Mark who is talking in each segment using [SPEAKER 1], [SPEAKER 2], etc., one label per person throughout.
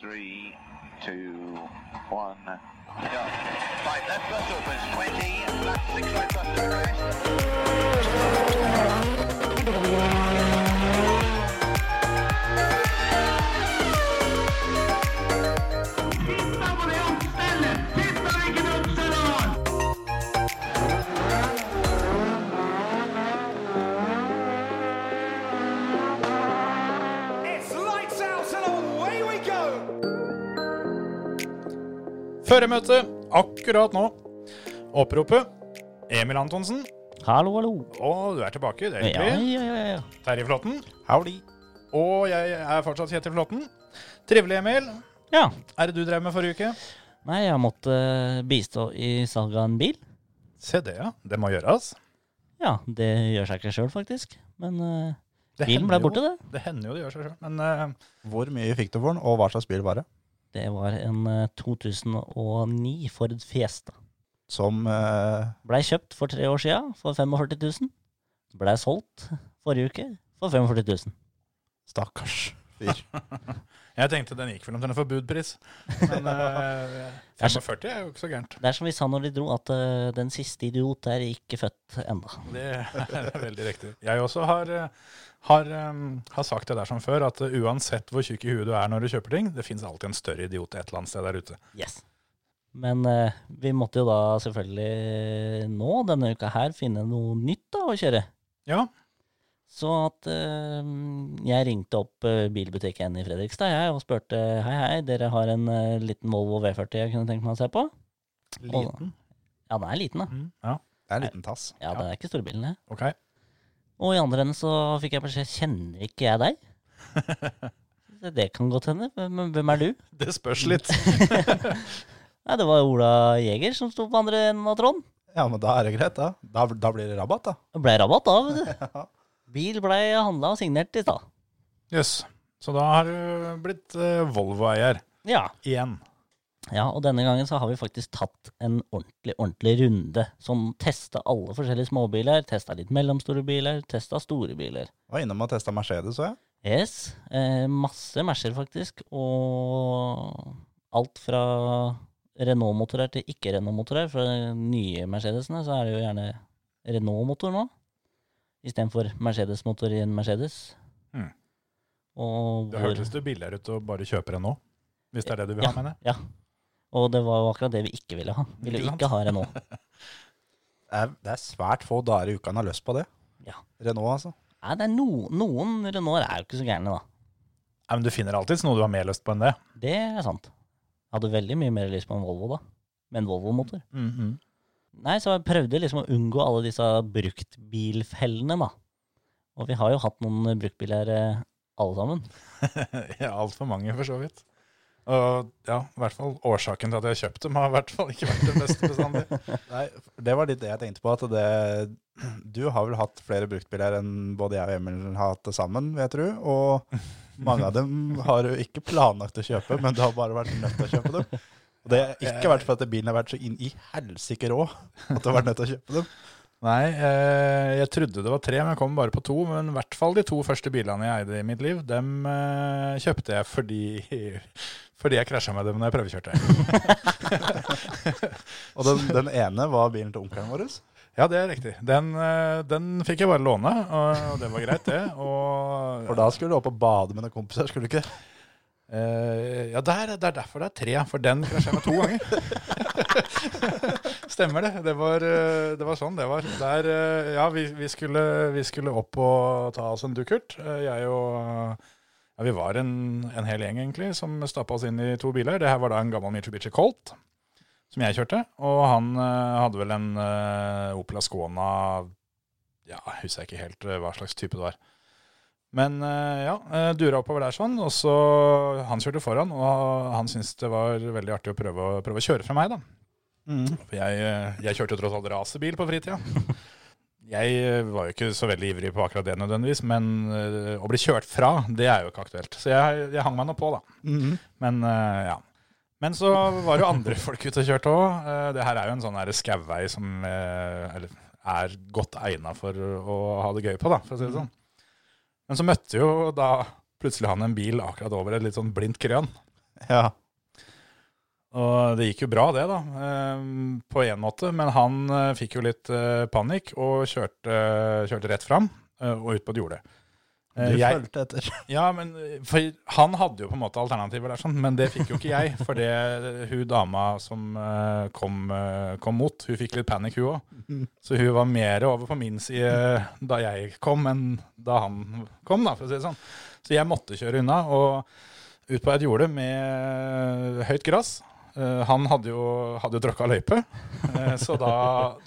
[SPEAKER 1] Three, two, one, go. Right, left bus opens 20, left six right bus to rest.
[SPEAKER 2] It's lights out and away we go!
[SPEAKER 3] Føremøte akkurat nå. Oppropet Emil Antonsen.
[SPEAKER 4] Hallo, hallo.
[SPEAKER 3] Og du er tilbake. Det er
[SPEAKER 4] Ja,
[SPEAKER 3] hyggelig.
[SPEAKER 4] ja, ja, ja.
[SPEAKER 3] Terje Flåtten.
[SPEAKER 4] Howdy.
[SPEAKER 3] Og jeg er fortsatt Kjetil Flåtten. Trivelig, Emil.
[SPEAKER 4] Ja.
[SPEAKER 3] Er det du drev med forrige uke?
[SPEAKER 4] Nei, jeg måtte eh, bistå i salg av en bil.
[SPEAKER 3] Se det, ja. Det må gjøres.
[SPEAKER 4] Ja, det gjør seg ikke sjøl, faktisk. Men eh,
[SPEAKER 3] Det
[SPEAKER 4] bilen
[SPEAKER 3] hender
[SPEAKER 4] ble borte,
[SPEAKER 3] jo,
[SPEAKER 4] det.
[SPEAKER 3] Det hender jo det gjør seg sjøl. Men eh,
[SPEAKER 5] Hvor mye fikk du for den, og hva slags bil var det?
[SPEAKER 4] Det var en eh, 2009 Ford Fiesta.
[SPEAKER 5] Som eh,
[SPEAKER 4] Blei kjøpt for tre år sia for 45 000. Blei solgt forrige uke for 45 000.
[SPEAKER 5] Stakkars fyr.
[SPEAKER 3] jeg tenkte den gikk vel omtrent for budpris. Men eh, 45 er jo ikke så gærent.
[SPEAKER 4] Det er som vi sa når de dro, at eh, den siste idiot er ikke født enda.
[SPEAKER 3] Det er veldig riktig. Jeg også har, eh, har, eh, har sagt det der som før, at eh, uansett hvor tjukk i huet du er når du kjøper ting, det fins alltid en større idiot et eller annet sted der ute.
[SPEAKER 4] Yes. Men eh, vi måtte jo da selvfølgelig nå denne uka her finne noe nytt da å kjøre.
[SPEAKER 3] Ja,
[SPEAKER 4] Så at eh, jeg ringte opp eh, bilbutikken i Fredrikstad jeg, og spurte hei, hei, dere har en eh, liten Volvo V40 jeg kunne tenkt meg å se på?
[SPEAKER 3] Liten.
[SPEAKER 4] Ja, den er liten, da.
[SPEAKER 3] Mm, ja,
[SPEAKER 5] Det er en liten tass.
[SPEAKER 4] Ja, det er ikke storbilen, det.
[SPEAKER 3] ok.
[SPEAKER 4] Og i andre enden så fikk jeg beskjed kjenner ikke jeg deg? Så Det kan godt hende. Hvem, hvem er du?
[SPEAKER 3] Det spørs litt.
[SPEAKER 4] Nei, det var Ola Jæger som sto på andre enden av Trond.
[SPEAKER 5] Ja, men da er det greit, da. Da, da blir det rabatt, da.
[SPEAKER 4] Det blei rabatt da, vet du. Bil blei handla og signert i stad.
[SPEAKER 3] Jøss. Så da har du blitt eh, Volvo-eier
[SPEAKER 4] Ja.
[SPEAKER 3] igjen.
[SPEAKER 4] ja, og denne gangen så har vi faktisk tatt en ordentlig, ordentlig runde. Som testa alle forskjellige småbiler, testa litt mellomstore biler, testa store biler.
[SPEAKER 5] Var innom og testa Mercedes òg, jeg.
[SPEAKER 4] Yes. Eh, masse Mercer, faktisk. Og alt fra Renault-motorer til ikke-Renault-motorer. Fra den nye Mercedesene så er det jo gjerne Renault-motor nå. Istedenfor Mercedes-motor i en Mercedes.
[SPEAKER 3] Mm.
[SPEAKER 4] Og
[SPEAKER 3] Det
[SPEAKER 4] hvor-
[SPEAKER 3] hørtes jo billigere ut å bare kjøpe en nå, hvis det er det du vil ha, mener jeg.
[SPEAKER 4] Ja. Og det var jo akkurat det vi ikke ville ha. Vi ville
[SPEAKER 3] Ikke
[SPEAKER 4] jo
[SPEAKER 3] sant?
[SPEAKER 4] ikke ha Renault.
[SPEAKER 5] Det er, det er svært få dager i uka han har lyst på det.
[SPEAKER 4] Ja.
[SPEAKER 5] Renault, altså.
[SPEAKER 4] Nei, det er no, noen Renault er jo ikke så gærne, da.
[SPEAKER 3] Nei, men du finner alltids noe du har mer lyst på enn det.
[SPEAKER 4] Det er sant. Jeg hadde veldig mye mer lyst på en Volvo da. Med en Volvo-motor. Nei, så jeg prøvde liksom å unngå alle disse bruktbilfellene, da. Og vi har jo hatt noen bruktbiler eh, alle sammen.
[SPEAKER 3] ja, altfor mange, for så vidt. Og ja, i hvert fall årsaken til at jeg har kjøpt dem, har i hvert fall ikke vært den beste bestandig.
[SPEAKER 5] Nei, det var litt det jeg tenkte på. At det, du har vel hatt flere bruktbiler enn både jeg og Emil har hatt det sammen, vil jeg tro. Og mange av dem har du ikke planlagt å kjøpe, men du har bare vært nødt til å kjøpe dem. Og det har ikke vært fordi bilen har vært så inn i helsike rå at du har vært nødt til å kjøpe dem.
[SPEAKER 3] Nei, eh, jeg trodde det var tre, men jeg kom bare på to. Men i hvert fall de to første bilene jeg eide i mitt liv, dem eh, kjøpte jeg fordi, fordi jeg krasja med dem når jeg prøvekjørte.
[SPEAKER 5] Og den, den ene var bilen til onkelen vår.
[SPEAKER 3] Ja, det er riktig. Den, eh, den fikk jeg bare låne, og og det var greit, det. Og,
[SPEAKER 5] For da skulle du opp og bade med noen kompiser, skulle du ikke?
[SPEAKER 3] Eh, ja, der, det er derfor det er tre, for den krasja jeg med to ganger. Stemmer det. Det var, eh, det var sånn det var. Der, eh, ja, vi, vi, skulle, vi skulle opp og ta oss en dukkert. Eh, Jeg og ja, Vi var en, en hel gjeng, egentlig, som stappa oss inn i to biler. Det her var da en gammel Mitsubishi Colt. Som jeg kjørte, og han eh, hadde vel en eh, Opel Ascona Ja, husker jeg ikke helt eh, hva slags type det var. Men eh, ja, eh, dura oppover der sånn, og så han kjørte foran, og han syntes det var veldig artig å prøve, å- prøve å kjøre fra meg, da.
[SPEAKER 5] Mm.
[SPEAKER 3] For jeg, eh, jeg kjørte jo tross alt racerbil på fritida. Jeg eh, var jo ikke så veldig ivrig på akkurat det nødvendigvis, men eh, å bli kjørt fra, det er jo ikke aktuelt. Så jeg, jeg hang meg nå på, da.
[SPEAKER 5] Mhm.
[SPEAKER 3] Men eh, ja. Men så var det jo andre folk ute og kjørte òg. det her er jo en sånn her skauvei som eh, eller, er godt egna for å ha det gøy på, da, for å si det sånn. Men så møtte jo da plutselig han en bil akkurat over et litt sånn blindt krøn.
[SPEAKER 5] Ja.
[SPEAKER 3] Og det gikk jo bra, det, da. eh, På én måte. Men han eh, fikk jo litt eh, panikk og kjørte, kjørte rett fram eh, og ut på et jorde. Eh,
[SPEAKER 5] Du
[SPEAKER 3] jeg-
[SPEAKER 5] fulgte etter.
[SPEAKER 3] Ja, men eh, for han hadde jo på en måte alternativer der, sånn, men det fikk jo ikke jeg. For det, hun dama som eh, kom, eh, kom mot, hun fikk litt panikk, hun òg. Så hun var mer over på min side da jeg kom, enn da han kom, da, for å si det sånn. Så jeg måtte kjøre unna, og ut på et jorde med høyt gress. Eh, han hadde jo, hadde jo tråkka løype, eh, så da,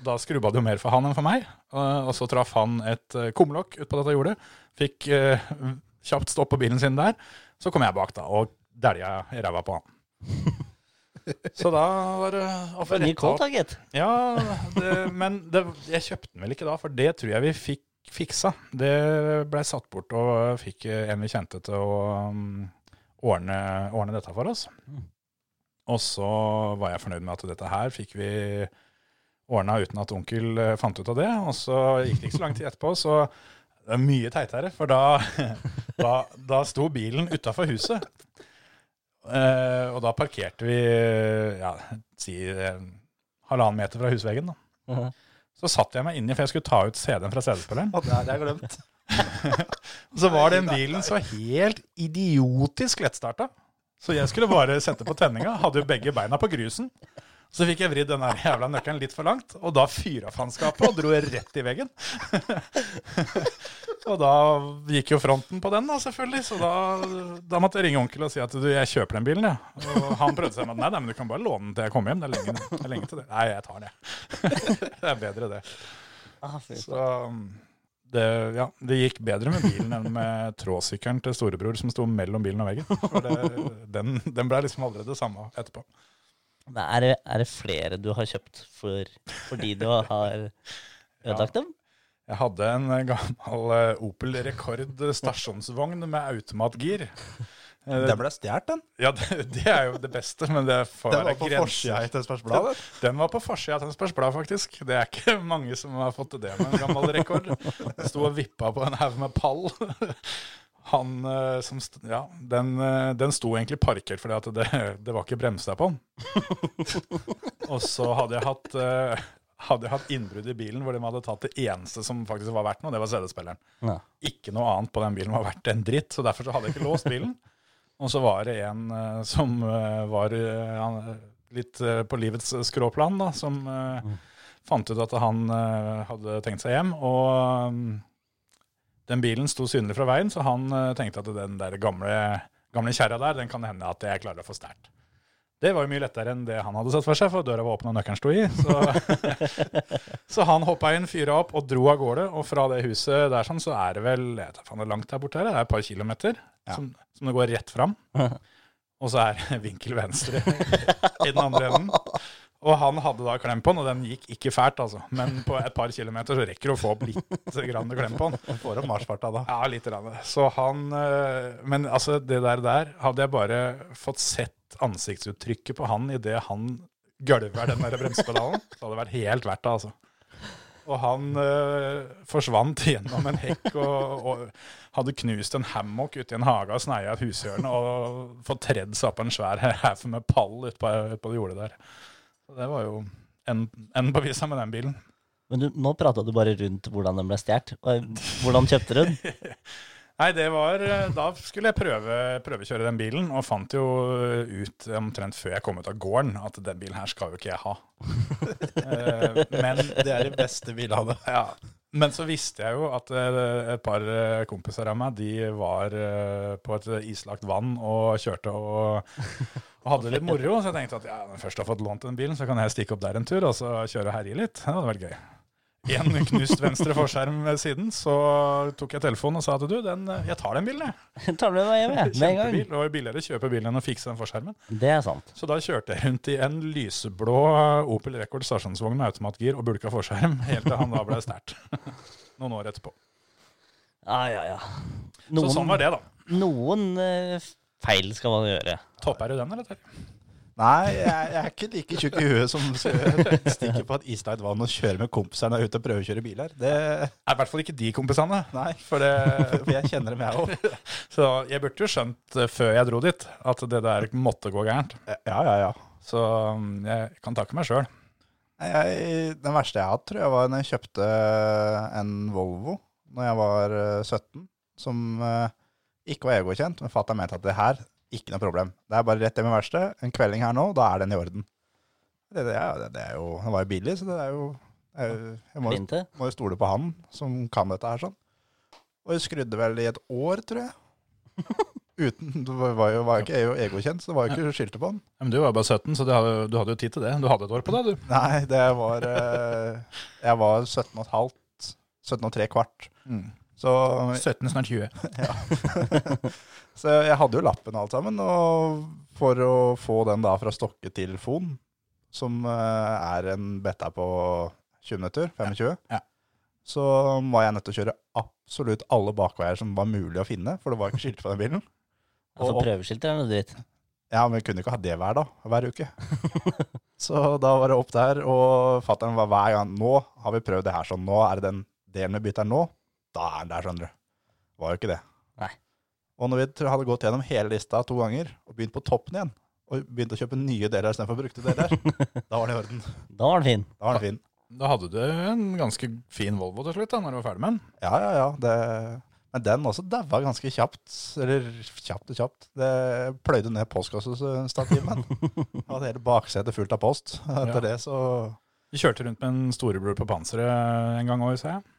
[SPEAKER 3] da skrubba det jo mer for han enn for meg. Eh, og så traff han et uh, kumlokk utpå dette jordet. Fikk eh, kjapt stopp på bilen sin der. Så kom jeg bak da, og dælja i ræva på han. Så da var det å få
[SPEAKER 4] Ny
[SPEAKER 3] retta
[SPEAKER 4] kål,
[SPEAKER 3] opp.
[SPEAKER 4] da, gitt.
[SPEAKER 3] Ja, det, men det, jeg kjøpte den vel ikke da, for det tror jeg vi fikk fiksa. Det blei satt bort, og fikk en vi kjente til å um, ordne, ordne dette for oss. Og så var jeg fornøyd med at dette her fikk vi ordna uten at onkel eh, fant ut av det. Og så gikk det ikke så lang tid etterpå, så det er mye teitere, for da, da, da sto bilen utafor huset. Eh, og da parkerte vi ja, si eh, halvannen meter fra husveggen. da.
[SPEAKER 4] Mhm.
[SPEAKER 3] Så satte jeg meg inni, for jeg skulle ta ut CD-en fra CD-spilleren.
[SPEAKER 5] Å, det hadde jeg glemt.
[SPEAKER 3] Og så var den bilen så helt idiotisk lettstarta. Så jeg skulle bare sette på tenninga. Hadde jo begge beina på grusen. Så fikk jeg vridd den der jævla nøkkelen litt for langt, og da fyra faenskapet og dro rett i veggen. og da gikk jo fronten på den, da, selvfølgelig. Så da, da måtte jeg ringe onkel og si at du, jeg kjøper den bilen, jeg. Og han prøvde seg med at nei, nei, men du kan bare låne den til jeg kommer hjem. Det er lenge, det er lenge til det. Nei, jeg tar den, jeg. det er bedre, det.
[SPEAKER 4] Ah, fy faen.
[SPEAKER 3] Så um, det, ja, det gikk bedre med bilen enn med tråsykkelen til storebror som sto mellom bilen og veggen. For det, den, den ble liksom aldri det samme etterpå.
[SPEAKER 4] Men er, det, er det flere du har kjøpt for, fordi du har ødelagt dem?
[SPEAKER 3] Jeg hadde en gammel eh, Opel Rekord stasjonsvogn med automatgir. Eh,
[SPEAKER 5] Den ble stjålet, den.
[SPEAKER 3] Ja, det, det er jo det beste, men det får
[SPEAKER 5] Den
[SPEAKER 3] være
[SPEAKER 5] var på forsida
[SPEAKER 3] grenser.
[SPEAKER 5] i Tønsbergs Blad. vet du.
[SPEAKER 3] Den var på forsida av Tønsbergs Blad, faktisk. Det er ikke mange som har fått til det med en gammel rekord. Den Sto og vippa på en haug med pall. Han eh, som st Ja, den, eh, den sto egentlig parkert fordi at det, det var ikke bremsa på den. Og så hadde jeg hatt eh, hadde jeg hatt innbrudd i bilen hvor de hadde tatt det eneste som faktisk var verdt noe, det var CD-spilleren.
[SPEAKER 4] Ja.
[SPEAKER 3] Ikke noe annet på den bilen var verdt en dritt, så derfor så hadde jeg ikke låst bilen. Og så var det en eh, som eh, var eh, han- litt eh, på livets skråplan, da, som eh, fant ut at han eh, hadde tenkt seg hjem. Og mm, den bilen sto synlig fra veien, så han eh, tenkte at den der gamle, gamle kjerra der, den kan hende at jeg klarer å få sterkt. Det var jo mye lettere enn det han hadde sett for seg, for døra var åpen og nøkkelen sto i. Så, så han hoppa inn, fyra opp og dro av gårde. Og fra det huset der sånn, så er det vel jeg vet da faen, det er langt der borte her, det er et par kilometer som, som det går rett fram. Og så er det vinkel venstre i den andre enden. Og han hadde da klem på den, og den gikk ikke fælt, altså. Men på et par kilometer så rekker du å få opp litt grann klem på den.
[SPEAKER 5] Den Får opp marsfarta da.
[SPEAKER 3] Ja, litt. Rann. Så han eh, Men altså, det der der hadde jeg bare fått sett ansiktsuttrykket på han idet han gølver den der bremsepedalen. Det hadde vært helt verdt det, altså. Og han eh, forsvant gjennom en hekk og, og hadde knust en hammock ute i en hage og sneia et hushjørne og fått tredd seg opp en svær haug med pall ute på, ut på det jordet der. Så det var jo enden en på visa med den bilen.
[SPEAKER 4] Men du, nå prata du bare rundt hvordan den ble stjålet. Hvordan kjøpte du den?
[SPEAKER 3] Nei, det var eh, Da skulle jeg prøve, prøvekjøre den bilen, og fant jo ut omtrent før jeg kom ut av gården at den bilen her skal jo ikke jeg ha. Eh, men,
[SPEAKER 5] Det er de beste bilene.
[SPEAKER 3] ja, men så visste jeg jo at eh, et par eh, kompiser av meg, de var eh, på et islagt vann og kjørte og, og hadde litt moro. Så jeg tenkte at ja, når jeg først har fått lånt den bilen, så kan jeg stikke opp der en tur og så kjøre og herje litt. Det hadde vært gøy. En knust venstre forskjerm ved siden, så tok jeg telefonen og sa at du, den, eh, jeg tar den bilen, jeg.
[SPEAKER 4] Tar du den med hjem jeg, med en gang?
[SPEAKER 3] Kjempebil. Det var jo billigere å kjøpe bilen enn å fikse den forskjermen.
[SPEAKER 4] Det er sant.
[SPEAKER 3] Så da kjørte jeg rundt i en lyseblå Opel Rekord stasjonsvogn med automatgir og bulka forskjerm, helt til han da ble sterkt. Noen år etterpå.
[SPEAKER 4] Ja, ja, ja.
[SPEAKER 3] Så
[SPEAKER 4] Noen,
[SPEAKER 3] sånn var det, da.
[SPEAKER 4] noen eh, feil skal man gjøre.
[SPEAKER 3] Topper du den, eller? Terje?
[SPEAKER 5] Nei, jeg, jeg er ikke like tjukk i huet som stikker på et islagt vann og kjører med kompiserne ut og prøver å kjøre biler. Det,
[SPEAKER 3] er i hvert fall ikke de kompisene.
[SPEAKER 5] nei, for, det, for jeg kjenner dem, jeg òg.
[SPEAKER 3] Så jeg burde jo skjønt eh, før jeg dro dit at det der måtte gå gærent.
[SPEAKER 5] Ja, ja, ja.
[SPEAKER 3] Så mm, jeg kan takke meg sjøl.
[SPEAKER 5] Nei, Jeg, den verste jeg har hatt, tror jeg var når jeg kjøpte en Volvo når jeg var eh, 17, som eh, ikke var EU-godkjent, men fatter'n mente at det her, ikke noe problem. Det er bare rett hjem i verkstedet, en kvelding her nå, da er den i orden. Det, det, er, det er jo, Den var jo billig, så det er jo det er jo- Jeg må,
[SPEAKER 4] Flinte.
[SPEAKER 5] må jo stole på han som kan dette her sånn. Og jeg skrudde vel i et år, tror jeg. Uten, Det var jo var jo ikke EU-godkjent, så det var jo ikke skyldte på han.
[SPEAKER 3] Men du var jo bare 17, så du hadde, du hadde jo tid til det. Du hadde et år på deg, du.
[SPEAKER 5] Nei, det var eh, Jeg var 17 og et halvt. 17 og tre kvart. Så,
[SPEAKER 3] 17, Mm. snart 20.
[SPEAKER 5] så jeg hadde jo lappen og alt sammen. Og for å få den da fra Stokke til Fon, som eh, er en betta på 20 minutter, 25,
[SPEAKER 3] Ja.
[SPEAKER 5] så var jeg nødt til å kjøre absolutt alle bakveier som var mulig å finne, for det var ikke skilt på den bilen.
[SPEAKER 4] Altså
[SPEAKER 5] Og-
[SPEAKER 4] prøveskilt er noe dritt.
[SPEAKER 5] Ja, men vi kunne ikke ha det hver dag, hver uke. så da var det opp der, og fatteren var hver gang, nå har vi prøvd det her sånn, nå er det den delen vi bytter nå, da er den der, skjønner du. Var jo ikke det.
[SPEAKER 4] Nei.
[SPEAKER 5] Og når vi tr- hadde gått gjennom hele lista to ganger, og begynt på toppen igjen, og begynt å kjøpe nye deler istedenfor brukte deler, da var det i orden.
[SPEAKER 4] Da var den fin.
[SPEAKER 5] Da var det fin.
[SPEAKER 3] Da hadde du en ganske fin Volvo til slutt, da, når du var ferdig med den.
[SPEAKER 5] Ja, ja, ja. Det... Men den også daua ganske kjapt. Eller kjapt og kjapt. Det pløyde ned postkassestativet. Hadde hele baksetet fullt av post. Etter
[SPEAKER 3] Ja.
[SPEAKER 5] det så
[SPEAKER 3] Vi kjørte rundt med en storebror på panseret en gang òg, sa jeg.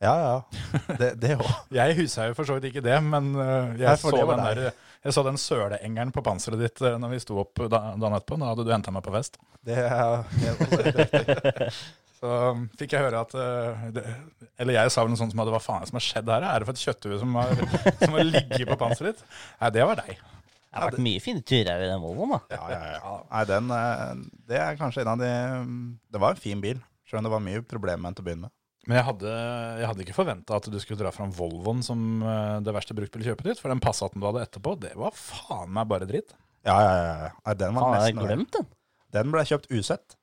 [SPEAKER 5] Ja, ja. Det, det òg.
[SPEAKER 3] Jeg husa jo for så vidt ikke det, men eh, jeg,
[SPEAKER 5] Nei, for
[SPEAKER 3] så
[SPEAKER 5] det var
[SPEAKER 3] den
[SPEAKER 5] deg.
[SPEAKER 3] der, jeg så den søleengeren på panseret ditt eh, når vi sto opp da- dagen etterpå. Da hadde du henta meg på fest.
[SPEAKER 5] Det er helt også helt riktig.
[SPEAKER 3] Så um, fikk jeg høre at eh, det, Eller jeg sa vel noe sånt som at hva faen er det som har skjedd her? Er det for et kjøtthue som har, som har ligget på panseret ditt? Nei, det var deg.
[SPEAKER 4] Det har vært mye fine turer i den Volvoen, da.
[SPEAKER 5] Ja, ja, ja. Nei, den eh, Det er kanskje en av de Det var en fin bil, selv om det var mye problemer med den til å begynne med.
[SPEAKER 3] Men jeg hadde, jeg hadde ikke forventa at du skulle dra fram Volvoen som eh, det verste bruktbilkjøpet ditt, for den Passaten du hadde etterpå, det var faen meg bare dritt.
[SPEAKER 5] Ja, ja, ja, ja. Nei, den var
[SPEAKER 4] Faen, jeg
[SPEAKER 5] nesten
[SPEAKER 4] har glemt den.
[SPEAKER 5] Den ble kjøpt usett.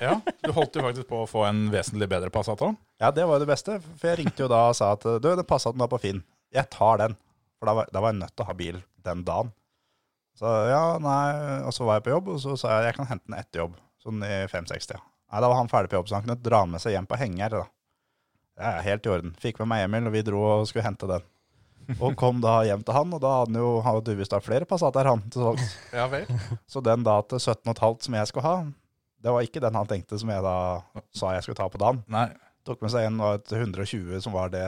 [SPEAKER 3] Ja, Du holdt jo faktisk på å få en vesentlig bedre Passat òg.
[SPEAKER 5] Ja, det var jo det beste. For jeg ringte jo da og sa at du, det passa at den var på Finn. Jeg tar den. For da var, da var jeg nødt til å ha bil den dagen. Så ja, nei, og så var jeg på jobb, og så sa jeg jeg kan hente den etter jobb. Sånn i 5-60. Nei, da var han ferdig på jobb, så han kunne dra med seg hjem på henger. da. Ja, ja, helt i orden. Fikk med meg Emil, og vi dro og skulle hente den. Og kom da hjem til han, og da hadde han jo han hadde visst da flere Passater, han. til salgs.
[SPEAKER 3] Ja vel.
[SPEAKER 5] Så den da til 17,5 som jeg skulle ha, det var ikke den han tenkte som jeg da sa jeg skulle ta på dagen.
[SPEAKER 3] Nei,
[SPEAKER 5] Tok med seg en var et 120 som var det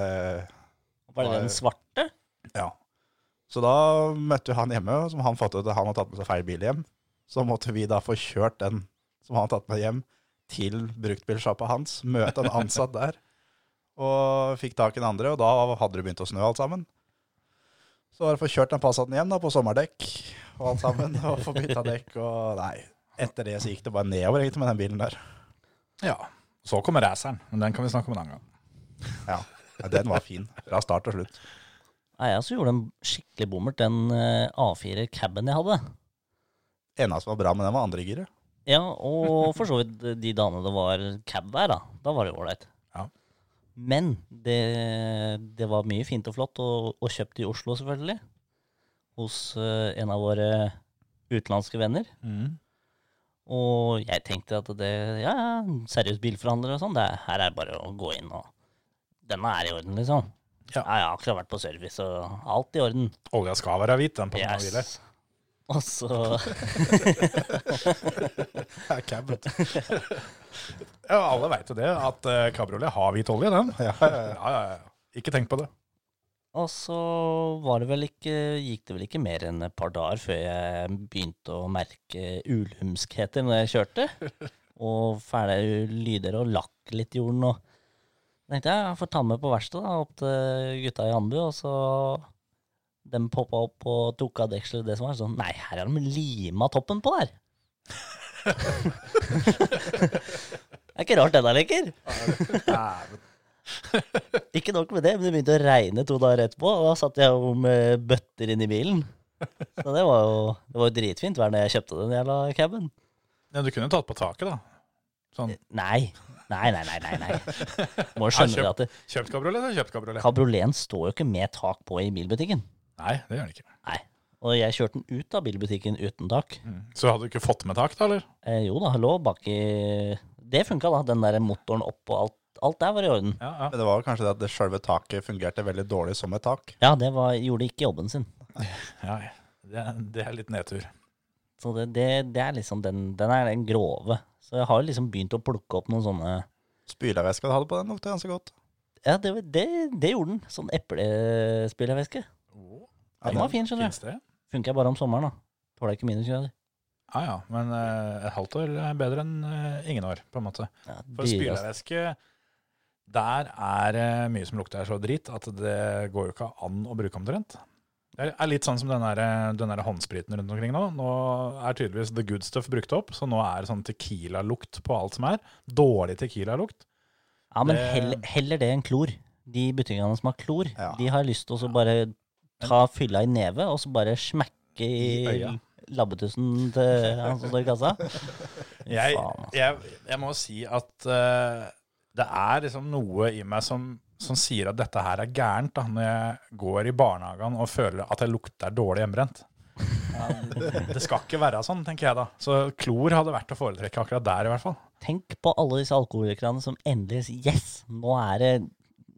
[SPEAKER 4] Var det den svarte?
[SPEAKER 5] Ja. Så da møtte vi han hjemme, som han fattet at han hadde tatt med seg feil bil hjem. Så måtte vi da få kjørt den som han hadde tatt med hjem, til bruktbilsjappa hans. Møte en ansatt der. Og fikk tak i den andre, og da hadde det begynt å snø alt sammen. Så var det å få kjørt den Passaten igjen da, på sommerdekk og alt sammen. Og få bytta dekk og Nei. Etter det så gikk det bare nedover egentlig med den bilen der.
[SPEAKER 3] Ja. Så kom raceren, men den kan vi snakke om en annen gang.
[SPEAKER 5] Ja. Ja, Den var fin fra start til slutt.
[SPEAKER 4] Nei, jeg også gjorde en skikkelig bommert, den eh, A4 caben jeg hadde.
[SPEAKER 5] Ena som var bra med den, var andregiret.
[SPEAKER 4] Ja, og for så vidt de dagene det var cab der, da. Da var det jo ålreit.
[SPEAKER 3] Ja.
[SPEAKER 4] Men det, det var mye fint og flott, og, og kjøpt i Oslo, selvfølgelig. Hos eh, en av våre utenlandske venner.
[SPEAKER 3] Mm.
[SPEAKER 4] Og jeg tenkte at det Ja, ja, seriøs bilforhandler og sånn. det er- Her er det bare å gå inn og Denne er i orden, liksom.
[SPEAKER 3] Ja.
[SPEAKER 4] Ja, jeg har akkurat vært på service, og alt i orden.
[SPEAKER 3] Olja skal være hvit, den på yes. bilen.
[SPEAKER 4] Yes. Og så
[SPEAKER 3] Ja, alle veit jo det, at eh, kabriolet har hvit olje, den. Ja, ja, ja. Ikke tenk på det.
[SPEAKER 4] Og så var det vel ikke, gikk det vel ikke mer enn et par dager før jeg begynte å merke ulumskheter når jeg kjørte. Og fæle lyder og lakk litt i jorden. Og tenkte jeg jeg får ta den med på verkstedet da, opp til gutta i Andbu. Og så de poppa opp og tok av dekselet det som var. Sånn nei, her har de lima toppen på der. det er ikke rart den er lekker. Ikke nok med det, men det begynte å regne to dager etterpå, og da satt jeg jo med eh, bøtter inn i bilen. Så det var jo, det var jo dritfint vær da jeg kjøpte den jævla caben.
[SPEAKER 3] Ja, du kunne tatt på taket, da. Sånn.
[SPEAKER 4] Nei. Nei, nei, nei, nei. nei. Må jo
[SPEAKER 3] Ja,
[SPEAKER 4] skjønne det at det,
[SPEAKER 3] Kjøpt kabriolet eller kjøpt kabriolet?
[SPEAKER 4] kabrioleten står jo ikke med tak på i bilbutikken.
[SPEAKER 3] Nei, det gjør den ikke.
[SPEAKER 4] Nei. Og jeg kjørte den ut av bilbutikken uten tak.
[SPEAKER 3] Mm. Så hadde du ikke fått med tak, da, eller?
[SPEAKER 4] Eh, jo da, lå baki Det funka, da. Den der motoren opp og alt. Alt der var i orden.
[SPEAKER 3] Ja, ja.
[SPEAKER 5] Men det var jo kanskje det at det selve taket fungerte veldig dårlig som et tak.
[SPEAKER 4] Ja, det var, gjorde ikke jobben sin.
[SPEAKER 3] ja ja. det, er- det er litt nedtur.
[SPEAKER 4] Så det, det, det er liksom den, den er den grove. Så jeg har jo liksom begynt å plukke opp noen sånne
[SPEAKER 5] Spylervæska du hadde på den, lukta ganske godt.
[SPEAKER 4] Ja, det, var- det, det gjorde den. Sånn eplespillervæske.
[SPEAKER 5] Ja,
[SPEAKER 4] Den var fin, skjønner
[SPEAKER 3] Fins
[SPEAKER 4] du.
[SPEAKER 3] det?
[SPEAKER 4] Funker jeg bare om sommeren, da. Tåler ikke minusgrader.
[SPEAKER 3] Ja ja, men eh, et halvt år er bedre enn eh, ingen år, på en måte.
[SPEAKER 4] Ja,
[SPEAKER 3] For
[SPEAKER 4] dyrest.
[SPEAKER 3] spylervæske, der er det mye som lukter så drit at det går jo ikke an å bruke omtrent. Det er litt sånn som den der, den der håndspriten rundt omkring nå. Nå er tydeligvis the good stuff brukt opp, så nå er det sånn tequila-lukt på alt som er. Dårlig tequila-lukt.
[SPEAKER 4] Ja, men
[SPEAKER 3] Det-
[SPEAKER 4] heller, heller det enn klor. De butikkene som har klor,
[SPEAKER 5] Ja.
[SPEAKER 4] de har lyst til å så bare ta fylla i neve, og så bare smekke
[SPEAKER 3] I
[SPEAKER 4] i
[SPEAKER 3] øya.
[SPEAKER 4] labbetussen til han som står i kassa.
[SPEAKER 3] Jeg,
[SPEAKER 4] Faen, altså.
[SPEAKER 3] jeg, jeg må si at eh, det er liksom noe i meg som, som sier at dette her er gærent, da, når jeg går i barnehagen og føler at jeg lukter dårlig hjemmebrent. Det skal ikke være sånn, tenker jeg da. Så klor hadde vært å foretrekke akkurat der, i hvert fall.
[SPEAKER 4] Tenk på alle disse alkoholikerne som endelig sier yes, nå er det,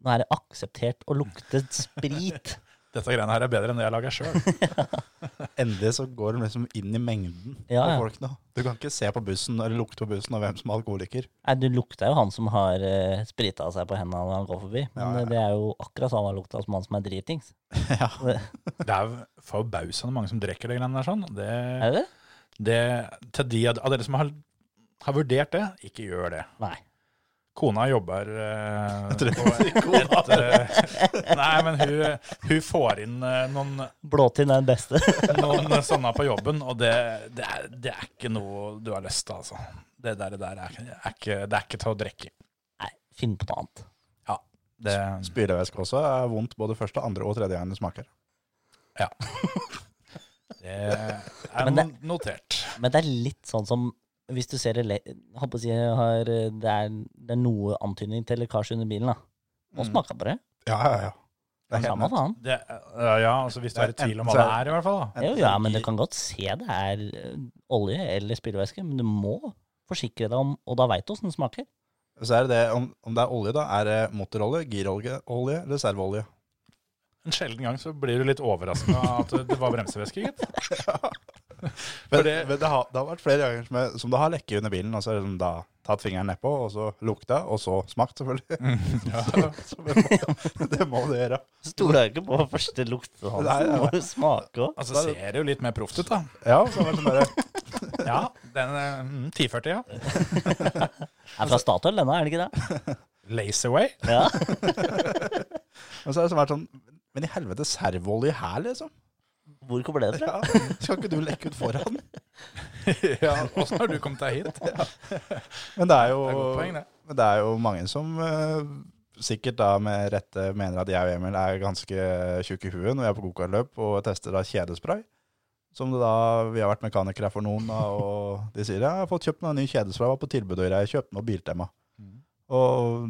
[SPEAKER 4] nå er det akseptert å lukte sprit.
[SPEAKER 3] Dette greiene her er bedre enn det jeg lager sjøl.
[SPEAKER 5] Endelig så går de liksom inn i mengden
[SPEAKER 4] Ja, ja.
[SPEAKER 5] av folk nå. Du kan ikke se på bussen eller lukte på bussen og hvem som er alkoholiker.
[SPEAKER 4] Nei, du lukter jo han som har eh, sprita seg på hendene når han går forbi, men
[SPEAKER 5] Ja, ja,
[SPEAKER 4] eh, det er jo akkurat samme lukta som han som er dritings.
[SPEAKER 5] Ja.
[SPEAKER 3] Det er forbausende mange som drikker de greiene der sånn. Det,
[SPEAKER 4] Er det det?
[SPEAKER 3] det, til de av av dere som har, har vurdert det, ikke gjør det.
[SPEAKER 4] Nei.
[SPEAKER 3] Kona jobber eh,
[SPEAKER 5] tror
[SPEAKER 3] på et eh, Nei, men hun, hun får inn eh, noen,
[SPEAKER 4] Blåtinn er den beste.
[SPEAKER 3] noen sånne på jobben, og det, det, er, det er ikke noe du har lyst til, altså. Det der, det der er, er ikke, det er ikke til å drikke.
[SPEAKER 4] Nei, finn på noe annet.
[SPEAKER 3] Ja, det,
[SPEAKER 5] Spylervæske også er vondt både første, andre og tredje gang det smaker.
[SPEAKER 3] det er
[SPEAKER 4] Men det-
[SPEAKER 3] no- notert.
[SPEAKER 4] Men det er litt sånn som Hvis du ser ele- jeg holdt på å si, jeg har, eh, det, er, det er noe antydning til lekkasje under bilen, da. Og
[SPEAKER 5] Mm.
[SPEAKER 4] smaker på det.
[SPEAKER 5] Ja, ja, ja. Det
[SPEAKER 4] Samme
[SPEAKER 5] nett.
[SPEAKER 4] faen.
[SPEAKER 3] Det, ja, ja, altså hvis du er i tvil om hva det er, i hvert fall. da.
[SPEAKER 4] Jo, ja, men du kan godt se det er eh, olje eller spylevæske, men du må forsikre deg om Og da veit du åssen det smaker.
[SPEAKER 5] Så er det det, om, om det er olje, da, er det motorolje, girolje, olje, reserveolje.
[SPEAKER 3] En sjelden gang så blir du litt overraska at det var bremsevæske, gitt.
[SPEAKER 5] Men,
[SPEAKER 3] For det-
[SPEAKER 5] men det, har, det har vært flere ganger som, jeg, som det har lekket under bilen, og så er det liksom da tatt fingeren nedpå, og så lukta, og så smakt, selvfølgelig. Så det, må, det må det gjøre.
[SPEAKER 4] Stoler ikke på første luktesansen.
[SPEAKER 5] Nei, nei, nei.
[SPEAKER 4] Må jo smake òg.
[SPEAKER 3] Altså ser det jo litt mer proft ut, da.
[SPEAKER 5] Ja, så har det vært sånn der,
[SPEAKER 3] Ja, den eh, mm, 1040, ja.
[SPEAKER 4] Er fra Statoil, denne, er det ikke det?
[SPEAKER 3] Laserway.
[SPEAKER 4] Ja.
[SPEAKER 5] men så har det sånn vært sånn Men i helvete, servolje her, liksom?
[SPEAKER 4] Hvor kommer det fra?
[SPEAKER 5] Ja, skal ikke du lekke ut foran?
[SPEAKER 3] Ja, Åssen har du kommet deg hit?
[SPEAKER 5] Men det er jo,
[SPEAKER 3] Det er godt poeng, det.
[SPEAKER 5] men det er jo mange som eh, sikkert da med rette mener at jeg og Emil er ganske tjukke i huet når vi er på gokartløp og tester da kjedespray. Som det da, Vi har vært mekanikere for noen, da, og de sier ja, 'jeg har fått kjøpt meg en ny kjedespray', var på tilbud og jeg kjøpte noe Biltema. Og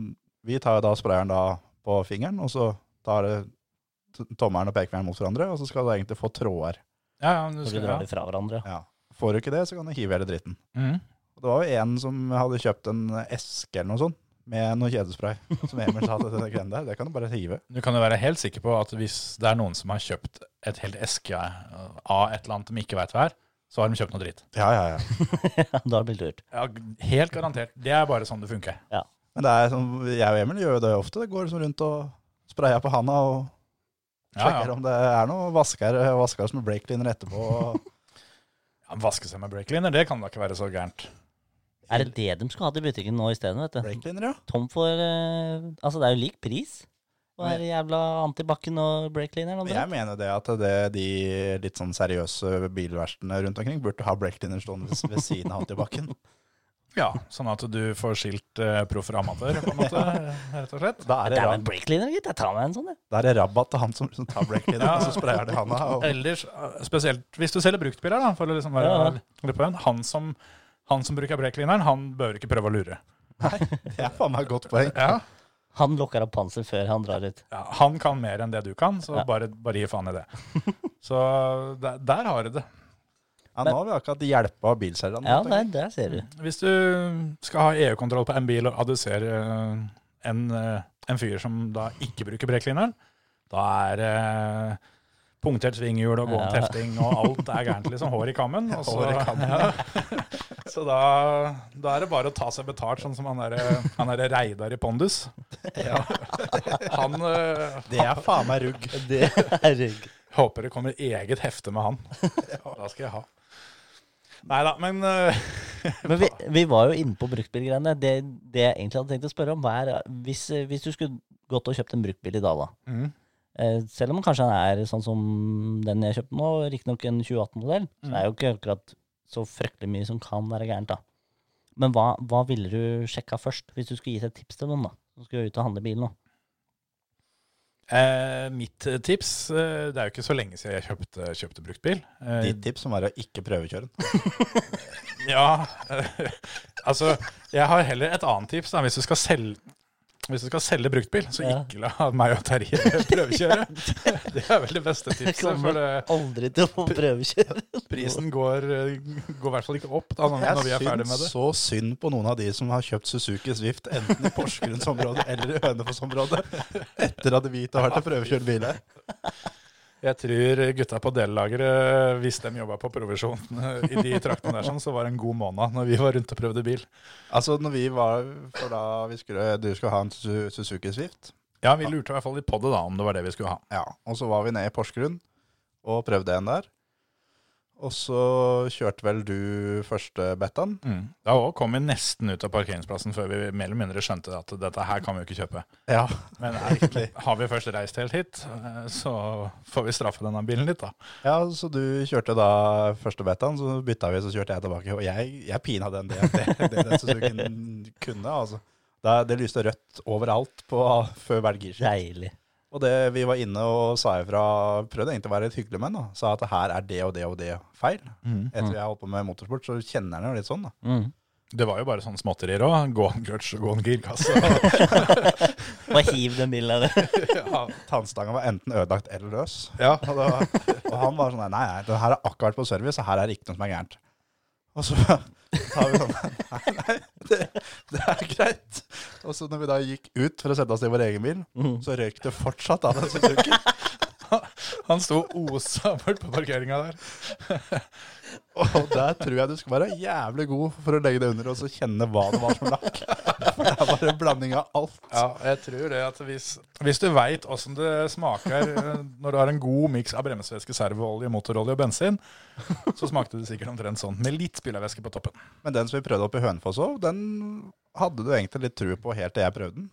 [SPEAKER 5] vi tar jo da sprayeren da på fingeren, og så tar det t- tommelen og pekefingeren mot hverandre, og så skal du egentlig få tråder.
[SPEAKER 3] Ja, ja, du
[SPEAKER 4] Når du
[SPEAKER 3] skal,
[SPEAKER 4] drar
[SPEAKER 3] ja.
[SPEAKER 4] det fra hverandre.
[SPEAKER 5] Ja. Får du ikke det, så kan du hive hele dritten.
[SPEAKER 3] Mm.
[SPEAKER 5] Og det var jo en som hadde kjøpt en eske eller noe sånt, med noe kjedespray. Som Emil sa til den greien der, det kan du bare hive.
[SPEAKER 3] Du kan jo være helt sikker på at hvis det er noen som har kjøpt et helt eske av et eller annet de ikke veit hva er, så har de kjøpt noe dritt.
[SPEAKER 5] Ja, ja, ja.
[SPEAKER 4] Ja, da blir det lurt.
[SPEAKER 3] Ja, helt garantert. Det er bare sånn det funker.
[SPEAKER 5] Men det er sånn, jeg og Emil gjør jo det ofte. Det går liksom rundt og sprayer på handa og
[SPEAKER 3] Ja,
[SPEAKER 5] sjekker
[SPEAKER 3] ja.
[SPEAKER 5] om det er noe. Vasker, vasker oss med breakcleaner etterpå. og-
[SPEAKER 3] ja Vaske seg med breakleaner, det kan da ikke være så gærent.
[SPEAKER 4] Er det det de skal ha til butikken nå isteden, vet du?
[SPEAKER 5] Breakcleaner, ja.
[SPEAKER 4] tom for eh, Altså, det er jo lik pris. Og er jævla antibac-en og breakcleaner.
[SPEAKER 5] Men jeg mener det at det, de litt sånn seriøse bilverkstedene rundt omkring burde ha breakcleaner stående ved ved siden av antibac-en.
[SPEAKER 3] Ja, sånn at du får skilt eh, proff fra amatør, på en måte, rett og slett.
[SPEAKER 5] Da er det,
[SPEAKER 4] Det er vel
[SPEAKER 5] rab
[SPEAKER 4] breakleaner, gitt. Jeg tar meg en sånn, jeg.
[SPEAKER 5] da er det rabatt til han som liksom tar breaklinjen, og så sprayer det i handa. Og,
[SPEAKER 3] Ellers, eh, spesielt hvis du selger bruktbiler, da, for å liksom være
[SPEAKER 4] Ja,
[SPEAKER 3] litt på den, han som, han som bruker breaklineren, han bør ikke prøve å lure.
[SPEAKER 5] det er faen meg et godt poeng.
[SPEAKER 3] Ja.
[SPEAKER 4] Han lukker opp panser før han drar ut.
[SPEAKER 3] Ja, han kan mer enn det du kan, så
[SPEAKER 4] Ja.
[SPEAKER 3] bare, bare gi faen i det. Så der, der har du det.
[SPEAKER 5] Ja, nå har vi akkurat hjelpa bilselgerne.
[SPEAKER 4] Ja,
[SPEAKER 5] tenker
[SPEAKER 4] der,
[SPEAKER 5] jeg.
[SPEAKER 4] der ser du.
[SPEAKER 3] Hvis du skal ha EU-kontroll på en bil, og du ser eh, en, eh, en fyr som da ikke bruker brekklineren, da er eh, punktert svinghjul og gående
[SPEAKER 4] Ja.
[SPEAKER 3] hefting og alt er gærent. liksom Hår i kammen. Og så,
[SPEAKER 5] Hår i kammen.
[SPEAKER 3] Ja. så da, da er det bare å ta seg betalt, sånn som han derre han derre Reidar i Pondus. Han eh,
[SPEAKER 5] Det er faen meg rugg.
[SPEAKER 4] Herregud.
[SPEAKER 3] Håper det kommer eget hefte med han. Da skal jeg ha. Nei da, men eh,
[SPEAKER 4] Men vi, vi var jo inne på bruktbilgreiene. Det, det jeg egentlig hadde tenkt å spørre om, var hvis, eh, hvis du skulle gått og kjøpt en bruktbil i dag, da.
[SPEAKER 3] Mhm.
[SPEAKER 4] Eh, selv om kanskje den er sånn som den jeg kjøpte nå, riktignok en 2018-modell, så er jo ikke akkurat så fryktelig mye som kan være gærent, da. Men hva, hva ville du sjekka først, hvis du skulle gitt et tips til noen, da? Som skulle ut og handle bil nå.
[SPEAKER 3] Eh, mitt tips eh, Det er jo ikke så lenge siden jeg kjøpte, kjøpte brukt bil. Eh,
[SPEAKER 5] Ditt tips må være å ikke prøvekjøre den.
[SPEAKER 3] ja, eh, altså, jeg har heller et annet tips. Da. Hvis, du skal selge, hvis du skal selge brukt bil, så
[SPEAKER 4] Ja.
[SPEAKER 3] ikke la meg og Terje prøvekjøre. Det er vel det beste tipset. For det,
[SPEAKER 4] aldri til å få prøvekjøre.
[SPEAKER 3] prisen går, eh, går i hvert fall ikke opp da, når, når vi er
[SPEAKER 5] Jeg
[SPEAKER 3] ferdig med
[SPEAKER 5] syns
[SPEAKER 3] det.
[SPEAKER 5] så synd på noen av de som har kjøpt Suzuki Swift enten i Porsgrunnsområdet eller i Hønefoss-området etter at Hvit har vært og prøvekjørt bil her.
[SPEAKER 3] Jeg tror gutta på delelageret, hvis de jobba på provisjon eh, i de traktene der, sånn, så var det en god måned når vi var rundt og prøvde bil.
[SPEAKER 5] Altså, når vi var For da vi skulle, du skulle ha en Su- Suzuki Swift,
[SPEAKER 3] Ja, vi lurte i hvert fall litt på det, da, om det var det vi skulle ha.
[SPEAKER 5] ja, og så var vi nede i Porsgrunn og prøvde en der. Og så kjørte vel du første betaen.
[SPEAKER 3] Mm. Da også kom vi nesten ut av parkeringsplassen før vi mer eller mindre skjønte at dette her kan vi jo ikke kjøpe.
[SPEAKER 5] Ja.
[SPEAKER 3] Men er, har vi først reist helt hit, eh, så får vi straffe denne bilen litt, da.
[SPEAKER 5] ja, så du kjørte da første betaen, så bytta vi, så kjørte jeg tilbake. Og jeg, jeg pina den, det, det, det den Suzukien kunne, altså. Da, det lyste rødt overalt på, før hvert girskift.
[SPEAKER 4] Deilig.
[SPEAKER 5] Og det, vi var inne og sa ifra, prøvde egentlig å være litt hyggelig med den, da. sa at her er det og det og det feil. Etter jeg har holdt på med motorsport, så kjenner den jo litt sånn. da.
[SPEAKER 4] Mm.
[SPEAKER 3] Det var jo bare sånne småtterier òg. Gå en clutch og gå en girkasse. og-
[SPEAKER 4] Bare hiv den bilen av det.
[SPEAKER 5] Ja, Tannstanga var enten ødelagt eller løs.
[SPEAKER 3] Ja.
[SPEAKER 5] Og, da, og han var sånn nei, nei, den her har akkurat vært på service, og her er det ikke noe som er gærent. Og så tar vi sånn Nei, nei, det, det er greit. Og så når vi da gikk ut for å sette oss i vår egen bil,
[SPEAKER 3] Mhm.
[SPEAKER 5] så røyk det fortsatt av den Suzuki.
[SPEAKER 3] Han sto osa bort på parkeringa der.
[SPEAKER 5] Og der tror jeg du skal være jævlig god for å legge det under og så kjenne hva det var som lakk. For det er bare en blanding av alt.
[SPEAKER 3] Ja, jeg tror det at hvis, hvis du veit åssen det smaker eh, når du har en god miks av bremsevæske, servoolje, motorolje og bensin, så smakte det sikkert omtrent sånn. Med litt spillervæske på toppen.
[SPEAKER 5] Men den som vi prøvde opp i Hønefoss òg, den hadde du egentlig litt true på helt til jeg prøvde den.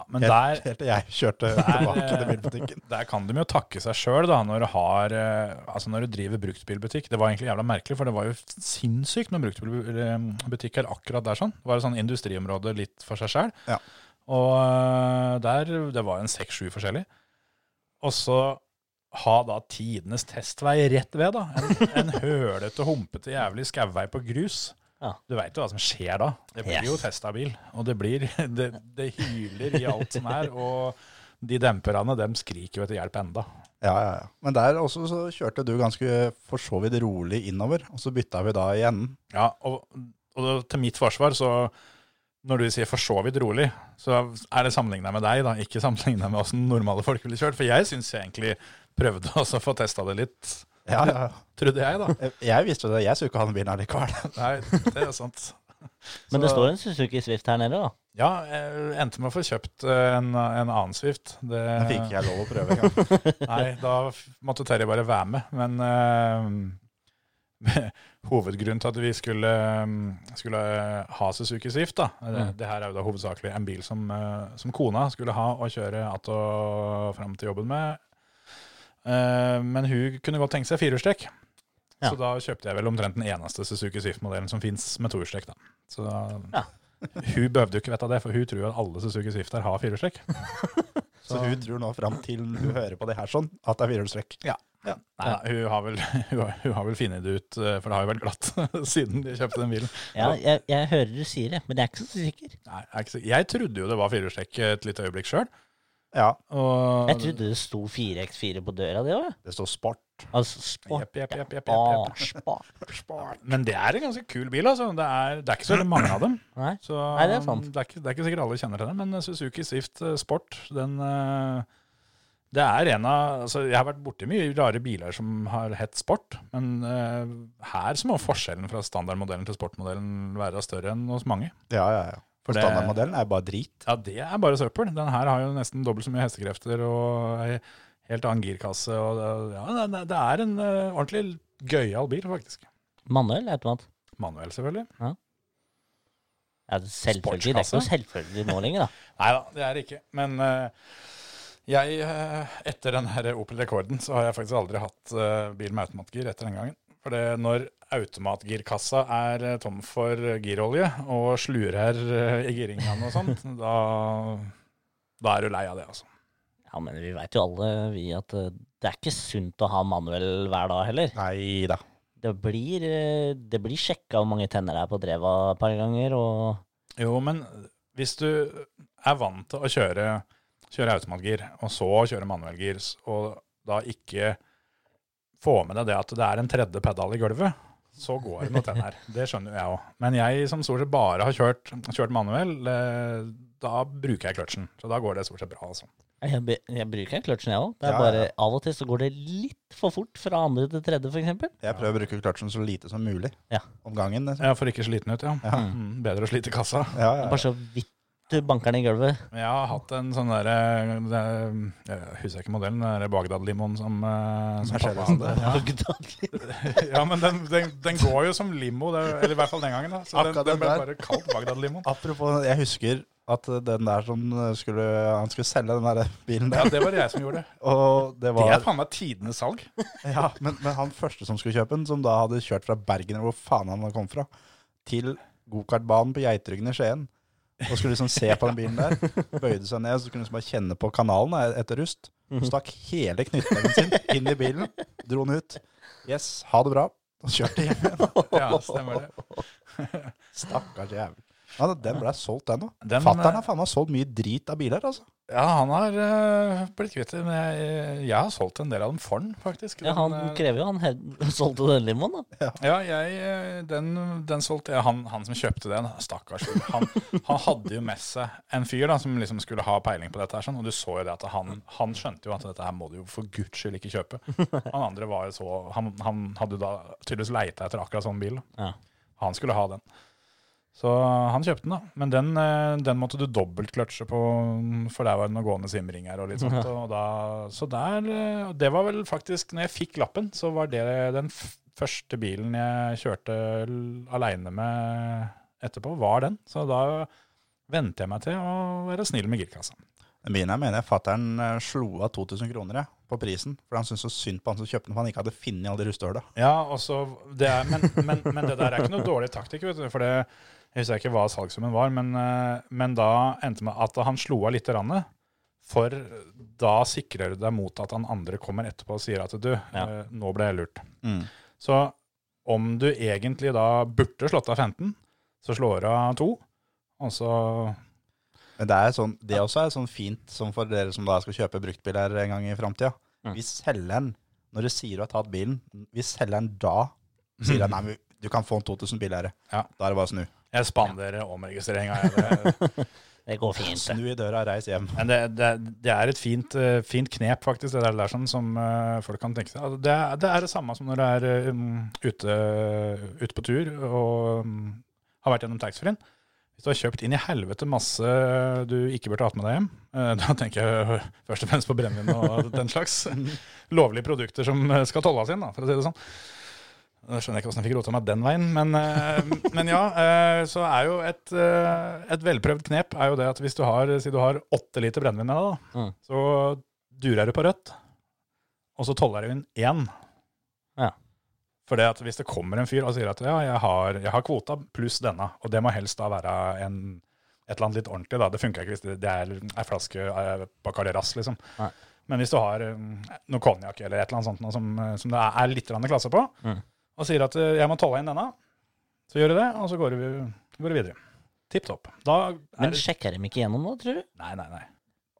[SPEAKER 3] Ja, men
[SPEAKER 5] Helt,
[SPEAKER 3] der eh,
[SPEAKER 5] helt til jeg kjørte tilbake til bilbutikken.
[SPEAKER 3] Der kan de jo takke seg sjøl, da, når du, har, eh, altså når du driver bruktbilbutikk. Det var egentlig jævla merkelig, for det var jo sinnssykt med bruktbilbutikker akkurat der. sånn. Det var et sånn industriområde litt for seg sjøl.
[SPEAKER 5] Ja.
[SPEAKER 3] Og eh, der Det var en seks-sju forskjellig. Og så ha da tidenes testvei rett ved, da. En, en hølete, humpete, jævlig skauvei på grus.
[SPEAKER 4] Ja.
[SPEAKER 3] Du veit jo hva som skjer da. Det blir jo
[SPEAKER 4] Yes.
[SPEAKER 3] testa bil. Og det blir det, det hyler i alt som er. Og de demperne, dem skriker jo etter hjelp enda.
[SPEAKER 5] Ja, ja, ja. Men der også så kjørte du ganske for så vidt rolig innover, og så bytta vi da igjen.
[SPEAKER 3] Ja, og, og til mitt forsvar, så når du sier for så vidt rolig, så er det sammenligna med deg, da. Ikke sammenligna med åssen normale folk ville kjørt. For jeg syns jeg egentlig prøvde også å få testa det litt,
[SPEAKER 5] Ja, ja, ja.
[SPEAKER 3] trodde jeg, da.
[SPEAKER 5] Jeg- Jeg visste jo det, jeg skulle ikke ha den bilen allikevel.
[SPEAKER 3] Nei, det er sant.
[SPEAKER 4] Men det står en Suzuki Swift her nede, da.
[SPEAKER 3] Ja, jeg endte med å få kjøpt eh, en, en annen Swift. Det,
[SPEAKER 5] Den fikk ikke jeg lov å prøve engang.
[SPEAKER 3] Nei, da f- måtte Terje bare være med. Men eh, hovedgrunnen til at vi skulle, eh, skulle ha Suzuki Swift, da, det,
[SPEAKER 4] Mm.
[SPEAKER 3] det her er jo da hovedsakelig en bil som, eh, som kona skulle ha og kjøre att og fram til jobben med. Eh, men hun kunne godt tenke seg firehjulstrekk.
[SPEAKER 4] Ja.
[SPEAKER 3] Så da kjøpte jeg vel omtrent den eneste Suzuki Swift-modellen som fins med tohjulstrekk. da. Så
[SPEAKER 4] Ja.
[SPEAKER 3] hun behøvde jo ikke vite det, for hun tror jo at alle Suzuki Swifter har firehjulstrekk.
[SPEAKER 5] Så hun tror nå fram til hun hører på det her sånn, at det er firehjulstrekk.
[SPEAKER 3] Nei, hun har vel, hun har, hun har vel funnet det ut, eh, for det har jo vært glatt siden de kjøpte den bilen.
[SPEAKER 4] Ja, jeg, jeg hører du sier det, men jeg er ikke så sikker.
[SPEAKER 3] Nei, jeg, er ikke, sikker. jeg trodde jo det var firehjulstrekk et lite øyeblikk sjøl.
[SPEAKER 5] Ja,
[SPEAKER 3] Og
[SPEAKER 4] Jeg trodde det sto 4x4 på døra, det òg.
[SPEAKER 5] det står sport.
[SPEAKER 4] Altså sport.
[SPEAKER 3] Jepp, jepp, jepp, jepp, jepp,
[SPEAKER 4] Ah,
[SPEAKER 3] jepp.
[SPEAKER 4] sport.
[SPEAKER 3] Men det er en ganske kul bil, altså. Det er, det er ikke så veldig mange av dem.
[SPEAKER 4] Nei.
[SPEAKER 3] Så
[SPEAKER 4] Nei, det er sant.
[SPEAKER 3] Det, er ikke, det er ikke sikkert alle kjenner til den, men Suzuki Swift eh, Sport, den eh, Det er en av altså Jeg har vært borti mye rare biler som har hett Sport, men eh, her så må forskjellen fra standardmodellen til sportmodellen være større enn hos mange.
[SPEAKER 5] Ja, ja, ja. For
[SPEAKER 3] det-
[SPEAKER 5] standardmodellen er bare drit.
[SPEAKER 3] Ja, det er bare søppel. Den her har jo nesten dobbelt så mye hestekrefter og ei helt annen girkasse. Og det, ja, det, det er en eh, ordentlig gøyal bil, faktisk.
[SPEAKER 4] Manuell automat.
[SPEAKER 3] Manuell, selvfølgelig.
[SPEAKER 4] Ja, det er selvfølgelig. Det er ikke noe selvfølgelig nå lenger, da.
[SPEAKER 3] Nei da, det er det ikke. Men eh, jeg, eh, etter den her Opel Rekorden, så har jeg faktisk aldri hatt eh, bil med automatgir etter den gangen. For det, når automatgirkassa er eh, tom for girolje og slurer eh, i giringene og sånt, da, da er du lei av det, altså.
[SPEAKER 4] Ja, men vi veit jo alle vi at eh, det er ikke sunt å ha manuell hver dag heller.
[SPEAKER 5] Nei da.
[SPEAKER 4] Det blir, eh, det blir sjekka hvor mange tenner det er på dreva et par ganger, og
[SPEAKER 3] Jo, men hvis du er vant til å kjøre, kjøre automatgir, og så kjøre manuellgir, s- og da ikke få med deg det at det er en tredje pedal i gulvet, så går det noe tenn her. Det skjønner jo jeg òg. Men jeg som stort sett bare har kjørt, kjørt manuell, eh, da bruker jeg kløtsjen. Så da går det stort sett bra, altså.
[SPEAKER 4] jeg, be- jeg bruker kløtsjen, jeg òg. Det er
[SPEAKER 5] Ja,
[SPEAKER 4] bare
[SPEAKER 5] ja.
[SPEAKER 4] av og til så går det litt for fort fra andre til tredje, f.eks.
[SPEAKER 5] Jeg prøver å bruke kløtsjen så lite som mulig
[SPEAKER 4] Ja.
[SPEAKER 5] om gangen. liksom.
[SPEAKER 3] Ja, for ikke sliten ut, ja.
[SPEAKER 5] Ja.
[SPEAKER 3] Mm, bedre å slite kassa.
[SPEAKER 5] Ja, ja,
[SPEAKER 4] Bare så vidt du banker den i gulvet.
[SPEAKER 3] Men Jeg har hatt en sånn derre det- Jeg husker ikke modellen, den der Bagdad-limoen som, eh, som pappa
[SPEAKER 5] Mercedes.
[SPEAKER 3] hadde. Ja. Ja, men den, den, den går jo som limo, det, eller i hvert fall den gangen. da. Så den,
[SPEAKER 5] Akkurat
[SPEAKER 3] den
[SPEAKER 5] den
[SPEAKER 3] ble
[SPEAKER 5] der.
[SPEAKER 3] bare kalt Bagdad-limoen.
[SPEAKER 5] Apropos, jeg husker at den der som skulle Han skulle selge den der bilen
[SPEAKER 3] Ja,
[SPEAKER 5] der,
[SPEAKER 3] det var det jeg som gjorde det.
[SPEAKER 5] og det
[SPEAKER 3] Det
[SPEAKER 5] var
[SPEAKER 3] er faen meg tidenes salg.
[SPEAKER 5] Ja, men, men han første som skulle kjøpe den, som da hadde kjørt fra Bergen, eller hvor faen han kom fra, til gokartbanen på Geitryggen i Skien, og skulle liksom se på den bilen der, bøyde seg ned, så kunne han liksom bare kjenne på kanalen da, etter rust, og stakk hele knyttneven sin inn i bilen, dro den ut. Yes, ha det bra. Og kjørte hjem igjen.
[SPEAKER 3] Ja, stemmer det.
[SPEAKER 5] Stakkars jævel. Ja, da, den ble solgt, den òg.
[SPEAKER 3] Den,
[SPEAKER 5] Fattern
[SPEAKER 3] eh,
[SPEAKER 5] har faen meg solgt mye drit av biler, altså.
[SPEAKER 3] Ja, han har eh, blitt kvitt det, men jeg, jeg har solgt en del av dem for den, faktisk.
[SPEAKER 4] Ja,
[SPEAKER 3] Den,
[SPEAKER 4] han
[SPEAKER 3] eh,
[SPEAKER 4] krever jo han he- solgte den limoen, da.
[SPEAKER 3] Ja, jeg, eh, den, den solgte jeg. Han, han som kjøpte den, stakkars. Han, han hadde jo med seg en fyr da, som liksom skulle ha peiling på dette. her, sånn, Og du så jo det at han, han skjønte jo at dette her må du jo for guds skyld ikke kjøpe. Han andre var jo så, han, han hadde jo da tydeligvis leita etter akkurat sånn bil. da.
[SPEAKER 4] Ja.
[SPEAKER 3] Han skulle ha den. Så han kjøpte den, da. Men den, eh, den måtte du dobbeltkløtsje på, mm, for der var det noen gående simringer og litt sånt. Og da, så der eh, Det var vel faktisk Når jeg fikk lappen, så var det den f første bilen jeg kjørte l- aleine med etterpå, var den. Så da vente jeg meg til å være snill med girkassa.
[SPEAKER 5] Den bilen her mener jeg fattern eh, slo av 2000 kroner jeg, på prisen, for han syntes så synd på han som kjøpte den, for han ikke hadde funnet alle de rustehøla.
[SPEAKER 3] Ja, og så- det er, men, men, men det der er ikke noe dårlig taktikk, vet du. For det, jeg husker ikke hva salgssummen var, men, eh, men da endte det med at han slo av litt. Randet, for da sikrer du deg mot at han andre kommer etterpå og sier at du, eh, nå ble jeg lurt.
[SPEAKER 5] Mm.
[SPEAKER 3] Så om du egentlig da burde slått av 15, så slår du av 2, og så
[SPEAKER 5] Men det er sånn, det også er sånn fint som for dere som da skal kjøpe bruktbiler en gang i framtida.
[SPEAKER 4] Mm.
[SPEAKER 5] Hvis selgeren, når du sier du har tatt bilen, hvis selgeren da sier at nei, men du kan få en 2000 billigere,
[SPEAKER 3] Ja.
[SPEAKER 5] da er det bare å snu.
[SPEAKER 3] jeg spanderer omregistreringa.
[SPEAKER 4] Det går fint, det.
[SPEAKER 5] Snu i døra og reis hjem.
[SPEAKER 3] Men det, det, det er et fint, eh, fint knep, faktisk, det der, der sånn, som eh, folk kan tenke seg. Altså, det, er- det er det samme som når du er eh, um, ute, ute på tur og um, har vært gjennom taxfree-en. Hvis du har kjøpt inn i helvete masse eh, du ikke burde hatt med deg hjem, eh, da tenker jeg først og fremst på brennevin og den slags lovlige produkter som eh, skal tolles inn, da, for å si det sånn. Jeg skjønner ikke åssen jeg fikk rota meg den veien, men, eh, men ja. eh, Så er jo et, eh, et velprøvd knep er jo det at hvis du har, si du har åtte liter brennevin med deg, da,
[SPEAKER 4] Mm.
[SPEAKER 3] så durer du på rødt, og så toller du inn én.
[SPEAKER 4] Ja.
[SPEAKER 3] For det at hvis det kommer en fyr og sier at ja, jeg har, jeg har kvota pluss denne, og det må helst da være en, et eller annet litt ordentlig, da. Det funker ikke hvis det, det er ei flaske eh, Bacardi Ras, liksom.
[SPEAKER 4] Nei.
[SPEAKER 3] Men hvis du har eh, noe konjakk eller et eller annet sånt noe som, eh, som det er- er litt grann klasse på,
[SPEAKER 4] Mm.
[SPEAKER 3] og sier at eh, jeg må tolle inn denne, så gjør du det, og så går du, går du videre. Tipp topp. Da er
[SPEAKER 4] Men
[SPEAKER 3] det
[SPEAKER 4] sjekker de ikke gjennom nå, tror du?
[SPEAKER 3] Nei, nei, nei.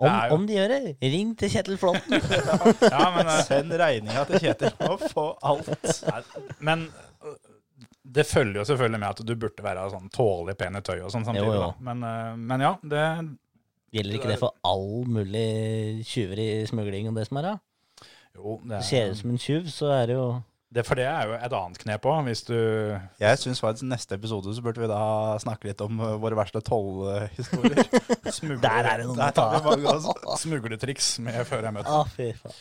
[SPEAKER 4] Om,
[SPEAKER 3] Det er jo-
[SPEAKER 4] om de gjør det, ring til Kjetil Flåtten.
[SPEAKER 3] Ja, men, eh,
[SPEAKER 5] Send regninga til Kjetil og få alt.
[SPEAKER 3] Nei, Men øh, det følger jo selvfølgelig med at du burde være sånn tålelig pen i tøy og sånn samtidig.
[SPEAKER 4] Jo, jo.
[SPEAKER 3] da. Men, øh, men ja, det
[SPEAKER 4] Gjelder ikke det for all mulig tjuver i smugling og det som er, da?
[SPEAKER 3] Jo, det
[SPEAKER 4] Ser
[SPEAKER 3] er,
[SPEAKER 4] ut som en tjuv, så er det jo
[SPEAKER 3] det, for det er jo et annet knep òg, hvis du
[SPEAKER 5] Jeg syns faktisk neste episode så burde vi da snakke litt om eh, våre verste tollhistorier.
[SPEAKER 3] smugler,
[SPEAKER 4] Der er det noen å
[SPEAKER 5] Der tar
[SPEAKER 4] ta
[SPEAKER 5] vi
[SPEAKER 4] av!
[SPEAKER 5] mange, altså.
[SPEAKER 3] smugletriks med før jeg møter
[SPEAKER 4] Å, fy faen.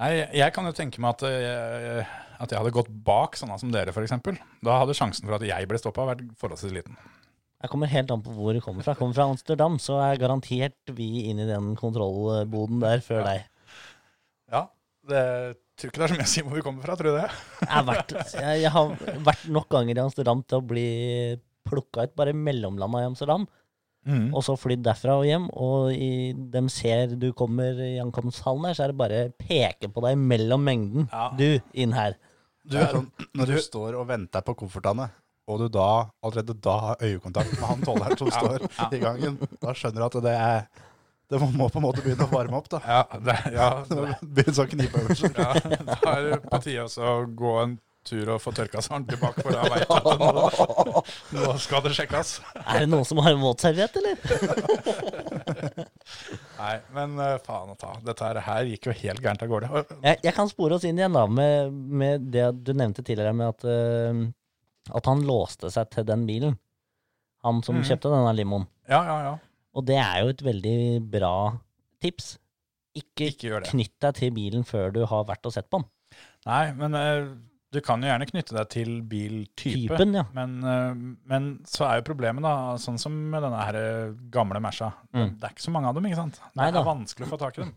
[SPEAKER 3] Nei, jeg kan jo tenke meg at øh, jeg, at jeg hadde gått bak sånne som dere, f.eks. Da hadde sjansen for at jeg ble stoppa, vært forholdsvis liten.
[SPEAKER 4] Jeg kommer helt an på hvor du kommer fra. Kommer fra Amsterdam, så er garantert vi inn i den kontrollboden der før deg.
[SPEAKER 3] Ja, det tror ikke det er så mye å si hvor vi kommer fra, tror du det?
[SPEAKER 4] Jeg har vært, jeg, jeg har vært nok ganger i Amsterdam til å bli plukka ut, bare mellomlanda i Amsterdam,
[SPEAKER 3] Mm.
[SPEAKER 4] og så flydd derfra og hjem. Og i, de ser du kommer i ankomsthallen der, så er det bare peke på deg mellom mengden.
[SPEAKER 3] Ja.
[SPEAKER 4] Du, inn her.
[SPEAKER 5] Du er sånn, når du står og venter på koffertene, og du da allerede da har øyekontakt med han tolleren som står i gangen, da skjønner du at det er Det må- må på en måte begynne å varme opp, da.
[SPEAKER 3] Ja, det, ja,
[SPEAKER 5] Det må Begynne sånn knipeøvelse.
[SPEAKER 3] Ja, da er det på tide også å gå en tur og få tørka seg ordentlig bak, for da veit jeg at nå, nå skal det sjekkes.
[SPEAKER 4] Er det noen som har en våtserviett, eller?
[SPEAKER 3] Nei, men eh, faen å ta. Dette her- her gikk jo helt gærent av gårde. Og-
[SPEAKER 4] Jeg, jeg kan spore oss inn igjen da, med, med det at du nevnte tidligere, med at, eh, at han låste seg til den bilen. Han som
[SPEAKER 3] Mhm.
[SPEAKER 4] kjøpte denne limoen.
[SPEAKER 3] Ja, ja, ja.
[SPEAKER 4] Og det er jo et veldig bra tips. Ikke,
[SPEAKER 3] Ikke gjør det.
[SPEAKER 4] knytt deg til bilen før du har vært og sett på den.
[SPEAKER 3] Nei, men eh, du kan jo gjerne knytte deg til biltype.
[SPEAKER 4] Typen, ja.
[SPEAKER 3] Men, eh, men så er jo problemet, da, sånn som med denne her eh, gamle Merca.
[SPEAKER 4] Mm.
[SPEAKER 3] Det er ikke så mange av dem, ikke sant? Det
[SPEAKER 4] Neida.
[SPEAKER 3] er vanskelig å få tak i dem.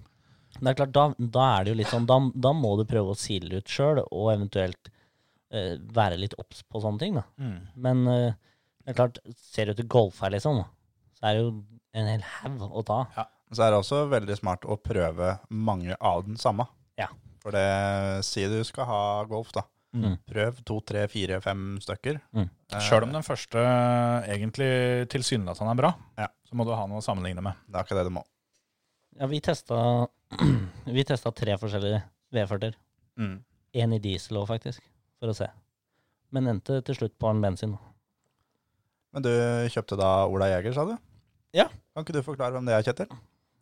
[SPEAKER 4] Det er klart, da, da er det jo litt sånn, da, da må du prøve å sile ut sjøl, og eventuelt eh, være litt obs på sånne ting. da. Men eh, det er klart, ser du til golf her, liksom, så er det jo en hel haug å ta.
[SPEAKER 5] Så er det også veldig smart å prøve mange av den samme.
[SPEAKER 4] Ja.
[SPEAKER 5] For det Si du skal ha golf, da.
[SPEAKER 4] Mm.
[SPEAKER 5] Prøv to, tre, fire, fem stykker.
[SPEAKER 4] Mm.
[SPEAKER 5] Eh,
[SPEAKER 3] Sjøl om den første eh, egentlig tilsynelatende er bra,
[SPEAKER 5] Ja.
[SPEAKER 3] så må du ha noe å sammenligne med.
[SPEAKER 5] Det er ikke det du må.
[SPEAKER 4] Ja, vi testa, vi testa tre forskjellige V40-er.
[SPEAKER 3] Mm.
[SPEAKER 4] Én i diesel òg, faktisk, for å se. Men endte til slutt på en bensin.
[SPEAKER 5] Men du kjøpte da Ola Jæger, sa du?
[SPEAKER 4] Ja.
[SPEAKER 5] Kan ikke du forklare hvem det er, Kjetil?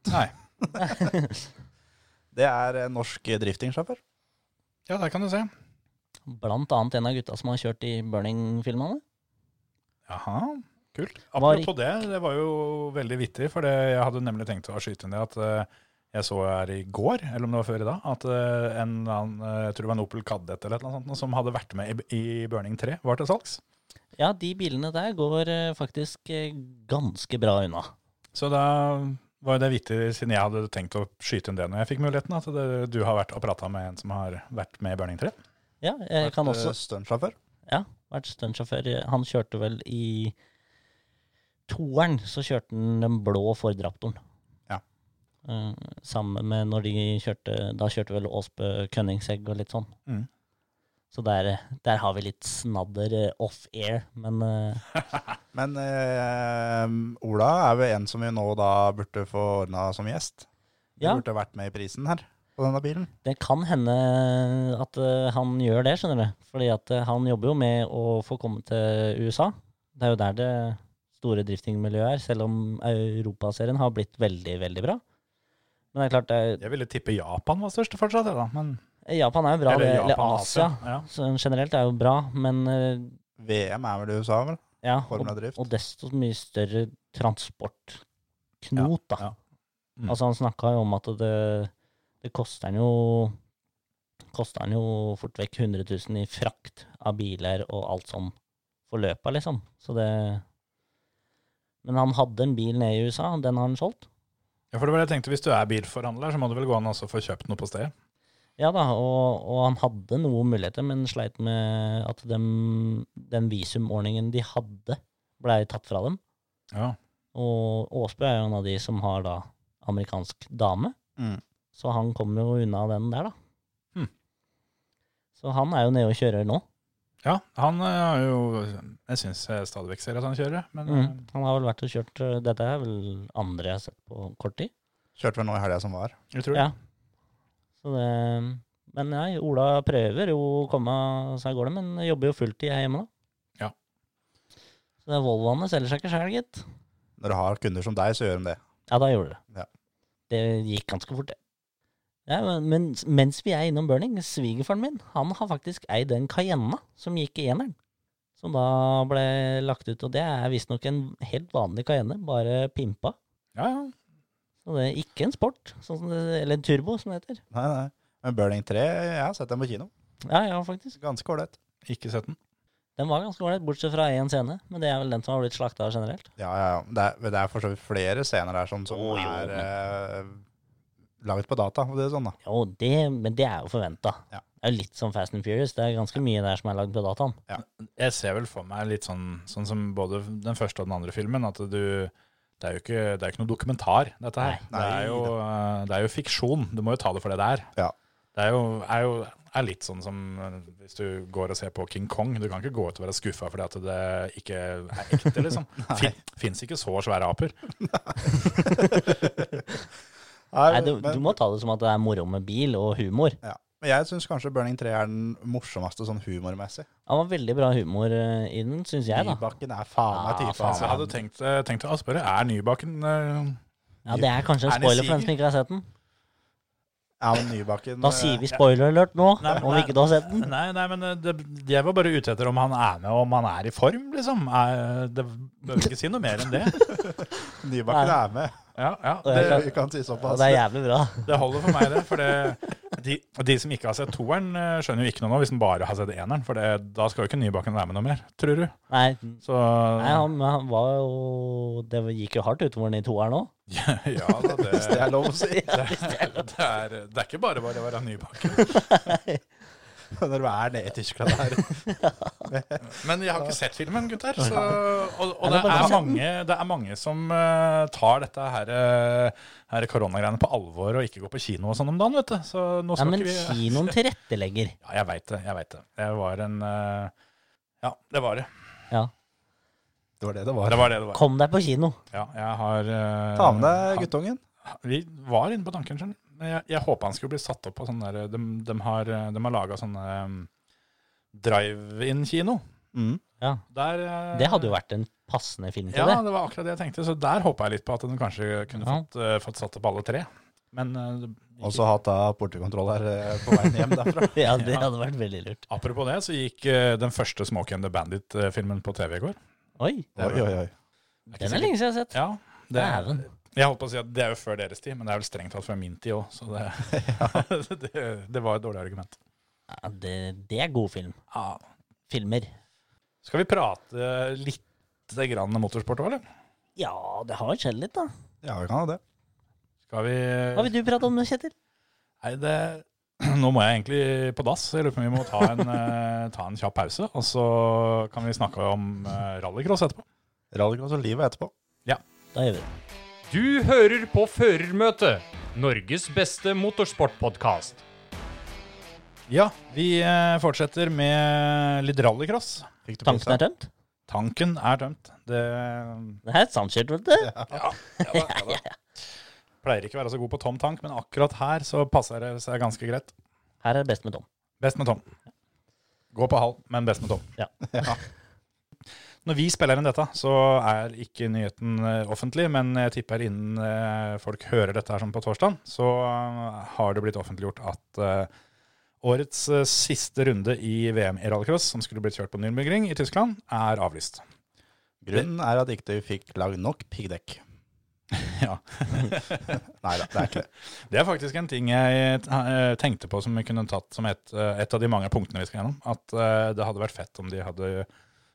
[SPEAKER 3] Nei.
[SPEAKER 5] Det er en norsk driftingsjåfør.
[SPEAKER 3] Ja, der kan du se.
[SPEAKER 4] Blant annet en av gutta som har kjørt i Burning-filmene.
[SPEAKER 3] Jaha, kult.
[SPEAKER 4] Var
[SPEAKER 3] Apropos det, det var jo veldig vittig, for det, jeg hadde nemlig tenkt å skyte inn det at eh, jeg så her i går, eller om det var før i dag, at eh, en eller annen, eh, jeg tror det var en Opel Kadett eller et eller annet sånt, noe som hadde vært med i, i Burning 3, var til salgs.
[SPEAKER 4] Ja, de bilene der går eh, faktisk eh, ganske bra unna.
[SPEAKER 3] Så da var jo det vittig, siden jeg hadde tenkt å skyte inn det når jeg fikk muligheten, at det, du har vært og prata med en som har vært med i Burning 3.
[SPEAKER 4] Ja, jeg kan også
[SPEAKER 5] eh, Stuntsjåfør.
[SPEAKER 4] Ja, vært stuntsjåfør. Han kjørte vel i toeren, så kjørte han den blå Ford Raptoren.
[SPEAKER 5] Ja.
[SPEAKER 4] Eh, sammen med når de kjørte Da kjørte vel Åsbø Kønningsegg og litt sånn.
[SPEAKER 3] Mm.
[SPEAKER 4] Så der, der har vi litt snadder eh, off air, men eh,
[SPEAKER 5] Men eh, Ola er jo en som vi nå da burde få ordna som gjest. Du
[SPEAKER 4] Ja.
[SPEAKER 5] burde vært med i prisen her på denne bilen.
[SPEAKER 4] det kan hende at eh, han gjør det, skjønner du. Fordi at eh, han jobber jo med å få komme til USA. Det er jo der det store driftingmiljøet er, selv om Europaserien har blitt veldig, veldig bra. Men det er klart, det er,
[SPEAKER 3] Jeg ville tippe Japan var størst fortsatt, jeg da. Men, altså.
[SPEAKER 4] Japan er jo bra, det, eller Asia.
[SPEAKER 3] Ja.
[SPEAKER 4] Så generelt er jo bra, men eh,
[SPEAKER 5] VM er vel i USA, vel?
[SPEAKER 4] ja, og,
[SPEAKER 5] Formel og drift.
[SPEAKER 4] og desto mye større transportknot, da.
[SPEAKER 3] ja. Mm.
[SPEAKER 4] Altså, han snakka jo om at det, det koster han jo Koster han jo fort vekk 100 000 i frakt av biler og alt sånn for løpet, liksom. Så det Men han hadde en bil nede i USA, den har han solgt.
[SPEAKER 3] ja, for det var det jeg tenkte, hvis du er bilforhandler, så må du vel gå an også å få kjøpt noe på stedet.
[SPEAKER 4] Ja da, og, og han hadde noen muligheter, men sleit med at dem, den visumordningen de hadde, blei tatt fra dem.
[SPEAKER 3] Ja.
[SPEAKER 4] Og Aasbø er jo en av de som har da amerikansk dame,
[SPEAKER 5] Mm.
[SPEAKER 4] så han kommer jo unna den der, da.
[SPEAKER 3] Hmm.
[SPEAKER 4] Så han er jo nede og kjører nå.
[SPEAKER 3] ja, han eh, har jo Jeg syns jeg stadig vekk ser at han kjører, men
[SPEAKER 4] Mm. Han har vel vært og kjørt eh, Dette er vel andre jeg har sett på kort tid.
[SPEAKER 5] Kjørte vel nå i helga som var.
[SPEAKER 3] eh, jeg tror
[SPEAKER 4] Ja. Så det, men nei, Ola prøver jo å komme seg av gårde, men jobber jo fulltid her hjemme, da.
[SPEAKER 3] Ja.
[SPEAKER 4] Så det Volvoene selger seg ikke sjøl, gitt.
[SPEAKER 5] Når du har kunder som deg, så gjør de det.
[SPEAKER 4] Ja, da gjorde det.
[SPEAKER 5] Ja.
[SPEAKER 4] Det gikk ganske fort, det. Ja, men, men mens vi er innom burning, svigerfaren min han har faktisk eid den Cayenne som gikk i eneren. Som da ble lagt ut, og det er visstnok en helt vanlig Cayenne, bare pimpa.
[SPEAKER 3] Ja, ja.
[SPEAKER 4] Så det er ikke en sport, sånn som det, eller en turbo, som det heter.
[SPEAKER 5] Nei, nei. Men Burning 3, jeg har sett den på kino.
[SPEAKER 4] Ja, ja, faktisk.
[SPEAKER 5] Ganske ålreit.
[SPEAKER 3] Ikke sett den.
[SPEAKER 4] Den var ganske ålreit, bortsett fra én scene, men det er vel den som har blitt slakta generelt.
[SPEAKER 5] Ja, ja, ja. Det er, det er for så vidt flere scener der som, som
[SPEAKER 4] Å, jo,
[SPEAKER 5] er eh, laget på data. Og det er sånn, da.
[SPEAKER 4] Jo, det, men det er jo forventa.
[SPEAKER 5] Ja.
[SPEAKER 4] Det er jo litt som Fast and Furious, det er ganske mye der som er lagd på dataen.
[SPEAKER 3] Jeg ser vel for meg litt sånn, sånn som både den første og den andre filmen, at du det er jo ikke, det er ikke noe dokumentar, dette her.
[SPEAKER 5] Nei.
[SPEAKER 3] det, er jo, eh, det er jo fiksjon. Du må jo ta det for det det er.
[SPEAKER 5] Ja.
[SPEAKER 3] Det er jo, er jo er litt sånn som eh, hvis du går og ser på King Kong. Du kan ikke gå ut og være skuffa fordi at det ikke er ekte, liksom. fin, Fins ikke så svære aper.
[SPEAKER 4] Nei, du, du må ta det som at det er moro med bil og humor.
[SPEAKER 5] ja. Men jeg syns kanskje Burning 3 er den morsomste sånn humormessig.
[SPEAKER 4] Han var veldig bra humor eh, i den, syns jeg, da.
[SPEAKER 5] Nybakken er faen meg
[SPEAKER 4] Ja,
[SPEAKER 5] type.
[SPEAKER 4] faen.
[SPEAKER 3] Så jeg
[SPEAKER 5] altså.
[SPEAKER 3] hadde tenkt, eh, tenkt å spørre, er Nybakken eh,
[SPEAKER 4] Ja, Det er kanskje en
[SPEAKER 3] Er det
[SPEAKER 4] spoiler for
[SPEAKER 3] Siger?
[SPEAKER 4] den som ikke har sett den.
[SPEAKER 5] Ja, men Nybakken
[SPEAKER 4] Da
[SPEAKER 5] eh,
[SPEAKER 4] sier vi spoiler alert nå,
[SPEAKER 3] Nei, men
[SPEAKER 4] om
[SPEAKER 3] nei.
[SPEAKER 4] ikke du har sett den.
[SPEAKER 3] Nei, nei, men eh, det, jeg var bare ute etter om han er med, og om han er i form, liksom. Er, det bør ikke si noe mer enn det.
[SPEAKER 5] Nybakken
[SPEAKER 4] Nei.
[SPEAKER 5] er med.
[SPEAKER 3] Ja, ja,
[SPEAKER 4] Ja,
[SPEAKER 3] det,
[SPEAKER 5] Vi kan si
[SPEAKER 4] Og
[SPEAKER 5] såpass.
[SPEAKER 4] det er jævlig bra.
[SPEAKER 3] det holder for meg, det. For det, de, de som ikke har sett toeren, eh, skjønner jo ikke noe nå hvis de bare har sett eneren. For det, da skal jo ikke Nybakken være med noe mer, tror du.
[SPEAKER 4] Nei,
[SPEAKER 3] Så
[SPEAKER 4] nei han, han var jo Det gikk jo hardt utover den i toeren òg.
[SPEAKER 3] ja, ja da, det,
[SPEAKER 5] Det er lov å si.
[SPEAKER 3] det, er, det er ikke bare bare å være Nybakken.
[SPEAKER 5] Når du er nede i Tyskland her.
[SPEAKER 3] Men jeg har ikke sett filmen, gutter. Så, og
[SPEAKER 4] Nei,
[SPEAKER 3] og det,
[SPEAKER 4] det er
[SPEAKER 3] er
[SPEAKER 4] bare å se
[SPEAKER 3] mange, det er mange som eh, tar dette her, eh, her koronagreiene på alvor og ikke går på kino og sånn om dagen, vet du. Så nå
[SPEAKER 4] Ja,
[SPEAKER 3] skal
[SPEAKER 4] men
[SPEAKER 3] ikke vi
[SPEAKER 4] kinoen tilrettelegger.
[SPEAKER 3] Ja, jeg veit det. Jeg veit det. Det var en eh, Ja, det var det.
[SPEAKER 4] Ja.
[SPEAKER 5] Det var det det var.
[SPEAKER 3] Det var det det var.
[SPEAKER 4] Kom deg på kino.
[SPEAKER 3] Ja, jeg har eh,
[SPEAKER 5] Ta med deg
[SPEAKER 3] han-
[SPEAKER 5] guttungen.
[SPEAKER 3] Vi var inne på tanken, skjønner du. Men Jeg, jeg håpa han skulle bli satt opp på sånn der De, de har, de har laga sånne um, drive-in-kino.
[SPEAKER 5] Mm.
[SPEAKER 4] Ja,
[SPEAKER 3] Der eh,
[SPEAKER 4] Det hadde jo vært en passende film til
[SPEAKER 3] Ja,
[SPEAKER 4] det.
[SPEAKER 3] det var akkurat det jeg tenkte. Så der håpa jeg litt på at de kanskje kunne
[SPEAKER 4] Ja.
[SPEAKER 3] fått, eh, fått satt opp alle tre. Men eh, det-
[SPEAKER 5] Og så hatt av portekontroll her eh, på veien hjem derfra.
[SPEAKER 4] Ja, det hadde vært veldig lurt.
[SPEAKER 3] apropos det, så gikk eh, den første Smoke and the Bandit-filmen på TV i går.
[SPEAKER 4] Oi,
[SPEAKER 5] Oi, oi, oi.
[SPEAKER 3] ikke
[SPEAKER 4] den er
[SPEAKER 3] sikkert.
[SPEAKER 4] lenge siden jeg har sett.
[SPEAKER 3] Ja, det er,
[SPEAKER 4] Dæven.
[SPEAKER 3] jeg holdt på å si at det er jo før deres tid, men det er vel strengt tatt fra min tid òg, så det, det, det var et dårlig argument.
[SPEAKER 4] Ja, det, det er god film. Filmer.
[SPEAKER 3] Skal vi prate litt grann motorsport òg, eller?
[SPEAKER 4] Ja, det har skjedd litt, da.
[SPEAKER 5] Ja, vi kan ha det.
[SPEAKER 3] Skal vi,
[SPEAKER 4] Hva vil du prate om nå, Kjetil?
[SPEAKER 3] Nei, det Nå må jeg egentlig på dass. så Jeg lurer på om vi må ta en, eh, ta en kjapp pause, og så kan vi snakke om eh, rallycross etterpå.
[SPEAKER 5] Rallycross og livet etterpå.
[SPEAKER 4] Da gjør vi det.
[SPEAKER 6] Du hører på Førermøtet, Norges beste motorsportpodkast.
[SPEAKER 3] Ja, vi eh, fortsetter med litt rallycross.
[SPEAKER 5] Fikk du
[SPEAKER 4] Tanken
[SPEAKER 5] pølse?
[SPEAKER 4] er tømt?
[SPEAKER 3] Tanken er tømt. Det eh,
[SPEAKER 4] Det er et samkjørt, vet du.
[SPEAKER 3] pleier ikke å være så god på tom tank, men akkurat her så passer det seg ganske greit.
[SPEAKER 4] Her er det best med Tom.
[SPEAKER 3] Best med Tom. Gå på halv, men best med Tom.
[SPEAKER 4] Ja.
[SPEAKER 3] Når vi spiller inn dette, så er ikke nyheten eh, offentlig, men jeg tipper innen eh, folk hører dette her som på torsdag, så eh, har det blitt offentliggjort at eh, årets eh, siste runde i VM i rallycross, som skulle blitt kjørt på Nürnbergring i Tyskland, er avlyst.
[SPEAKER 5] Grunnen er at ikke du fikk lagd nok piggdekk.
[SPEAKER 3] Ja.
[SPEAKER 5] Nei da, det er ikke det.
[SPEAKER 3] Det er faktisk en ting jeg eh, tenkte på som vi kunne tatt som et, eh, et av de mange punktene vi skal gjennom. At eh, det hadde vært fett om de hadde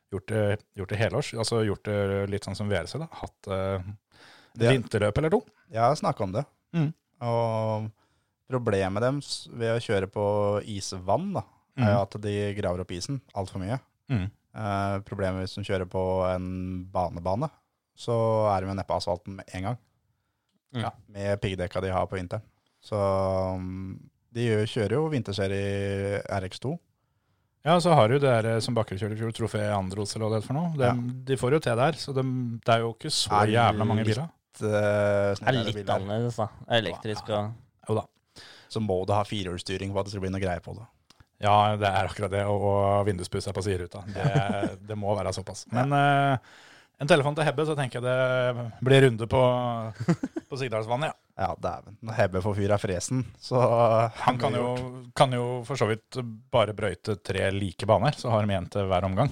[SPEAKER 3] gjort det, gjort det helårs. Altså gjort det litt sånn som VRC, da. Hatt eh,
[SPEAKER 5] Det-
[SPEAKER 3] vinterløp eller to.
[SPEAKER 4] Mm.
[SPEAKER 5] Jeg har snakka om det.
[SPEAKER 3] Mm.
[SPEAKER 5] Og Problemet deres ved å kjøre på isvann da, er jo at de graver opp isen altfor mye.
[SPEAKER 3] Mm.
[SPEAKER 5] Eh, problemet hvis de kjører på en banebane, så er de jo neppe asfalten med en gang.
[SPEAKER 3] Mm.
[SPEAKER 5] Ja, med piggdekka de har på vinteren. Så mm, de gjør- kjører jo vinterserie RX2.
[SPEAKER 3] Ja, så har du det der som Bakker kjørte i fjor, Trofé Andros eller hva det heter for noe. De, de får jo til der, så de, det er jo ikke så
[SPEAKER 5] Er
[SPEAKER 3] jævla mange
[SPEAKER 5] litt-
[SPEAKER 3] biler.
[SPEAKER 5] eh,
[SPEAKER 4] Det er
[SPEAKER 5] snillere
[SPEAKER 4] litt
[SPEAKER 5] biler.
[SPEAKER 4] annerledes, da. Elektrisk og
[SPEAKER 3] Jo da.
[SPEAKER 5] Så må du ha firehjulsstyring for at det skal bli noe greie på det.
[SPEAKER 3] Ja, det er akkurat det, og, og vinduspuss er på sideruta. Det, det må være såpass. Men eh, en telefon til Hebbe, så tenker jeg det blir runde på, på Sigdalsvannet, ja.
[SPEAKER 5] Ja, dæven. Når Hebbe får fyr av fresen, så
[SPEAKER 3] Han kan jo, kan jo for så vidt bare brøyte tre like baner, så har de en til hver omgang.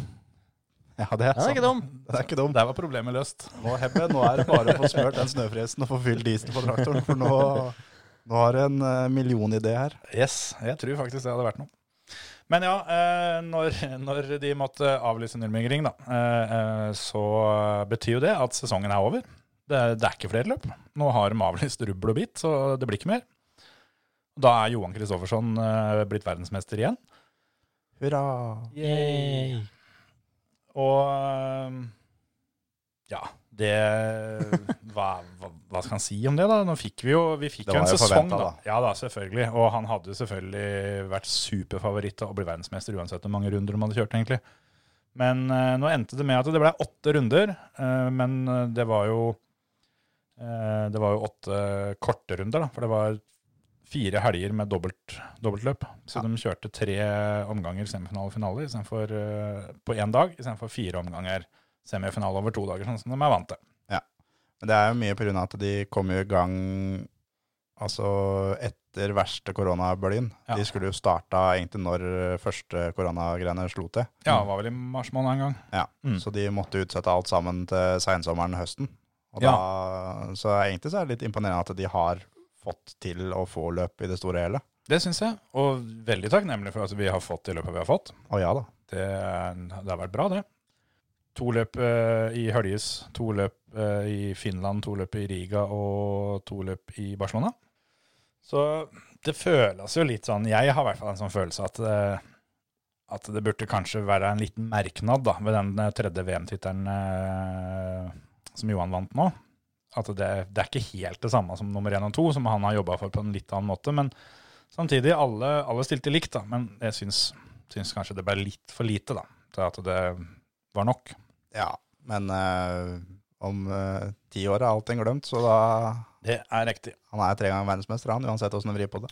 [SPEAKER 5] Ja, det er,
[SPEAKER 4] Den er ikke
[SPEAKER 5] sant.
[SPEAKER 4] dum.
[SPEAKER 5] Det er ikke dumt.
[SPEAKER 3] Der var problemet løst.
[SPEAKER 5] Nå, Hebbe, nå er det bare å få smørt den snøfresen og få fylt diesel på traktoren, for nå, nå har du en eh, millionidé her.
[SPEAKER 3] Yes, jeg tror faktisk det hadde vært noe. Men ja, eh, når, når de måtte avlyse Nürnbergring, da, eh, eh, så betyr jo det at sesongen er over. Det, det er ikke flere løp. Nå har de avlyst rubbel og bit, så det blir ikke mer. Da er Johan Kristoffersson eh, blitt verdensmester igjen.
[SPEAKER 5] Hurra!
[SPEAKER 4] Yay.
[SPEAKER 3] Og eh, ja, det hva, hva, hva skal han si om det, da? Nå fikk vi jo vi fikk
[SPEAKER 5] Det
[SPEAKER 3] jo en
[SPEAKER 5] var jo
[SPEAKER 3] sesong,
[SPEAKER 5] forventet,
[SPEAKER 3] da.
[SPEAKER 5] da.
[SPEAKER 3] Ja da, selvfølgelig. Og han hadde jo selvfølgelig vært superfavoritt til å bli verdensmester uansett hvor mange runder de hadde kjørt, egentlig. Men eh, nå endte det med at det ble åtte runder, eh, men eh, det var jo eh, Det var jo åtte korte runder, da, for det var fire helger med dobbelt, dobbeltløp. Så de kjørte tre omganger semifinale og finale i stedet for, eh, på én dag istedenfor fire omganger semifinale over to dager, sånn som de er vant til.
[SPEAKER 5] Men det er jo mye på grunn av at de kom jo i gang altså etter verste koronabølgen.
[SPEAKER 3] Ja.
[SPEAKER 5] De skulle jo starta egentlig når eh, første koronagreiene slo til.
[SPEAKER 3] Ja, det var vel i mars måned en gang.
[SPEAKER 5] Ja,
[SPEAKER 3] Mm.
[SPEAKER 5] så de måtte utsette alt sammen til sensommeren høsten. Og
[SPEAKER 3] Ja.
[SPEAKER 5] da, så egentlig så er det litt imponerende at de har fått til å få løp i det store og hele.
[SPEAKER 3] Det syns jeg, og veldig takknemlig for at vi har fått det løpet vi har fått.
[SPEAKER 5] Å ja da.
[SPEAKER 3] Det, er- det har vært bra, det. To løp eh, i Høljes, to løp eh, i Finland, to løp i Riga og to løp i Barcelona. Så det føles jo litt sånn Jeg har i hvert fall en sånn følelse at, eh, at det burde kanskje være en liten merknad da, ved den eh, tredje VM-tittelen eh, som Johan vant nå. At det, det er ikke helt det samme som nummer én og to, som han har jobba for på en litt annen måte. Men samtidig, alle, alle stilte likt, da. Men jeg syns syns kanskje det ble litt for lite, da. Til at det var nok.
[SPEAKER 5] Ja, men eh, om eh, ti år er allting glemt, så da
[SPEAKER 3] Det er riktig.
[SPEAKER 5] Han er tre ganger verdensmester, han, uansett åssen du vrir på det.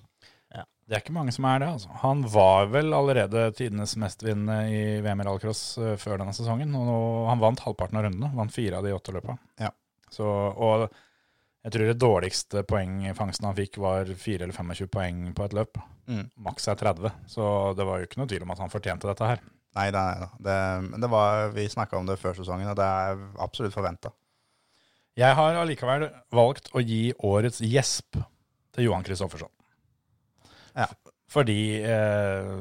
[SPEAKER 3] Det er ikke mange som er det, altså. Han var vel allerede tidenes mestvinnende i VM i rallcross eh, før denne sesongen. Og nå, han vant halvparten av rundene. Vant fire av de åtte løpa.
[SPEAKER 5] Ja.
[SPEAKER 3] Så, og jeg tror det dårligste poengfangsten han fikk, var 4 eller 25 poeng på et løp.
[SPEAKER 5] Mm.
[SPEAKER 3] Maks er 30, så det var jo ikke noe tvil om at han fortjente dette her.
[SPEAKER 5] Nei, nei, nei. Det, men det var, vi snakka om det før sesongen, og det er absolutt forventa.
[SPEAKER 3] Jeg har allikevel valgt å gi årets gjesp til Johan Kristoffersson.
[SPEAKER 5] Ja.
[SPEAKER 3] Fordi eh,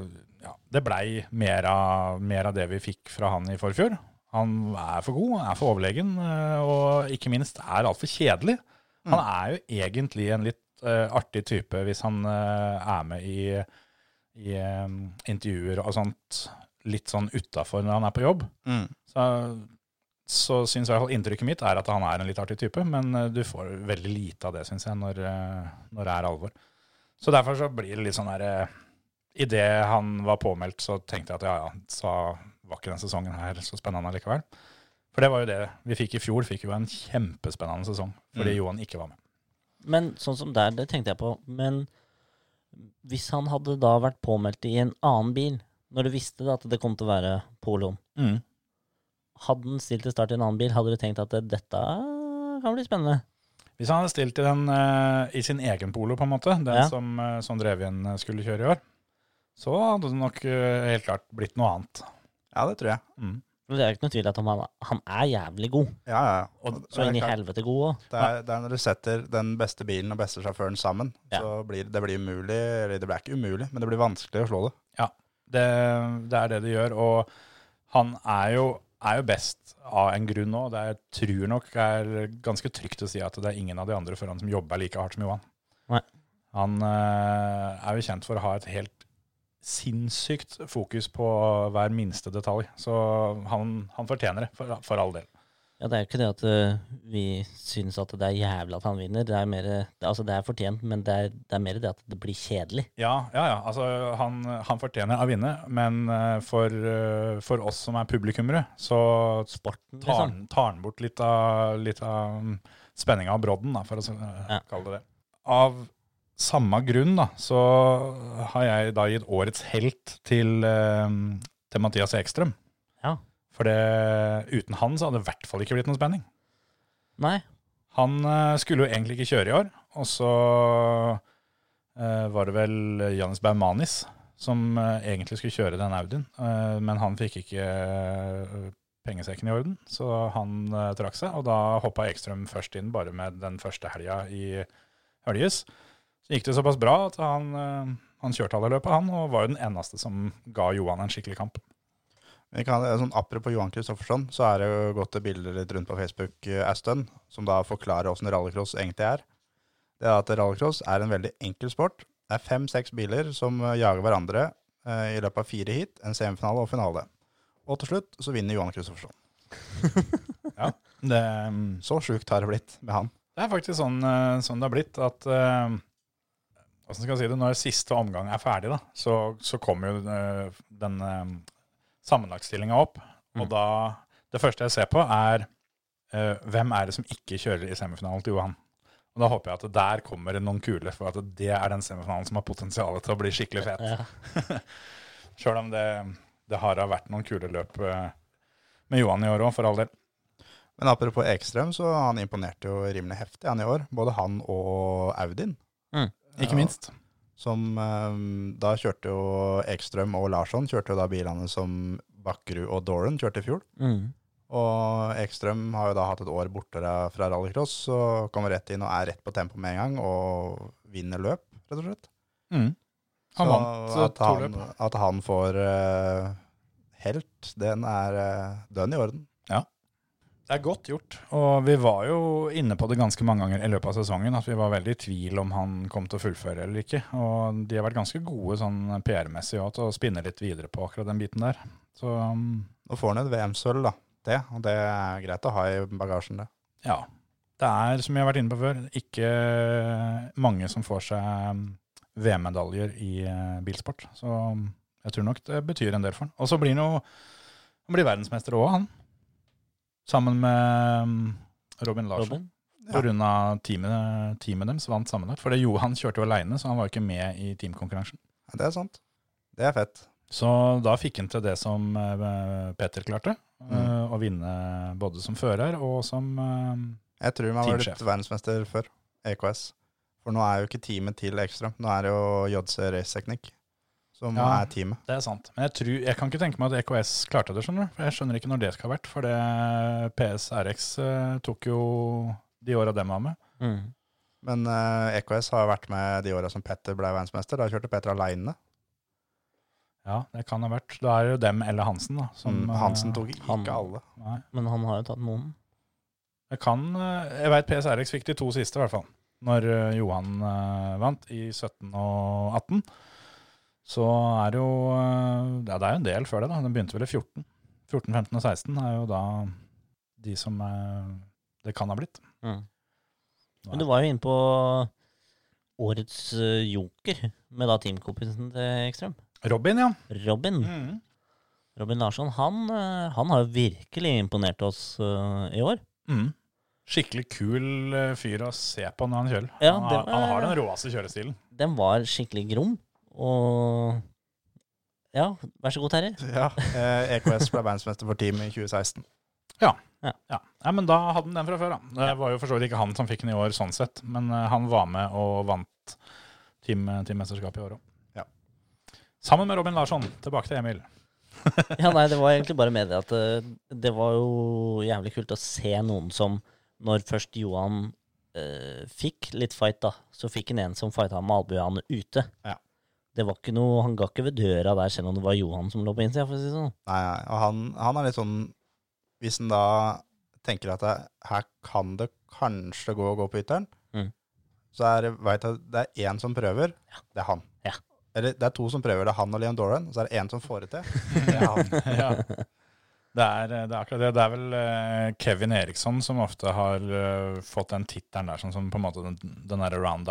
[SPEAKER 3] ja, det blei mer av, mer av det vi fikk fra han i forfjor. Han er for god, han er for overlegen, eh, og ikke minst er altfor kjedelig. Han er jo egentlig en litt eh, artig type hvis han eh, er med i, i eh, intervjuer og sånt litt sånn utafor når han er på jobb.
[SPEAKER 5] Mm.
[SPEAKER 3] Så, så syns i hvert fall inntrykket mitt er at han er en litt artig type, men eh, du får veldig lite av det, syns jeg, når, eh, når det er alvor. Så derfor så blir det litt sånn derre Idet han var påmeldt, så tenkte jeg at ja, ja, så var ikke den sesongen her så spennende likevel. For det var jo det vi fikk i fjor. Fikk jo en kjempespennende sesong fordi
[SPEAKER 5] Mm.
[SPEAKER 3] Johan ikke var med.
[SPEAKER 4] Men sånn som der, det tenkte jeg på. Men hvis han hadde da vært påmeldt i en annen bil, når du visste da at det kom til å være Polon,
[SPEAKER 5] Mm.
[SPEAKER 4] hadde han stilt til start i en annen bil, hadde du tenkt at dette kan bli spennende?
[SPEAKER 3] Hvis han hadde stilt i, den, eh, i sin egen polo, på en måte, den
[SPEAKER 4] Ja.
[SPEAKER 3] som, eh, som Drevjen eh, skulle kjøre i år, så hadde det nok eh, helt klart blitt noe annet.
[SPEAKER 5] Ja, det tror jeg.
[SPEAKER 3] Mm.
[SPEAKER 4] Men det er jo ikke noe tvil at han, han er jævlig god.
[SPEAKER 5] Ja, ja. ja.
[SPEAKER 3] Og
[SPEAKER 4] Så
[SPEAKER 5] Det er
[SPEAKER 4] inn i
[SPEAKER 5] klart.
[SPEAKER 4] helvete god òg.
[SPEAKER 5] Det er, det er når du setter den beste bilen og beste sjåføren sammen,
[SPEAKER 4] Ja.
[SPEAKER 5] så blir det blir umulig, eller det blir ikke umulig, men det blir vanskelig å slå det.
[SPEAKER 3] Det, det er det det gjør. Og han er jo, er jo best av en grunn òg. Det er, tror nok er ganske trygt å si at det er ingen av de andre foran som jobber like hardt som Johan.
[SPEAKER 4] Nei.
[SPEAKER 3] Han eh, er jo kjent for å ha et helt sinnssykt fokus på hver minste detalj. Så han, han fortjener det, for, for all del.
[SPEAKER 4] Ja, det er jo ikke det at ø, vi syns at det er jævlig at han vinner. Det er mer, det, altså det er fortjent, men det er, det er mer det at det blir kjedelig.
[SPEAKER 3] Ja, ja, ja. Altså, han, han fortjener å vinne, men eh, for, eh, for oss som er publikummere, så
[SPEAKER 4] Sporten,
[SPEAKER 3] tar
[SPEAKER 4] liksom.
[SPEAKER 3] han- tar han bort litt av, litt av mm, spenninga og brodden, da, for å eh,
[SPEAKER 4] Ja.
[SPEAKER 3] kalle det det. Av samme grunn da, så har jeg da gitt årets helt til, eh, til Mathias Ekstrøm.
[SPEAKER 4] Ja.
[SPEAKER 3] For det, uten han så hadde det i hvert fall ikke blitt noe spenning.
[SPEAKER 4] Nei.
[SPEAKER 3] Han eh, skulle jo egentlig ikke kjøre i år, og så eh, var det vel Janis Bermanis som eh, egentlig skulle kjøre den Audien, eh, men han fikk ikke eh, pengesekken i orden, så han eh, trakk seg, og da hoppa Ekstrøm først inn bare med den første helga i Høljes. Så gikk det såpass bra at han, eh, han kjørte alle løpet, han, og var jo den eneste som ga Johan en skikkelig kamp.
[SPEAKER 5] Vi kan, sånn, apropos Johan Kristoffersson, så er det jo gått til bilder litt rundt på Facebook, eh, Aston, som da forklarer åssen rallycross egentlig er. Det er at rallycross er en veldig enkel sport. Det er fem-seks biler som eh, jager hverandre eh, i løpet av fire heat, en semifinale og finale. Og til slutt så vinner Johan Kristoffersson.
[SPEAKER 3] Det,
[SPEAKER 5] Så sjukt har det blitt med han.
[SPEAKER 3] Det er faktisk sånn, eh, sånn det har blitt at eh, hvordan skal jeg si det, Når siste omgang er ferdig, da, så, så kommer jo eh, den uh, sammenlagtstillinga opp. Og da Det første jeg ser på, er eh, hvem er det som ikke kjører i semifinalen til Johan? Og Da håper jeg at det der kommer det noen kule, for at det er den semifinalen som har potensial til å bli skikkelig fet.
[SPEAKER 4] Ja.
[SPEAKER 3] Sjøl om det, det har da vært noen kule løp eh, med Johan i år òg, for all del.
[SPEAKER 5] Men apropos Ekstrøm, så han imponerte jo rimelig heftig han i år. Både han og Audin. Eh,
[SPEAKER 4] Mm.
[SPEAKER 5] Ja.
[SPEAKER 3] Ikke minst.
[SPEAKER 5] Som eh, da kjørte jo Ekstrøm og Larsson kjørte jo da bilene som Bakkerud og Doran kjørte i fjor.
[SPEAKER 4] Mm.
[SPEAKER 5] Og Ekstrøm har jo da hatt et år borte ra- fra rallycross, så kommer rett inn og er rett på tempo med en gang, og vinner løp, rett og slett.
[SPEAKER 3] Mm.
[SPEAKER 5] Så
[SPEAKER 3] Han vant eh,
[SPEAKER 5] at
[SPEAKER 3] to løp.
[SPEAKER 5] han, at han får eh, helt, den er uh, dønn i orden.
[SPEAKER 3] Det er godt gjort. Og vi var jo inne på det ganske mange ganger i løpet av sesongen, at vi var veldig i tvil om han kom til å fullføre eller ikke. Og de har vært ganske gode sånn PR-messig òg til å spinne litt videre på akkurat den biten der. Så um,
[SPEAKER 5] Nå får han et VM-sølv, da. Det, og det er greit å ha i bagasjen, det.
[SPEAKER 3] ja. Det er, som vi har vært inne på før, ikke mange som får seg um, VM-medaljer i eh, bilsport. Så um, jeg tror nok det betyr en del for han. Og så blir han jo han blir verdensmester òg, han. Sammen med um, Robin Larsen.
[SPEAKER 4] Robin?
[SPEAKER 5] Ja.
[SPEAKER 3] pga. teamet, teamet deres vant sammenlagt. For det Johan kjørte jo aleine, så han var jo ikke med i teamkonkurransen.
[SPEAKER 5] Ja, det er sant. Det er fett.
[SPEAKER 3] Så da fikk han til det som eh, Peter klarte, eh,
[SPEAKER 5] Mm.
[SPEAKER 3] å vinne både som fører og som eh,
[SPEAKER 5] Jeg tror man var
[SPEAKER 3] Teamsjef.
[SPEAKER 5] blitt verdensmester før, EKS. For nå er jo ikke teamet til Ekstrøm, nå er det jo JC Race Technique som
[SPEAKER 3] Ja.
[SPEAKER 5] er teamet.
[SPEAKER 3] Det er sant. Men jeg, tror, jeg kan ikke tenke meg at EKS klarte det, skjønner du. For jeg skjønner ikke når det skal ha vært, for det PSRX eh, tok jo de åra dem var med.
[SPEAKER 4] Mm.
[SPEAKER 5] Men eh, EKS har vært med de åra som Petter ble verdensmester. Da kjørte Petter aleine.
[SPEAKER 3] Ja, det kan ha vært. Da er det jo dem eller Hansen, da. Som, eh,
[SPEAKER 5] Mm, Hansen tok ikke
[SPEAKER 4] han-
[SPEAKER 5] alle.
[SPEAKER 3] Nei.
[SPEAKER 4] Men han har jo tatt noen.
[SPEAKER 3] Jeg kan, eh, jeg vet PSRX fikk de to siste i hvert fall, når eh, Johan eh, vant i 17 og 18. Så er det jo, eh, ja, det er jo en del før det da, den begynte vel i 14. 14, 15 og 16 er jo da de som eh, det kan ha blitt.
[SPEAKER 4] Men du var jo inne på årets ø, joker med da teamkompisen til Ekstrøm.
[SPEAKER 3] Robin, ja.
[SPEAKER 5] Mm.
[SPEAKER 3] Mm.
[SPEAKER 4] Robin. Robin Larsson. Han, ø, han har jo virkelig imponert oss ø, i år.
[SPEAKER 3] Mm. Skikkelig kul eh, fyr å se på når han kjører.
[SPEAKER 4] Ja,
[SPEAKER 3] han,
[SPEAKER 4] det
[SPEAKER 3] har,
[SPEAKER 4] var-
[SPEAKER 3] han har den råeste kjørestilen.
[SPEAKER 4] Den var skikkelig grom. Og Ja, vær så god, Terje.
[SPEAKER 5] Ja, eh, EKS ble verdensmester for teamet i 2016.
[SPEAKER 3] Ja. Nei, men da hadde han den fra før, da. Det var jo for så vidt ikke han som fikk den i år, sånn sett. Men eh, han var med og vant team, teammesterskapet i år òg.
[SPEAKER 5] Ja.
[SPEAKER 3] Sammen med Robin Larsson. Tilbake til Emil.
[SPEAKER 4] Ja, nei, det var egentlig bare med det at eh, det var jo jævlig kult å se noen som Når først Johan eh, fikk litt fight, da, så fikk han en som fighta med albuene ute.
[SPEAKER 5] Ja.
[SPEAKER 4] Det var ikke noe, Han ga ikke ved døra der selv om det var Johan som lå på innsida, for å si det sånn.
[SPEAKER 5] Nei, nei, og han, han er litt sånn Hvis han da tenker at det, her kan det kanskje gå å gå på ytteren,
[SPEAKER 4] Mm.
[SPEAKER 5] så er, det- vet jeg, det er én som prøver, det er han.
[SPEAKER 4] Ja.
[SPEAKER 5] Eller det er to som prøver, det er han og Leon Doran, og så er det én som får det til. Det er han.
[SPEAKER 3] ja. Det er, det er akkurat det. Det er vel eh, Kevin Eriksson som ofte har eh, fått den tittelen der, sånn som på en måte den, den der round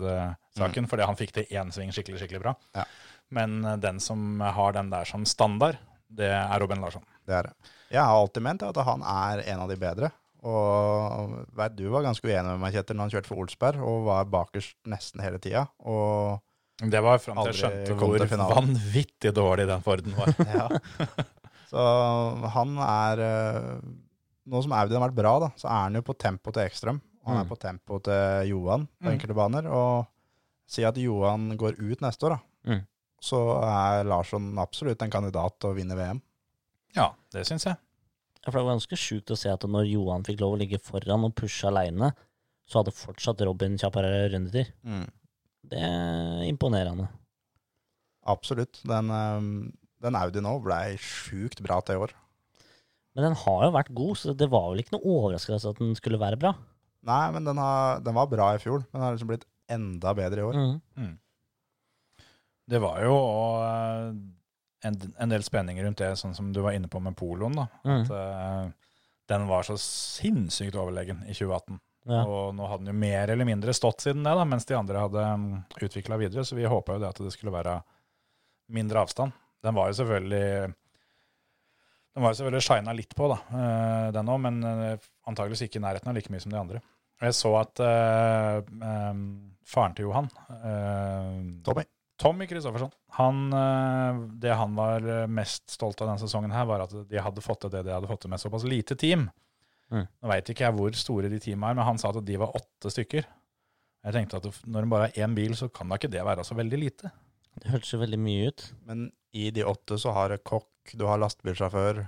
[SPEAKER 3] outside-saken, fordi han fikk til én sving skikkelig, skikkelig bra.
[SPEAKER 5] Mm. Ja.
[SPEAKER 3] Men eh, den som har den der som standard, det er Robin Larsson.
[SPEAKER 5] Det er det. Jeg har alltid ment at han er en av de bedre. Og vet, du var ganske uenig med meg, Kjetil, når han kjørte for Olsberg, og var bakerst nesten hele tida. Og
[SPEAKER 3] Det var fram til jeg
[SPEAKER 5] Aldri
[SPEAKER 3] skjønte
[SPEAKER 5] kom
[SPEAKER 3] hvor
[SPEAKER 5] til finalen.
[SPEAKER 3] vanvittig dårlig den Forden var.
[SPEAKER 5] ja. Så han er eh, Nå som Audien har vært bra, da, så er han jo på tempo til Ekstrøm. Og han er på tempo til Johan på
[SPEAKER 3] Mm.
[SPEAKER 5] enkelte baner. Og si at Johan går ut neste år, da.
[SPEAKER 4] Mm.
[SPEAKER 5] Så er Larsson absolutt en kandidat til å vinne VM.
[SPEAKER 3] Ja, det syns jeg.
[SPEAKER 4] Ja, for Det var ganske sjukt å se at når Johan fikk lov å ligge foran og pushe aleine, så hadde fortsatt Robin kjappere rundetid. Det er imponerende.
[SPEAKER 5] Absolutt. Den, eh, den Audi nå blei sjukt bra til i år.
[SPEAKER 4] Men den har jo vært god, så det var vel ikke noe overraskelse at den skulle være bra.
[SPEAKER 5] Nei, men den, har, den var bra i fjor, men den har liksom blitt enda bedre i år.
[SPEAKER 4] Mm.
[SPEAKER 3] Det var jo og, eh, en, en del spenning rundt det, sånn som du var inne på med poloen. da.
[SPEAKER 4] Mm.
[SPEAKER 3] At, eh, den var så sinnssykt overlegen i 2018.
[SPEAKER 4] Ja.
[SPEAKER 3] Og nå hadde den jo mer eller mindre stått siden det, da, mens de andre hadde utvikla videre. Så vi håpa jo det at det skulle være mindre avstand. Den var jo selvfølgelig den var jo selvfølgelig shina litt på, da, eh, den òg, men eh, antageligvis ikke i nærheten av like mye som de andre. Og jeg så at eh, eh, faren til Johan, eh,
[SPEAKER 5] Tommy.
[SPEAKER 3] Tommy Kristoffersson, han, eh, det han var mest stolt av denne sesongen, her, var at de hadde fått til det de hadde fått til med såpass lite team.
[SPEAKER 4] Mm.
[SPEAKER 3] Nå veit ikke jeg hvor store de teama er, men han sa at de var åtte stykker. Jeg tenkte at når det bare er én bil, så kan da ikke det være så veldig lite.
[SPEAKER 4] Det hørtes jo veldig mye ut.
[SPEAKER 5] Men i de åtte så har du kokk, du har lastebilsjåfør,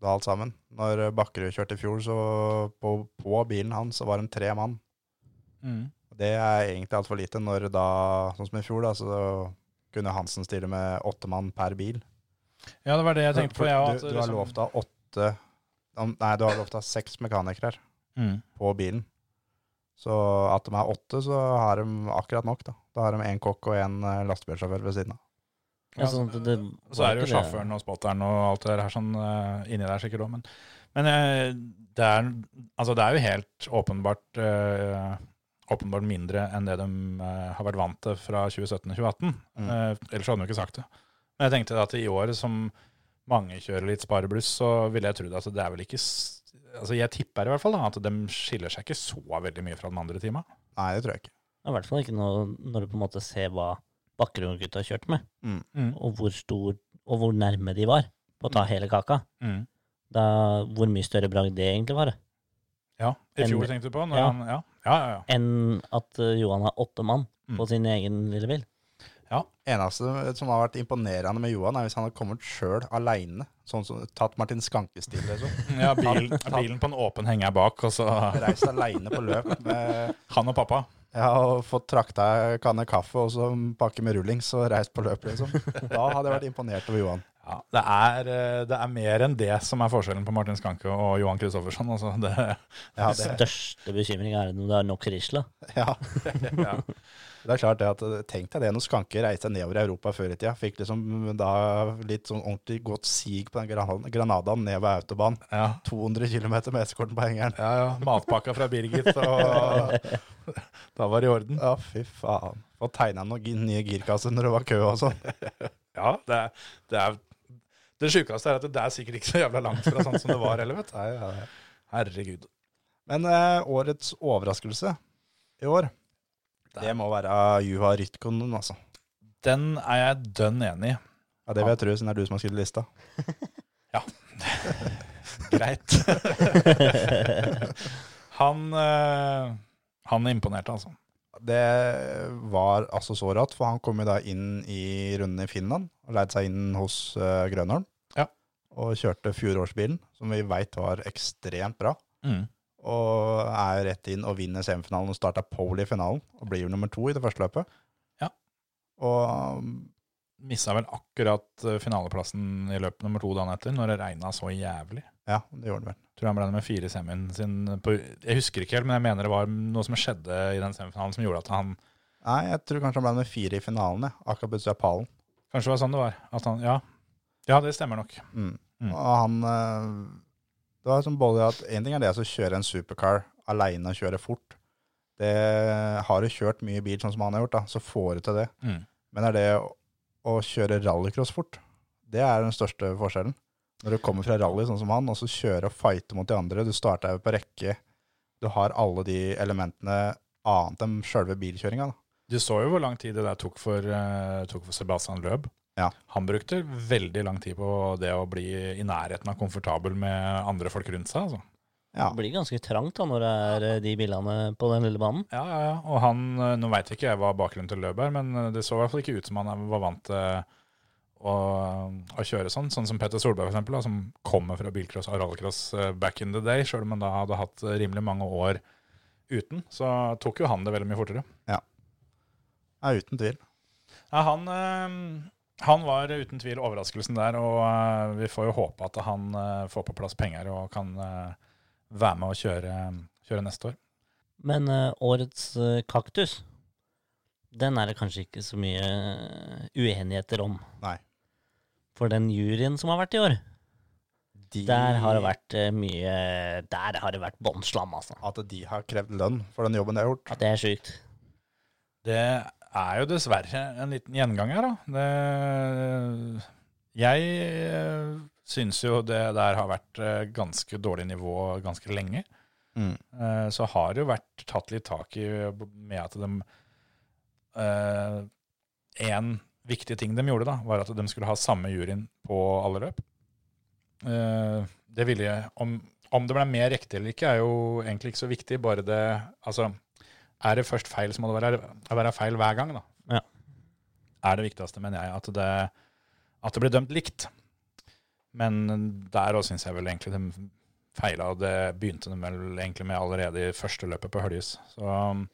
[SPEAKER 5] du har alt sammen. Når Bakkerud kjørte i fjor, så på, på bilen hans så var de tre mann. Det er egentlig altfor lite når da, sånn som i fjor, da, så kunne Hansen stille med åtte mann per bil.
[SPEAKER 3] Ja, det var det jeg tenkte på, jeg liksom- òg.
[SPEAKER 5] du, du har lovt av åtte om- Nei, du har lovt av seks mekanikere her
[SPEAKER 3] Mm.
[SPEAKER 5] på bilen. Så at de er åtte, så har de akkurat nok, da. Da har de én kokk og én lastebilsjåfør ved siden av.
[SPEAKER 4] Ja, sånn at det
[SPEAKER 3] Og Så
[SPEAKER 4] var
[SPEAKER 3] er det jo
[SPEAKER 4] ikke
[SPEAKER 3] sjåføren og spotteren og alt det der sånn eh, inni der sikkert òg, men, men eh, det, er, altså, det er jo helt åpenbart eh, Åpenbart mindre enn det de eh, har vært vant til fra 2017 og 2018.
[SPEAKER 5] Mm.
[SPEAKER 3] Eh, ellers hadde de jo ikke sagt det. Men jeg tenkte at i år som mange kjører litt sparebluss, så ville jeg trodd at det er vel ikke s- Altså Jeg tipper i hvert fall da, at de skiller seg ikke så veldig mye fra den andre tima.
[SPEAKER 5] Nei, det tror jeg ikke.
[SPEAKER 4] I hvert fall ikke når, når du på en måte ser hva Bakkerud-gutta kjørte med,
[SPEAKER 3] Mm.
[SPEAKER 4] og hvor stor og hvor nærme de var på å ta hele kaka.
[SPEAKER 3] Mm.
[SPEAKER 4] Da, hvor mye større bragd det egentlig var.
[SPEAKER 3] Ja, I
[SPEAKER 4] Enn-
[SPEAKER 3] fjor tenkte du på? Når
[SPEAKER 4] Ja.
[SPEAKER 3] Han, ja. Ja, ja, ja.
[SPEAKER 4] Enn at eh, Johan har åtte mann
[SPEAKER 3] Mm.
[SPEAKER 4] på sin egen lille bil.
[SPEAKER 5] eneste som har vært imponerende med Johan, er hvis han hadde kommet sjøl aleine. Sånn som tatt Martin Skankestil, liksom.
[SPEAKER 3] Ja, bil, bilen på en åpen henger bak, og så
[SPEAKER 5] Reist aleine på løp. Med,
[SPEAKER 3] han og pappa.
[SPEAKER 5] ja, og fått trakta ei kanne kaffe og så en pakke med rullings og reist på løp, liksom. Da hadde jeg vært imponert over Johan.
[SPEAKER 3] Ja, det, er, eh, det er mer enn det som er forskjellen på Martin Skanke og Johan Kristoffersson. Altså det,
[SPEAKER 5] Ja, det,
[SPEAKER 4] Største bekymring er om det er nok risla.
[SPEAKER 5] ja.
[SPEAKER 3] ja.
[SPEAKER 5] det er klart det at eh, Tenk deg det når Skanke reiste nedover i Europa før i tida. Fikk liksom da litt sånn ordentlig godt sig på den Gran- Granadaen nedover autobahn.
[SPEAKER 3] Ja,
[SPEAKER 5] 200 km med eskorten på hengeren.
[SPEAKER 3] ja, ja. Matpakka fra Birgit, og da var det i orden.
[SPEAKER 5] Ja, fy faen. Og tegna noen gi- nye girkasser når det var kø og sånn.
[SPEAKER 3] Ja, det, er- det er Det sjukeste er at det er sikkert ikke så jævla langt fra sånn som det var heller, vet du.
[SPEAKER 5] Nei, ja, ja.
[SPEAKER 3] Herregud.
[SPEAKER 5] Men eh, årets overraskelse i år, det må være Juha Rytkonen, altså.
[SPEAKER 3] Den er jeg dønn enig i.
[SPEAKER 5] Ja, det vil jeg tro, siden det er du som har skrevet lista.
[SPEAKER 3] Greit. Han, eh, han imponerte, altså.
[SPEAKER 5] Det var altså så rått, for han kom jo da inn i runden i Finland og leide seg inn hos eh, Grønholm.
[SPEAKER 3] Ja.
[SPEAKER 5] Og kjørte fjorårsbilen, som vi veit var ekstremt bra.
[SPEAKER 3] Mm.
[SPEAKER 5] Og er jo rett inn og vinner semifinalen og starter pole i finalen. Og blir jo nummer to i det første løpet.
[SPEAKER 3] Ja.
[SPEAKER 5] Og
[SPEAKER 3] Missa vel akkurat eh, finaleplassen i løp nummer to dagen etter, når det regna så jævlig.
[SPEAKER 5] Ja, det gjorde den vel.
[SPEAKER 3] Tror han ble nummer fire i semien sin. På, jeg husker ikke helt, men jeg mener det var noe som skjedde i den semifinalen som gjorde at han
[SPEAKER 5] Nei, jeg tror kanskje han ble nummer fire i finalen, jeg. akkurat på utsida av pallen.
[SPEAKER 3] Kanskje det var sånn det var. At han, ja. ja, det stemmer nok.
[SPEAKER 5] Mm.
[SPEAKER 3] Mm.
[SPEAKER 5] Og han eh, Det var som både at En ting er det å kjøre en supercar aleine og kjøre fort. Det Har du kjørt mye bil sånn som han har gjort, da, så får du til det.
[SPEAKER 3] Mm.
[SPEAKER 5] Men er det å, å kjøre rallycross fort, det er den største forskjellen. Når du kommer fra rally sånn som han, og så kjøre og fighte mot de andre. Du starter på rekke. Du har alle de elementene annet enn sjølve bilkjøringa. da.
[SPEAKER 3] Du så jo hvor lang tid det der tok for, eh, tok for Sebastian Løb.
[SPEAKER 5] Ja.
[SPEAKER 3] Han brukte veldig lang tid på det å bli i nærheten av komfortabel med andre folk rundt seg. Altså.
[SPEAKER 5] Ja.
[SPEAKER 4] Det blir ganske trangt da når det er eh, de bilene på den lille banen.
[SPEAKER 3] Ja, ja, ja. Og han, eh, nå veit ikke jeg hva bakgrunnen til Løb er, men eh, det så i hvert fall ikke ut som han er- var vant til å, å kjøre sånn. Sånn som Petter Solberg, for eksempel, da, som kommer fra bilcross og rallycross eh, back in the day, sjøl om han da hadde hatt eh, rimelig mange år uten, så tok jo han det veldig mye fortere.
[SPEAKER 5] ja, uten tvil.
[SPEAKER 3] Ja, han, eh, han var uten tvil overraskelsen der, og eh, vi får jo håpe at han eh, får på plass penger og kan eh, være med å kjøre, kjøre neste år.
[SPEAKER 4] Men eh, årets eh, kaktus, den er det kanskje ikke så mye eh, uenigheter om.
[SPEAKER 5] Nei.
[SPEAKER 4] For den juryen som har vært i år, der har det vært eh, mye Der har det vært bånnslam, altså.
[SPEAKER 5] At de har krevd lønn for den jobben de har gjort.
[SPEAKER 4] Det er sjukt.
[SPEAKER 3] Det er jo dessverre en liten gjenganger, da. Det, jeg eh, syns jo det der har vært eh, ganske dårlig nivå ganske lenge.
[SPEAKER 5] Mm.
[SPEAKER 3] Eh, så har det jo vært tatt litt tak i med at de eh, En viktig ting de gjorde, da, var at de skulle ha samme juryen på alle løp. Eh, det ville jeg om, om det ble mer riktig eller ikke, er jo egentlig ikke så viktig, bare det Altså, er det først feil, så må det være, være feil hver gang, da.
[SPEAKER 4] Ja.
[SPEAKER 3] Er det viktigste, mener jeg, at det, at det blir dømt likt. Men der òg syns jeg vel egentlig de feila. og Det begynte de vel egentlig med allerede i første løpet på Høljes. Så um,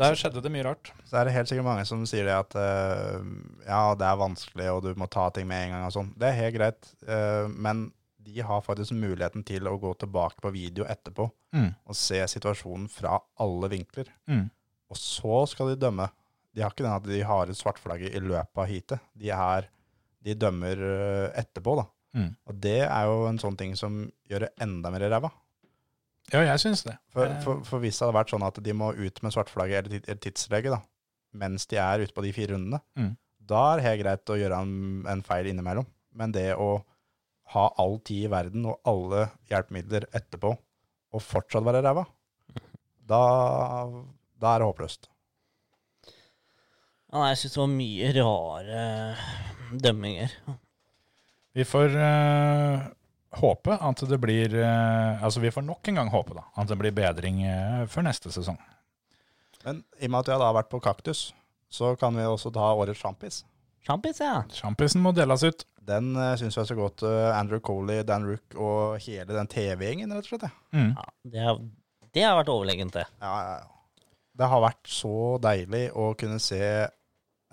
[SPEAKER 3] der skjedde det mye rart.
[SPEAKER 5] Så er det helt sikkert mange som sier det at eh, ja, det er vanskelig, og du må ta ting med en gang og sånn. Det er helt greit, eh, men de har faktisk muligheten til å gå tilbake på video etterpå
[SPEAKER 3] Mm.
[SPEAKER 5] og se situasjonen fra alle vinkler.
[SPEAKER 3] Mm.
[SPEAKER 5] Og så skal de dømme. De har ikke den at de har et svartflagg i løpet av heatet. De, er, de dømmer eh, etterpå, da.
[SPEAKER 3] Mm.
[SPEAKER 5] Og det er jo en sånn ting som gjør det enda mer ræva.
[SPEAKER 3] Ja, jeg syns det.
[SPEAKER 5] For,
[SPEAKER 3] Eh,
[SPEAKER 5] for, for hvis det hadde vært sånn at de må ut med svartflagget eller tid- eller tidslege da, mens de er ute på de fire rundene,
[SPEAKER 3] Mm.
[SPEAKER 5] da er det helt greit å gjøre en, en feil innimellom. Men det å ha all tid i verden og alle hjelpemidler etterpå, og fortsatt være ræva, da, da er det håpløst.
[SPEAKER 4] Ja, nei, jeg syns det var mye rare eh, dømminger.
[SPEAKER 3] Vi får eh, håpe at det blir eh, Altså, vi får nok en gang håpe da, at det blir bedring eh, før neste sesong.
[SPEAKER 5] Men i og med at jeg da har vært på kaktus, så kan vi også ta årets sjampis.
[SPEAKER 4] Sjampis, ja.
[SPEAKER 3] Sjampisen må deles ut.
[SPEAKER 5] Den eh, synes jeg er så godt eh, Andrew Coley, Dan Rook og hele den TV-gjengen, rett og slett. jeg.
[SPEAKER 3] Mm.
[SPEAKER 4] ja det, har, det har vært overlegent, det.
[SPEAKER 5] Ja, ja, ja. Det har vært så deilig å kunne se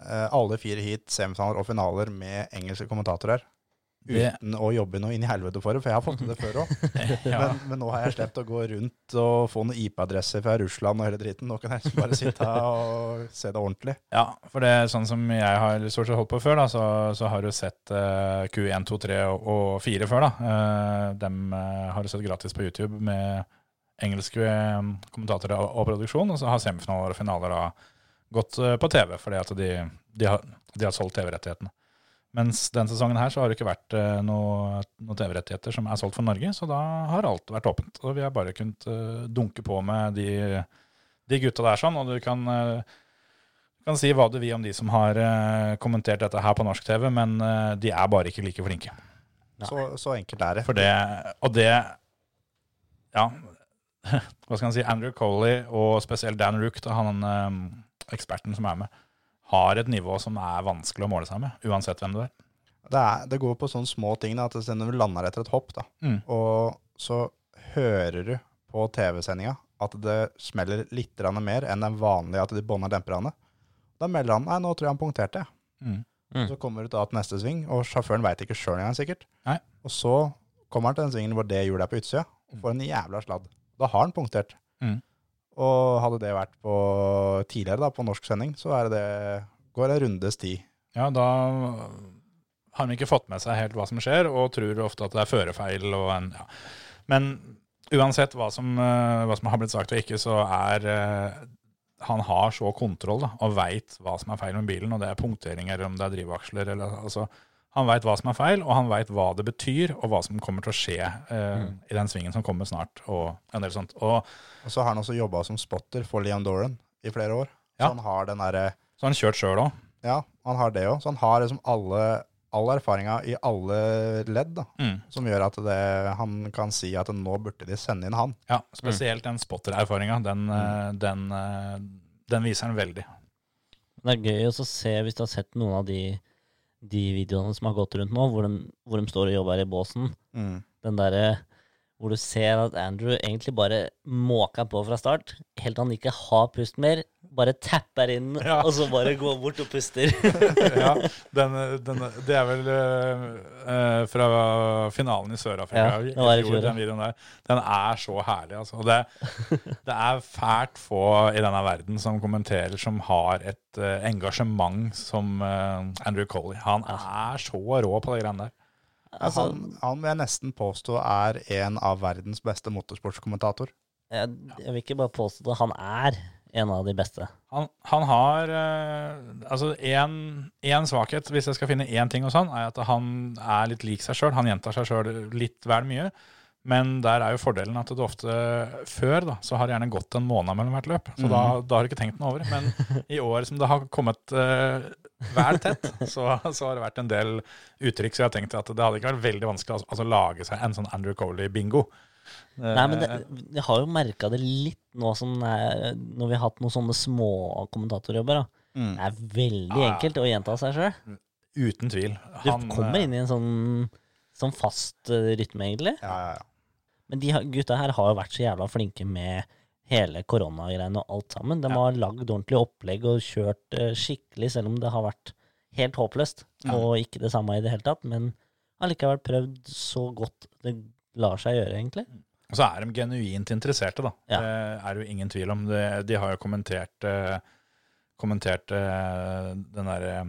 [SPEAKER 5] eh, alle fire hit, semifinaler og finaler med engelske kommentatorer.
[SPEAKER 3] Det,
[SPEAKER 5] Uten å jobbe noe inn i helvete for det, for jeg har fått til det før òg.
[SPEAKER 3] ja.
[SPEAKER 5] men, men nå har jeg sluppet å gå rundt og få noen IP-adresser fra Russland og hele dritten. Nå kan jeg bare sitte her og se det ordentlig.
[SPEAKER 3] ja, for det er sånn som jeg har stort sett holdt på før, da, så, så har du sett eh, Q1, 2, 3 og, og 4 før. da. Eh, dem eh, har du sett gratis på YouTube med engelske eh, kommentatorer og, og produksjon, og så har semifinaler og finaler da gått eh, på TV, fordi at de, de, har, de har solgt TV-rettighetene. Mens den sesongen her så har det ikke vært eh, noe- noen TV-rettigheter som er solgt for Norge, så da har alt vært åpent. Og vi har bare kunnet eh, dunke på med de, de gutta der sånn, og du kan eh, du kan si hva du vil om de som har eh, kommentert dette her på norsk TV, men eh, de er bare ikke like flinke.
[SPEAKER 5] Så, så enkelt er det.
[SPEAKER 3] For det, og det Ja, hva skal en si? Andrew Coley og spesielt Dan Rook, da, han eh, eksperten som er med, har et nivå som er vanskelig å måle seg med, uansett hvem du er.
[SPEAKER 5] Det, er, det går på sånne små ting da, at når du lander etter et hopp, da,
[SPEAKER 3] Mm.
[SPEAKER 5] og så hører du på TV-sendinga at det smeller litt grann mer enn den vanlige at de bånder demperne. Da melder han nei, nå tror jeg han punkterte. jeg».
[SPEAKER 3] Mm.
[SPEAKER 4] Mm.
[SPEAKER 5] Så kommer du da til neste sving, og sjåføren veit ikke sjøl engang sikkert.
[SPEAKER 3] Nei.
[SPEAKER 5] Og så kommer han til den svingen hvor det hjulet er på utsida, og får en jævla sladd. Da har han punktert.
[SPEAKER 3] Mm.
[SPEAKER 5] Og hadde det vært på tidligere, da, på norsk sending, så er det går det rundes ti.
[SPEAKER 3] Ja, da har de ikke fått med seg helt hva som skjer, og tror ofte at det er førefeil. Og en, ja. Men uansett hva som, eh, hva som har blitt sagt og ikke, så er eh, han har så kontroll da, og veit hva som er feil med bilen, og det er punktering eller om det er drivaksler. Eller, altså, han veit hva som er feil, og han veit hva det betyr, og hva som kommer til å skje eh, i den svingen som kommer snart. og en del sånt. Og,
[SPEAKER 5] Og så har han også jobba som spotter for Leon Doran i flere år.
[SPEAKER 3] Ja.
[SPEAKER 5] Så han har den derre
[SPEAKER 3] så har han kjørt sjøl òg.
[SPEAKER 5] Ja, han har det òg. Så han har liksom alle, all erfaringa i alle ledd, da.
[SPEAKER 3] Mm.
[SPEAKER 5] Som gjør at det, han kan si at nå burde de sende inn han.
[SPEAKER 3] Ja, spesielt den spotter-erfaringa. Den, eh, den, eh, den viser han veldig.
[SPEAKER 4] Det er gøy også å se, hvis du har sett noen av de, de videoene som har gått rundt nå, hvor de, hvor de står og jobber i båsen.
[SPEAKER 3] Mm.
[SPEAKER 4] Den derre hvor du ser at Andrew egentlig bare måker på fra start, helt til han ikke har pust mer, bare tapper inn,
[SPEAKER 3] Ja.
[SPEAKER 4] og så bare går bort og puster.
[SPEAKER 3] ja, den, den, det er vel eh, eh, fra finalen i Sør-Afrika
[SPEAKER 4] Ja,
[SPEAKER 3] i
[SPEAKER 4] det var i
[SPEAKER 3] fjor,
[SPEAKER 4] fjor, ja.
[SPEAKER 3] den videoen der. Den er så herlig, altså. Og Det, det er fælt få i denne verden som kommenterer som har et eh, engasjement som eh, Andrew Colley. Han er så rå på de greiene der.
[SPEAKER 4] altså,
[SPEAKER 5] han, han vil jeg nesten påstå er en av verdens beste motorsportskommentator.
[SPEAKER 4] jeg, jeg vil ikke bare påstå at han er en av de beste.
[SPEAKER 3] Han, han har eh, Altså, én svakhet, hvis jeg skal finne én ting hos han, er at han er litt lik seg sjøl. Han gjentar seg sjøl litt vel mye. Men der er jo fordelen at det ofte før da, så har det gjerne gått en måned mellom hvert løp. Så da,
[SPEAKER 4] Mhm.
[SPEAKER 3] da har du ikke tenkt noe over det. Men i år som det har kommet eh, vel tett, så, så har det vært en del uttrykk. Så jeg har tenkt at det hadde ikke vært veldig vanskelig å altså, lage seg en sånn Andrew Coley-bingo. Eh,
[SPEAKER 4] Nei, men det, Jeg har jo merka det litt nå som det er, når vi har hatt noen sånne små kommentatorjobber. Da. Det er veldig
[SPEAKER 3] Mm. Ja.
[SPEAKER 4] enkelt å gjenta seg sjøl.
[SPEAKER 3] Uten tvil.
[SPEAKER 4] Du
[SPEAKER 3] Han, eh,
[SPEAKER 4] kommer inn i en sånn, sånn fast eh, rytme, egentlig.
[SPEAKER 5] Ja, ja, ja.
[SPEAKER 4] Men de har- gutta her har jo vært så jævla flinke med hele koronagreiene og alt sammen. De har lagd ordentlig opplegg og kjørt eh, skikkelig, selv om det har vært helt håpløst. Og ikke det samme i det hele tatt. Men allikevel prøvd så godt det lar seg gjøre, egentlig.
[SPEAKER 3] Og så er de genuint interesserte, da.
[SPEAKER 4] Ja.
[SPEAKER 3] Det er det jo ingen tvil om. De, de har jo kommentert, eh, kommentert eh, den derre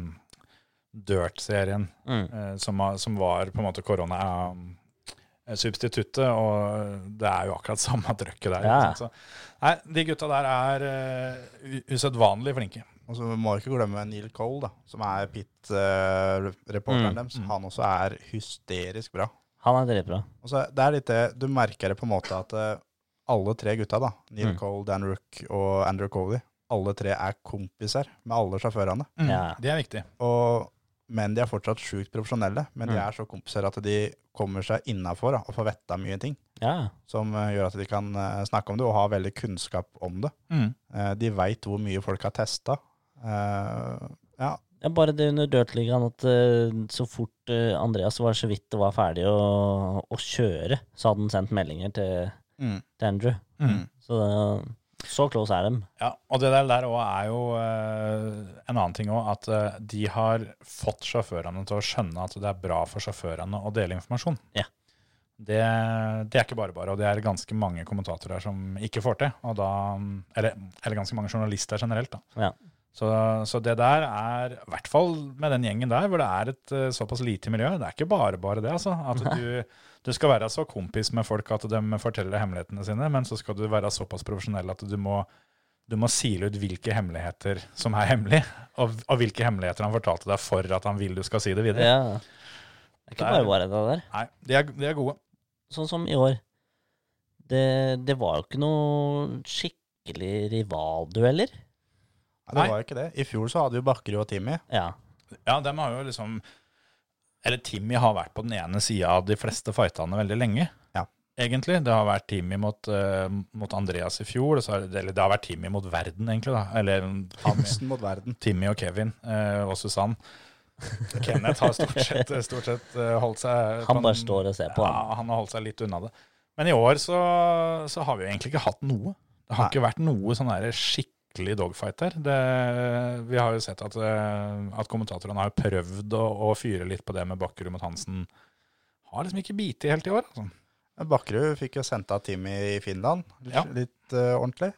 [SPEAKER 3] Dirt-serien
[SPEAKER 4] Mm.
[SPEAKER 3] eh, som, har- som var på en måte korona-substituttet, og det er jo akkurat samme trøkket der.
[SPEAKER 4] Ja.
[SPEAKER 3] ikke sant? Så, nei, de gutta der er eh, u- usedvanlig flinke.
[SPEAKER 5] Og så må vi ikke glemme Neil Cole, da, som er
[SPEAKER 3] Mm.
[SPEAKER 5] pit-reporteren deres. Han også er hysterisk bra.
[SPEAKER 4] Han er dritbra.
[SPEAKER 5] Og så det er litt det, Du merker det på en måte at eh, alle tre gutta, da, Neil
[SPEAKER 3] Mm.
[SPEAKER 5] Cole, Dan Rook og Andrew Coley, alle tre er kompiser med alle sjåførene.
[SPEAKER 4] Ja.
[SPEAKER 3] Det er viktig.
[SPEAKER 5] Og, men de er fortsatt sjukt profesjonelle. Men
[SPEAKER 3] Mm.
[SPEAKER 5] de er så kompiser at de kommer seg innafor og får vite mye ting.
[SPEAKER 4] Ja.
[SPEAKER 5] Som eh, gjør at de kan eh, snakke om det og ha veldig kunnskap om det.
[SPEAKER 3] Mm.
[SPEAKER 5] Eh, De veit hvor mye folk har testa. Ja,
[SPEAKER 4] ja. Bare det under Dirtligaen at eh, så fort eh, Andreas var så vidt det var ferdig å, å kjøre, så hadde han sendt meldinger til,
[SPEAKER 5] Mm.
[SPEAKER 4] til Andrew.
[SPEAKER 3] Mm.
[SPEAKER 4] Så, eh, så close er de.
[SPEAKER 3] Ja, og det der, der også er jo eh, en annen ting òg, at eh, de har fått sjåførene til å skjønne at det er bra for sjåførene å dele informasjon.
[SPEAKER 4] Ja.
[SPEAKER 3] Det, det er ikke bare bare, og det er ganske mange kommentatorer som ikke får til. Og da, eller, eller ganske mange journalister generelt. da.
[SPEAKER 4] Ja.
[SPEAKER 3] Så, så det der er, i hvert fall med den gjengen der, hvor det er et eh, såpass lite miljø, det er ikke bare bare det, altså. At du, du skal være så kompis med folk at de forteller hemmelighetene sine, men så skal du være såpass profesjonell at du må, du må sile ut hvilke hemmeligheter som er hemmelige, og, og hvilke hemmeligheter han fortalte deg for at han vil du skal si det videre.
[SPEAKER 4] Ja. Det er ikke
[SPEAKER 3] Der-
[SPEAKER 4] bare bare det der.
[SPEAKER 3] Nei, de er, de er gode.
[SPEAKER 4] Sånn som i år. Det, det var jo ikke noe skikkelig rivaldueller.
[SPEAKER 5] Nei,
[SPEAKER 3] Nei.
[SPEAKER 5] det var jo ikke det. I fjor så hadde jo Bakkerud og Timmy.
[SPEAKER 4] Ja.
[SPEAKER 3] Ja, dem har jo liksom Eller Timmy har vært på den ene sida av de fleste fightene veldig lenge.
[SPEAKER 5] Ja.
[SPEAKER 3] Egentlig. Det har vært Timmy mot, eh, mot Andreas i fjor. og så har det- Eller det har vært Timmy mot verden, egentlig. da. Eller Timmy,
[SPEAKER 5] Hansen mot verden.
[SPEAKER 3] Timmy og Kevin eh, og Susann. Kenneth har stort sett, stort sett eh, holdt seg på
[SPEAKER 4] Han bare
[SPEAKER 3] den-
[SPEAKER 4] står og ser på. han.
[SPEAKER 3] Ja, han har holdt seg litt unna det. Men i år så, så har vi jo egentlig ikke hatt noe. Det har
[SPEAKER 5] Nei.
[SPEAKER 3] ikke vært noe sånn der skikkelig dogfight her. Det, vi har jo sett at, eh, at kommentatorene har prøvd å, å fyre litt på det med Bakkerud mot Hansen. Har liksom ikke biti helt i år. Altså.
[SPEAKER 5] Bakkerud fikk jo sendt av team i Finland, litt,
[SPEAKER 3] Ja.
[SPEAKER 5] litt eh, ordentlig.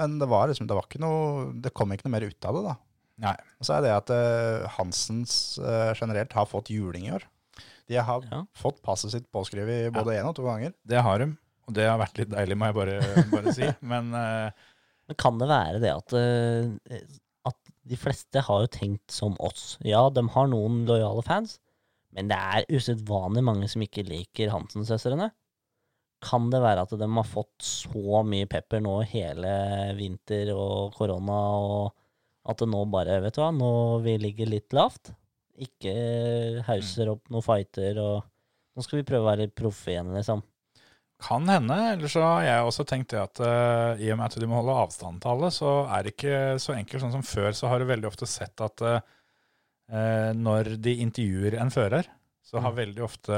[SPEAKER 5] Men det var liksom, det var ikke noe, det kom ikke noe mer ut av det da.
[SPEAKER 3] Nei.
[SPEAKER 5] Og så er det at eh, Hansens eh, generelt har fått juling i år. De har
[SPEAKER 4] Ja.
[SPEAKER 5] fått passet sitt påskrevet både én og to ganger.
[SPEAKER 3] Det har de, og det har vært litt deilig, må jeg bare, bare si. Men eh,
[SPEAKER 4] Men kan det være det at, eh, at de fleste har jo tenkt som oss? Ja, de har noen lojale fans, men det er usedvanlig mange som ikke liker Hansen-søstrene. Kan det være at de har fått så mye pepper nå hele vinter og korona, og at det nå bare Vet du hva, nå vi ligger litt lavt. Ikke hauser opp noen fighter og Nå skal vi prøve å være litt proffe igjen, liksom.
[SPEAKER 3] Kan hende. Eller så har jeg også tenkt det at eh, i og med at du må holde avstand til alle, så er det ikke så enkelt. Sånn som før så har du veldig ofte sett at eh, eh, når de intervjuer en fører, så har veldig ofte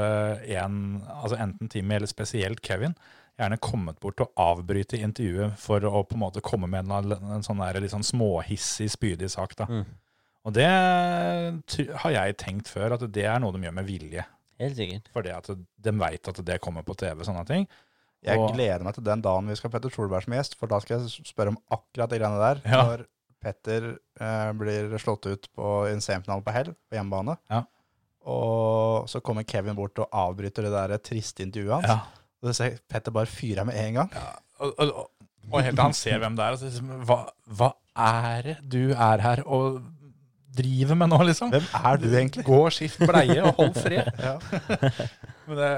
[SPEAKER 3] en, altså enten Timmy eller spesielt Kevin, gjerne kommet bort og avbryte intervjuet for å på en måte komme med en, al- en sånn der, litt sånn småhissig, spydig sak. da.
[SPEAKER 4] Mm.
[SPEAKER 3] Og det tr- har jeg tenkt før, at det er noe de gjør med vilje.
[SPEAKER 4] Helt sikkert.
[SPEAKER 3] Fordi at de veit at det kommer på TV, sånne ting.
[SPEAKER 5] Jeg
[SPEAKER 3] Og-
[SPEAKER 5] gleder meg til den dagen vi skal ha Petter Solberg som gjest, for da skal jeg spørre om akkurat de greiene der.
[SPEAKER 3] Ja.
[SPEAKER 5] Når Petter eh, blir slått ut på i en semifinale på Hell, på hjemmebane.
[SPEAKER 3] Ja.
[SPEAKER 5] Og så kommer Kevin bort og avbryter det der triste intervjuet hans.
[SPEAKER 3] Ja.
[SPEAKER 5] Og du ser Petter bare fyrer av med en gang.
[SPEAKER 3] og, og, og- og helt til han ser hvem det er, og så liksom hva, hva er det du er her og driver med nå, liksom?
[SPEAKER 5] Hvem er du egentlig?
[SPEAKER 3] Gå og skift bleie og hold fred.
[SPEAKER 5] Ja.
[SPEAKER 3] Men det,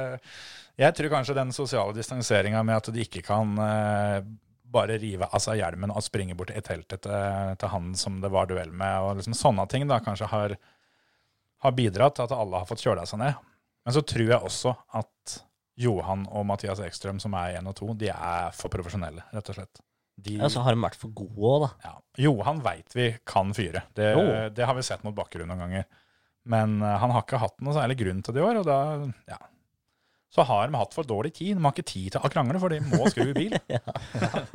[SPEAKER 3] jeg tror kanskje den sosiale distanseringa med at de ikke kan eh, bare rive av seg hjelmen og springe bort i teltet til, til han som det var duell med, og liksom sånne ting da kanskje har, har bidratt til at alle har fått kjøla seg ned. Men så tror jeg også at Johan og Mathias Ekstrøm, som er én og to, de er for profesjonelle, rett og slett. De,
[SPEAKER 4] Ja, så har de vært for gode òg, da.
[SPEAKER 3] ja. Johan veit vi kan fyre. Det,
[SPEAKER 4] Jo.
[SPEAKER 3] det har vi sett mot Bakkerud noen ganger. Men eh, han har ikke hatt noe særlig grunn til det i år, og da ja. Så har de hatt for dårlig tid. De har ikke tid til å krangle, for de må skru i bil. det,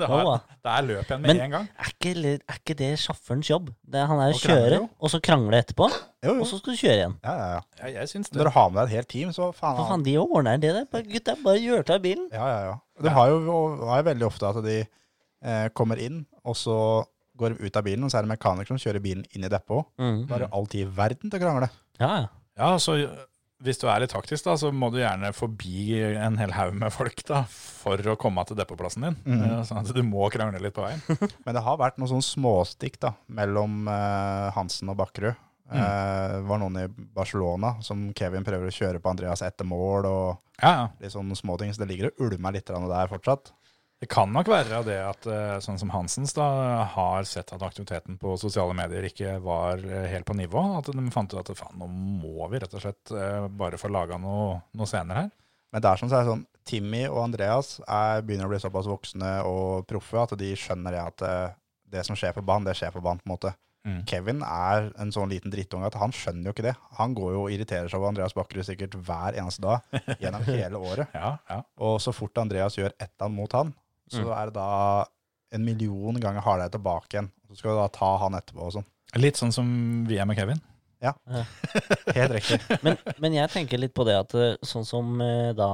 [SPEAKER 4] Nå,
[SPEAKER 3] er,
[SPEAKER 4] da.
[SPEAKER 3] det er løp igjen
[SPEAKER 4] Men-
[SPEAKER 3] med en gang.
[SPEAKER 4] er ikke, litt- er ikke det sjåførens jobb? Det, han er å Mm.
[SPEAKER 3] Å krangle,
[SPEAKER 4] kjøre,
[SPEAKER 3] jo.
[SPEAKER 4] og så krangle etterpå,
[SPEAKER 5] Jo,
[SPEAKER 4] og
[SPEAKER 5] jo.
[SPEAKER 4] så skal du kjøre igjen.
[SPEAKER 5] Ja, ja, ja.
[SPEAKER 3] Ja, jeg syns
[SPEAKER 5] Når
[SPEAKER 3] det.
[SPEAKER 5] du har med deg et helt team, så faen
[SPEAKER 4] Hva faen, de ordner det der. Bare, gutta, bare gjør til bilen.
[SPEAKER 5] Ja, ja, ja. Du har jo og har jo veldig ofte at de eh, kommer inn, og så går de ut av bilen, og så er det mekanikere som kjører bilen inn i depot.
[SPEAKER 4] Mm.
[SPEAKER 5] Da er det alltid i verden til å krangle.
[SPEAKER 4] Ja, ja.
[SPEAKER 3] Ja, så hvis du er litt taktisk, da, så må du gjerne forbi en hel haug med folk da, for å komme til depotplassen din.
[SPEAKER 4] Mm.
[SPEAKER 3] Eh, Sånn at du må krangle litt på veien.
[SPEAKER 5] Men det har vært noen sånne småstikk da, mellom eh, Hansen og Bakkerud. Eh, Det var noen i Barcelona som Kevin prøver å kjøre på Andreas etter mål, og
[SPEAKER 3] Ja, ja.
[SPEAKER 5] litt sånne småting. Så det ligger og ulmer litt grann der fortsatt.
[SPEAKER 3] Det kan nok være det at eh, sånn som Hansens da, har sett at aktiviteten på sosiale medier ikke var eh, helt på nivå. At de fant ut at faen, nå må vi rett og slett eh, bare få laga noe, noe senere her.
[SPEAKER 5] Men det er som så er det sånn, Timmy og Andreas er, begynner å bli såpass voksne og proffe at de skjønner det at eh, det som skjer på banen, det skjer på banen på en måte.
[SPEAKER 3] Mm.
[SPEAKER 5] Kevin er en sånn liten drittunge at han skjønner jo ikke det. Han går jo og irriterer seg over Andreas Bakkerud sikkert hver eneste dag gjennom hele året.
[SPEAKER 3] Ja, ja.
[SPEAKER 5] Og så fort Andreas gjør ett av mot han, så er det da en million ganger hardere tilbake igjen. Så skal du da ta han etterpå og sånn.
[SPEAKER 3] Litt sånn som vi er med Kevin.
[SPEAKER 5] sånn. Helt riktig.
[SPEAKER 4] Men, men jeg tenker litt på det at eh, sånn som eh, da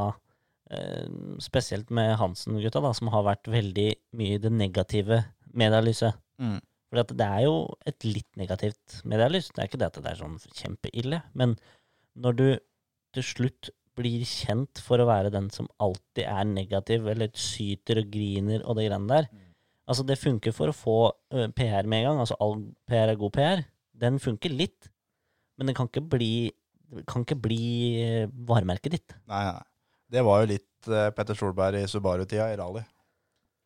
[SPEAKER 4] eh, Spesielt med Hansen-gutta, da, som har vært veldig mye i det negative medielyset.
[SPEAKER 5] Mm.
[SPEAKER 4] For at det er jo et litt negativt medielys. Det er ikke det at det er sånn kjempeille, men når du til slutt blir kjent for å være den som alltid er negativ, eller syter og griner og det greiene der Altså, det funker for å få eh, PR med en gang. Altså, all PR er god PR. Den funker litt, men den kan ikke bli det kan ikke bli eh, varemerket ditt.
[SPEAKER 5] Nei, nei. Det var jo litt eh, Petter Solberg i Subaru-tida i rally.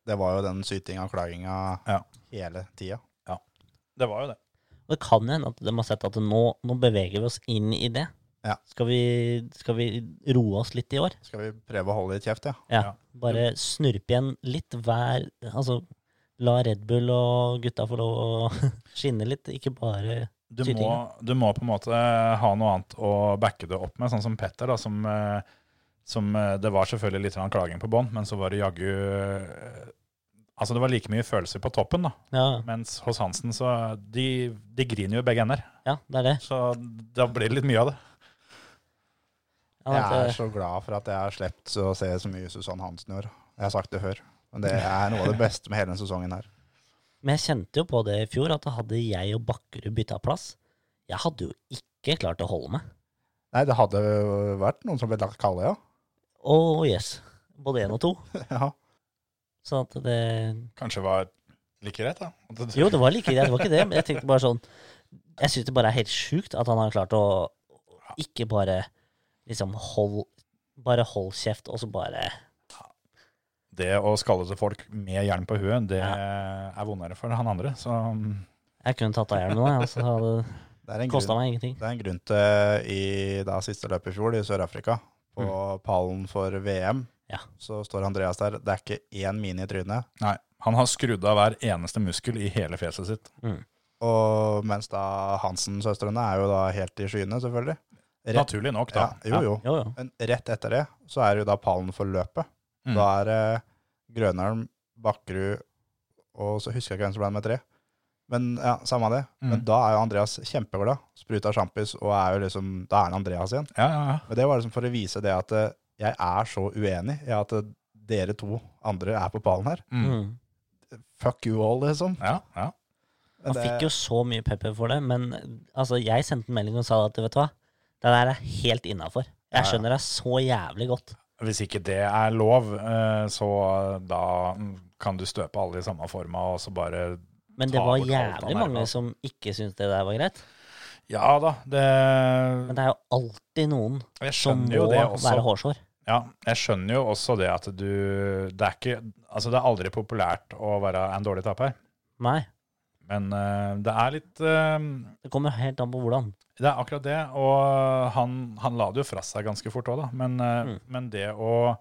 [SPEAKER 5] Det var jo den sytinga og klaginga
[SPEAKER 3] Ja.
[SPEAKER 5] hele tida.
[SPEAKER 3] Det var jo det.
[SPEAKER 4] Og det kan hende at de har sett at nå, nå beveger vi oss inn i det.
[SPEAKER 5] Ja.
[SPEAKER 4] Skal, vi, skal vi roe oss litt i år?
[SPEAKER 5] Skal vi prøve å holde litt kjeft, ja?
[SPEAKER 4] Ja.
[SPEAKER 3] Ja.
[SPEAKER 4] Bare
[SPEAKER 5] Mm.
[SPEAKER 4] snurpe igjen litt hver Altså, la Red Bull og gutta få lov å skinne litt, ikke bare
[SPEAKER 3] Du må,
[SPEAKER 4] Tydeligere.
[SPEAKER 3] du må på en måte eh, ha noe annet å backe det opp med, sånn som Petter, da, som, eh, som eh, Det var selvfølgelig litt grann klaging på bånn, men så var det jaggu eh, Altså, det var like mye følelser på toppen, da.
[SPEAKER 4] Ja,
[SPEAKER 3] Mens hos Hansen, så De, de griner jo i begge ender.
[SPEAKER 4] ja det er det.
[SPEAKER 3] Så da blir det litt mye av det.
[SPEAKER 4] Ja,
[SPEAKER 5] Jeg
[SPEAKER 4] vent,
[SPEAKER 5] er
[SPEAKER 4] eh,
[SPEAKER 5] så glad for at jeg har sluppet å se så mye Susann Hansen i år. Jeg har sagt det før, men det er noe av det beste med hele denne sesongen her.
[SPEAKER 4] Men jeg kjente jo på det i fjor, at hadde jeg og Bakkerud bytta plass, jeg hadde jo ikke klart å holde meg.
[SPEAKER 5] Nei, det hadde jo vært noen som ble lagt kalde, ja.
[SPEAKER 4] Å yes. Både én og to.
[SPEAKER 5] ja.
[SPEAKER 4] Så at det
[SPEAKER 3] Kanskje var like greit, da. At det-
[SPEAKER 4] Jo, det var like greit, det var ikke det. Men jeg tenkte bare sånn Jeg syns det bare er helt sjukt at han har klart å ikke bare liksom hold Bare hold kjeft, og så bare
[SPEAKER 3] Det å skalle til folk med jern på huet, det er vondere for han andre. Så
[SPEAKER 4] Jeg kunne tatt av hjelmen, jeg, og så hadde
[SPEAKER 5] Det er
[SPEAKER 4] det
[SPEAKER 5] en
[SPEAKER 4] kosta
[SPEAKER 5] grunn,
[SPEAKER 4] meg ingenting.
[SPEAKER 5] det er en grunn til i da, siste løpet i fjor i Sør-Afrika, på pallen for VM,
[SPEAKER 4] Mm. Ja.
[SPEAKER 5] så står Andreas der. Det er ikke én mine i trynet.
[SPEAKER 3] nei, han har skrudd av hver eneste muskel i hele fjeset sitt.
[SPEAKER 5] Og mens da Hansen-søstrene er jo da helt i skyene, selvfølgelig. Rett,
[SPEAKER 3] Naturlig nok,
[SPEAKER 5] ja,
[SPEAKER 3] da.
[SPEAKER 5] jo, jo.
[SPEAKER 4] Jo, jo.
[SPEAKER 5] Men rett etter det så er det jo da pallen for løpet.
[SPEAKER 3] Mm.
[SPEAKER 5] Da er det Grønholm, Bakkerud og så husker jeg ikke hvem som ble nummer tre. Men ja, samme det. Men
[SPEAKER 3] Mm.
[SPEAKER 5] da er jo Andreas kjempeglad. Spruta sjampis og er jo liksom Da er han Andreas igjen.
[SPEAKER 3] Ja, ja, ja.
[SPEAKER 5] Men det var liksom for å vise det at eh, jeg er så uenig i at eh, dere to andre er på pallen her.
[SPEAKER 3] Mm.
[SPEAKER 4] Mm.
[SPEAKER 5] Fuck you all, liksom.
[SPEAKER 3] ja, ja.
[SPEAKER 5] Men
[SPEAKER 4] Han
[SPEAKER 5] det-
[SPEAKER 4] fikk jo så mye pepper for det, men altså, jeg sendte en melding og sa at vet du hva, det der er helt innafor. Jeg skjønner deg så jævlig godt.
[SPEAKER 3] Hvis ikke det er lov, eh, så da mm, kan du støpe alle i samme forma, og så bare
[SPEAKER 4] Men det
[SPEAKER 3] Ta
[SPEAKER 4] var
[SPEAKER 3] bort alt han
[SPEAKER 4] jævlig
[SPEAKER 3] er,
[SPEAKER 4] mange
[SPEAKER 3] altså.
[SPEAKER 4] som ikke syntes det der var greit.
[SPEAKER 3] Ja da, det
[SPEAKER 4] Men det er jo alltid noen
[SPEAKER 3] Jeg
[SPEAKER 4] som
[SPEAKER 3] skjønner
[SPEAKER 4] må
[SPEAKER 3] jo det også.
[SPEAKER 4] være hårsår.
[SPEAKER 3] Ja, jeg skjønner jo også det at du Det er ikke Altså, det er aldri populært å være en dårlig taper,
[SPEAKER 4] Nei.
[SPEAKER 3] men eh, det er litt eh,
[SPEAKER 4] Det kommer helt an på hvordan.
[SPEAKER 3] Det er akkurat det, og han, han la det jo fra seg ganske fort òg, da. Men, eh,
[SPEAKER 4] Mm.
[SPEAKER 3] men det å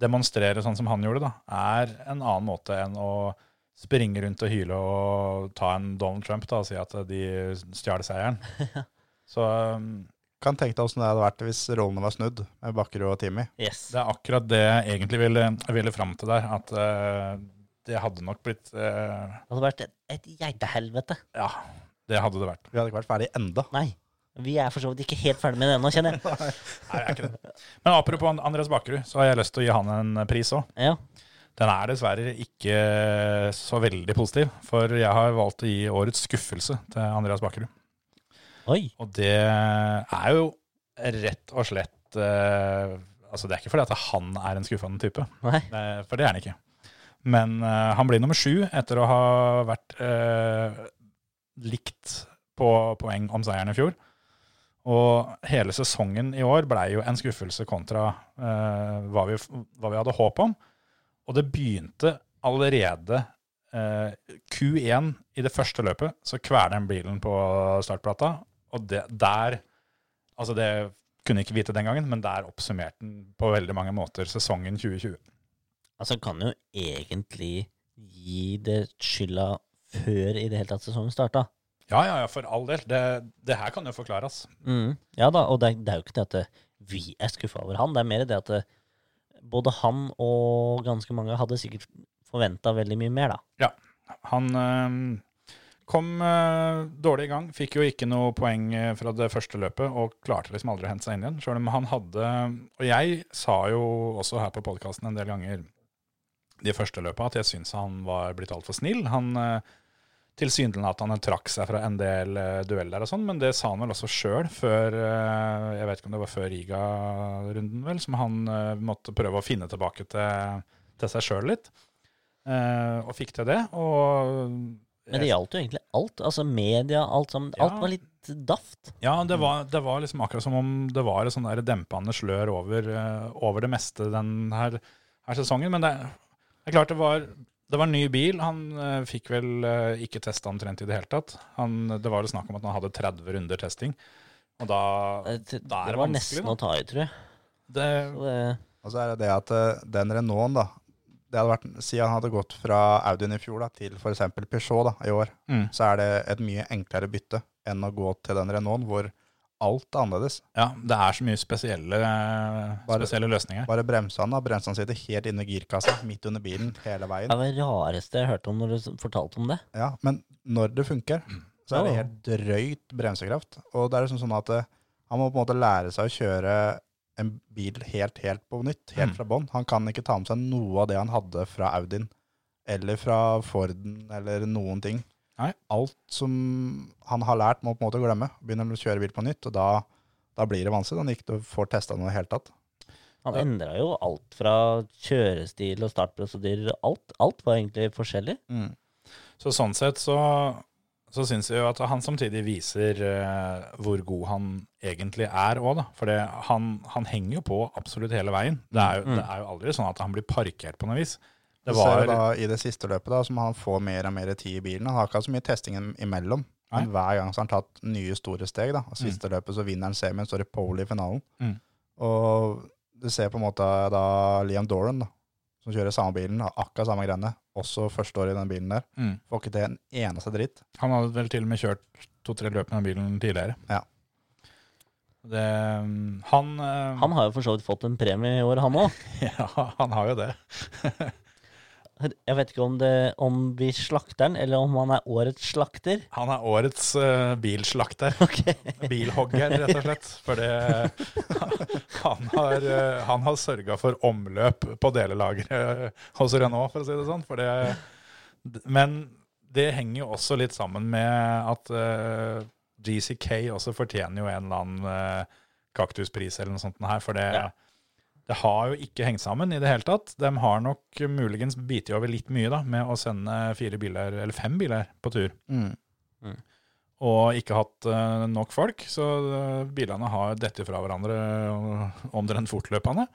[SPEAKER 3] demonstrere sånn som han gjorde, da, er en annen måte enn å springe rundt og hyle og ta en Donald Trump da, og si at de stjal seieren. Så um,
[SPEAKER 5] Kan tenke deg åssen det hadde vært hvis rollene var snudd med Bakkerud og Timmy.
[SPEAKER 4] Yes.
[SPEAKER 3] det er akkurat det jeg egentlig ville, ville fram til der, at eh, det hadde nok blitt eh,
[SPEAKER 4] Det hadde vært et, et geitehelvete.
[SPEAKER 3] Ja, det hadde det vært.
[SPEAKER 5] Vi hadde ikke vært ferdig enda.
[SPEAKER 4] Nei. Vi er for så vidt ikke helt ferdig med det ennå, kjenner jeg.
[SPEAKER 3] Nei, det er ikke det. Men apropos An- Andreas Bakkerud, så har jeg lyst til å gi han en pris òg.
[SPEAKER 4] Ja.
[SPEAKER 3] Den er dessverre ikke så veldig positiv, for jeg har valgt å gi årets skuffelse til Andreas Bakkerud.
[SPEAKER 4] Oi.
[SPEAKER 3] Og det er jo rett og slett eh, Altså, det er ikke fordi at han er en skuffende type,
[SPEAKER 4] Nei.
[SPEAKER 3] eh, for det er han ikke. Men eh, han blir nummer sju etter å ha vært eh, likt på poeng om seieren i fjor. Og hele sesongen i år blei jo en skuffelse kontra eh, hva, vi, hva vi hadde håp om. Og det begynte allerede eh, Q1 i det første løpet, så kveler han bilen på startplata. Og det, der Altså, det kunne jeg ikke vite den gangen, men der oppsummerte han på veldig mange måter sesongen 2020.
[SPEAKER 4] Altså, kan jo egentlig gi det skylda før i det hele tatt sesongen starta.
[SPEAKER 3] Ja, ja, ja, for all del. Det, det her kan jo forklares.
[SPEAKER 4] Mm. Ja da, og det, er- det er jo ikke det at eh, vi er skuffa over han. Det er mer det at eh, både han og ganske mange hadde sikkert forventa veldig mye mer, da.
[SPEAKER 3] Han øhm, kom øh, dårlig i gang, fikk jo ikke noe poeng øh, fra det første løpet og klarte liksom aldri å hente seg inn igjen. Selv om han hadde Og jeg sa jo også her på podkasten en del ganger de første løpa at jeg syns han var blitt altfor snill. Han øh, tilsynelatende trakk seg fra en del øh, dueller og sånn, men det sa han vel også sjøl før øh, Jeg vet ikke om det var før Riga-runden, vel, som han øh, måtte prøve å finne tilbake til, til seg sjøl litt. Eh, og fikk til det. Og
[SPEAKER 4] Men det gjaldt jo egentlig alt. Altså media, alt sammen.
[SPEAKER 3] Ja.
[SPEAKER 4] Alt var litt daft.
[SPEAKER 3] Ja, det var, det var liksom akkurat som om det var et sånn der dempende slør over, eh, over det meste den her, her sesongen. Men det, det er klart det var, det var en ny bil. Han eh, fikk vel eh, ikke testa omtrent i det hele tatt. Han, det var jo snakk om at han hadde 30 runder testing. Og da
[SPEAKER 4] Det, det,
[SPEAKER 3] Da er det
[SPEAKER 4] var
[SPEAKER 3] vanskelig,
[SPEAKER 4] nesten
[SPEAKER 3] da.
[SPEAKER 4] å ta i, tror jeg.
[SPEAKER 3] det,
[SPEAKER 4] Så det-
[SPEAKER 5] Og så er det det at eh, den Renaulten, da det hadde vært, Si han hadde gått fra Audien i fjor da, til f.eks. Peugeot da, i år,
[SPEAKER 3] Mm.
[SPEAKER 5] så er det et mye enklere bytte enn å gå til den Renaulten, hvor alt er annerledes.
[SPEAKER 3] Ja, det er så mye spesielle, eh,
[SPEAKER 5] Bare-
[SPEAKER 3] spesielle løsninger.
[SPEAKER 5] Bare bremsene. da, Bremsene sitter helt inne i girkassa, midt under bilen, hele
[SPEAKER 4] det
[SPEAKER 5] veien.
[SPEAKER 4] var det rareste jeg hørte om når du s- fortalte om det.
[SPEAKER 5] Ja, Men når det funker, så er det
[SPEAKER 4] Ja.
[SPEAKER 5] helt drøyt bremsekraft. Og det er liksom sånn at eh, han må på en måte lære seg å kjøre en bil helt, helt på nytt, helt fra bånn. Han kan ikke ta med seg noe av det han hadde fra Audien, eller fra Forden, eller noen ting.
[SPEAKER 3] Nei.
[SPEAKER 5] Alt som han har lært, må på en måte glemme. Begynner å kjøre bil på nytt, og da, da blir det vanskelig. Da han ikke får testa noe i det hele tatt.
[SPEAKER 4] Han endra jo alt fra kjørestil og startprosedyrer. Alt, alt var egentlig forskjellig.
[SPEAKER 3] Så sånn sett så, så syns jeg jo at han samtidig viser eh, hvor god han egentlig er òg, da. For det- han, han henger jo på absolutt hele veien. Det er, jo, det er jo aldri sånn at han blir parkert på noe vis. Det
[SPEAKER 5] Så ser
[SPEAKER 3] var
[SPEAKER 5] Mm. du da, I det siste løpet da, som han får mer og mer tid i bilen. Han har ikke hatt så mye testing im- imellom. Men hver gang så har han tatt nye store steg. da. Og siste løpet så vinner han semien, står i pole i finalen.
[SPEAKER 3] Mm.
[SPEAKER 5] Og du ser på en måte da Liam Doran, da, som kjører samme bilen, har akkurat samme greiene, også første året i den bilen der.
[SPEAKER 3] Mm.
[SPEAKER 5] Får ikke til en eneste dritt.
[SPEAKER 3] Han hadde vel til og med kjørt to-tre løp med den bilen tidligere.
[SPEAKER 5] Ja.
[SPEAKER 3] Det, han, eh,
[SPEAKER 4] Han har jo for så vidt fått en premie i år, han òg.
[SPEAKER 3] ja, han har jo det.
[SPEAKER 4] Jeg vet ikke om, det, om vi slakter han, eller om han er årets slakter.
[SPEAKER 3] Han er årets eh, bilslakter. Bilhogger, rett og slett. For det, han har, uh, han har sørga for omløp på delelageret eh, hos Renault, for å si det sånn. For det, men det henger jo også litt sammen med at eh, GCK også fortjener jo en eller annen eh, kaktuspris eller noe sånt den her, for det,
[SPEAKER 4] Ja.
[SPEAKER 3] det har jo ikke hengt sammen i det hele tatt. De har nok muligens bitt over litt mye da, med å sende fire biler, eller fem biler, på tur og ikke hatt eh, nok folk, så eh, bilene har dette fra hverandre eh, omtrent fortløpende.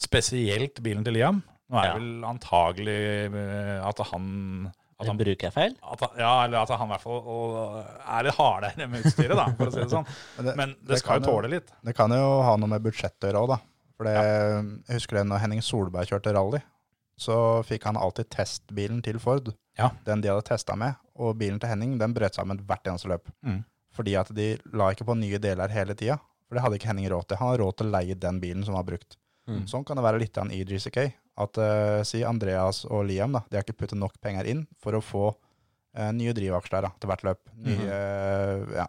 [SPEAKER 3] Spesielt bilen til Liam. Nå er det
[SPEAKER 4] Ja.
[SPEAKER 3] vel antagelig eh, at han, at han
[SPEAKER 4] Bruker jeg feil?
[SPEAKER 3] at han, ja, eller at han i hvert fall og- eh, er litt hardere med utstyret, da, for å si det sånn.
[SPEAKER 5] Men det-
[SPEAKER 3] Men
[SPEAKER 5] det
[SPEAKER 3] det skal
[SPEAKER 5] kan
[SPEAKER 3] jo
[SPEAKER 5] jo-
[SPEAKER 3] tåle litt.
[SPEAKER 5] Det kan jo ha noe med budsjettet å gjøre òg, da. For det, Jeg husker det når Henning Solberg kjørte rally. Så fikk han alltid testbilen til Ford.
[SPEAKER 3] Ja.
[SPEAKER 5] Den de hadde testa med. Og bilen til Henning den brøt sammen hvert eneste løp.
[SPEAKER 3] Mm.
[SPEAKER 5] Fordi at de la ikke på nye deler hele tida. For det hadde ikke Henning råd til. Han har råd til å leie den bilen som var brukt.
[SPEAKER 3] Mhm.
[SPEAKER 4] Mm.
[SPEAKER 5] Sånn kan det være litt grann i GCK. At eh, si Andreas og Liam da, de har ikke puttet nok penger inn for å få eh, nye drivaksjer da, til hvert løp. Nye,
[SPEAKER 3] Mhm.
[SPEAKER 5] eh, ja,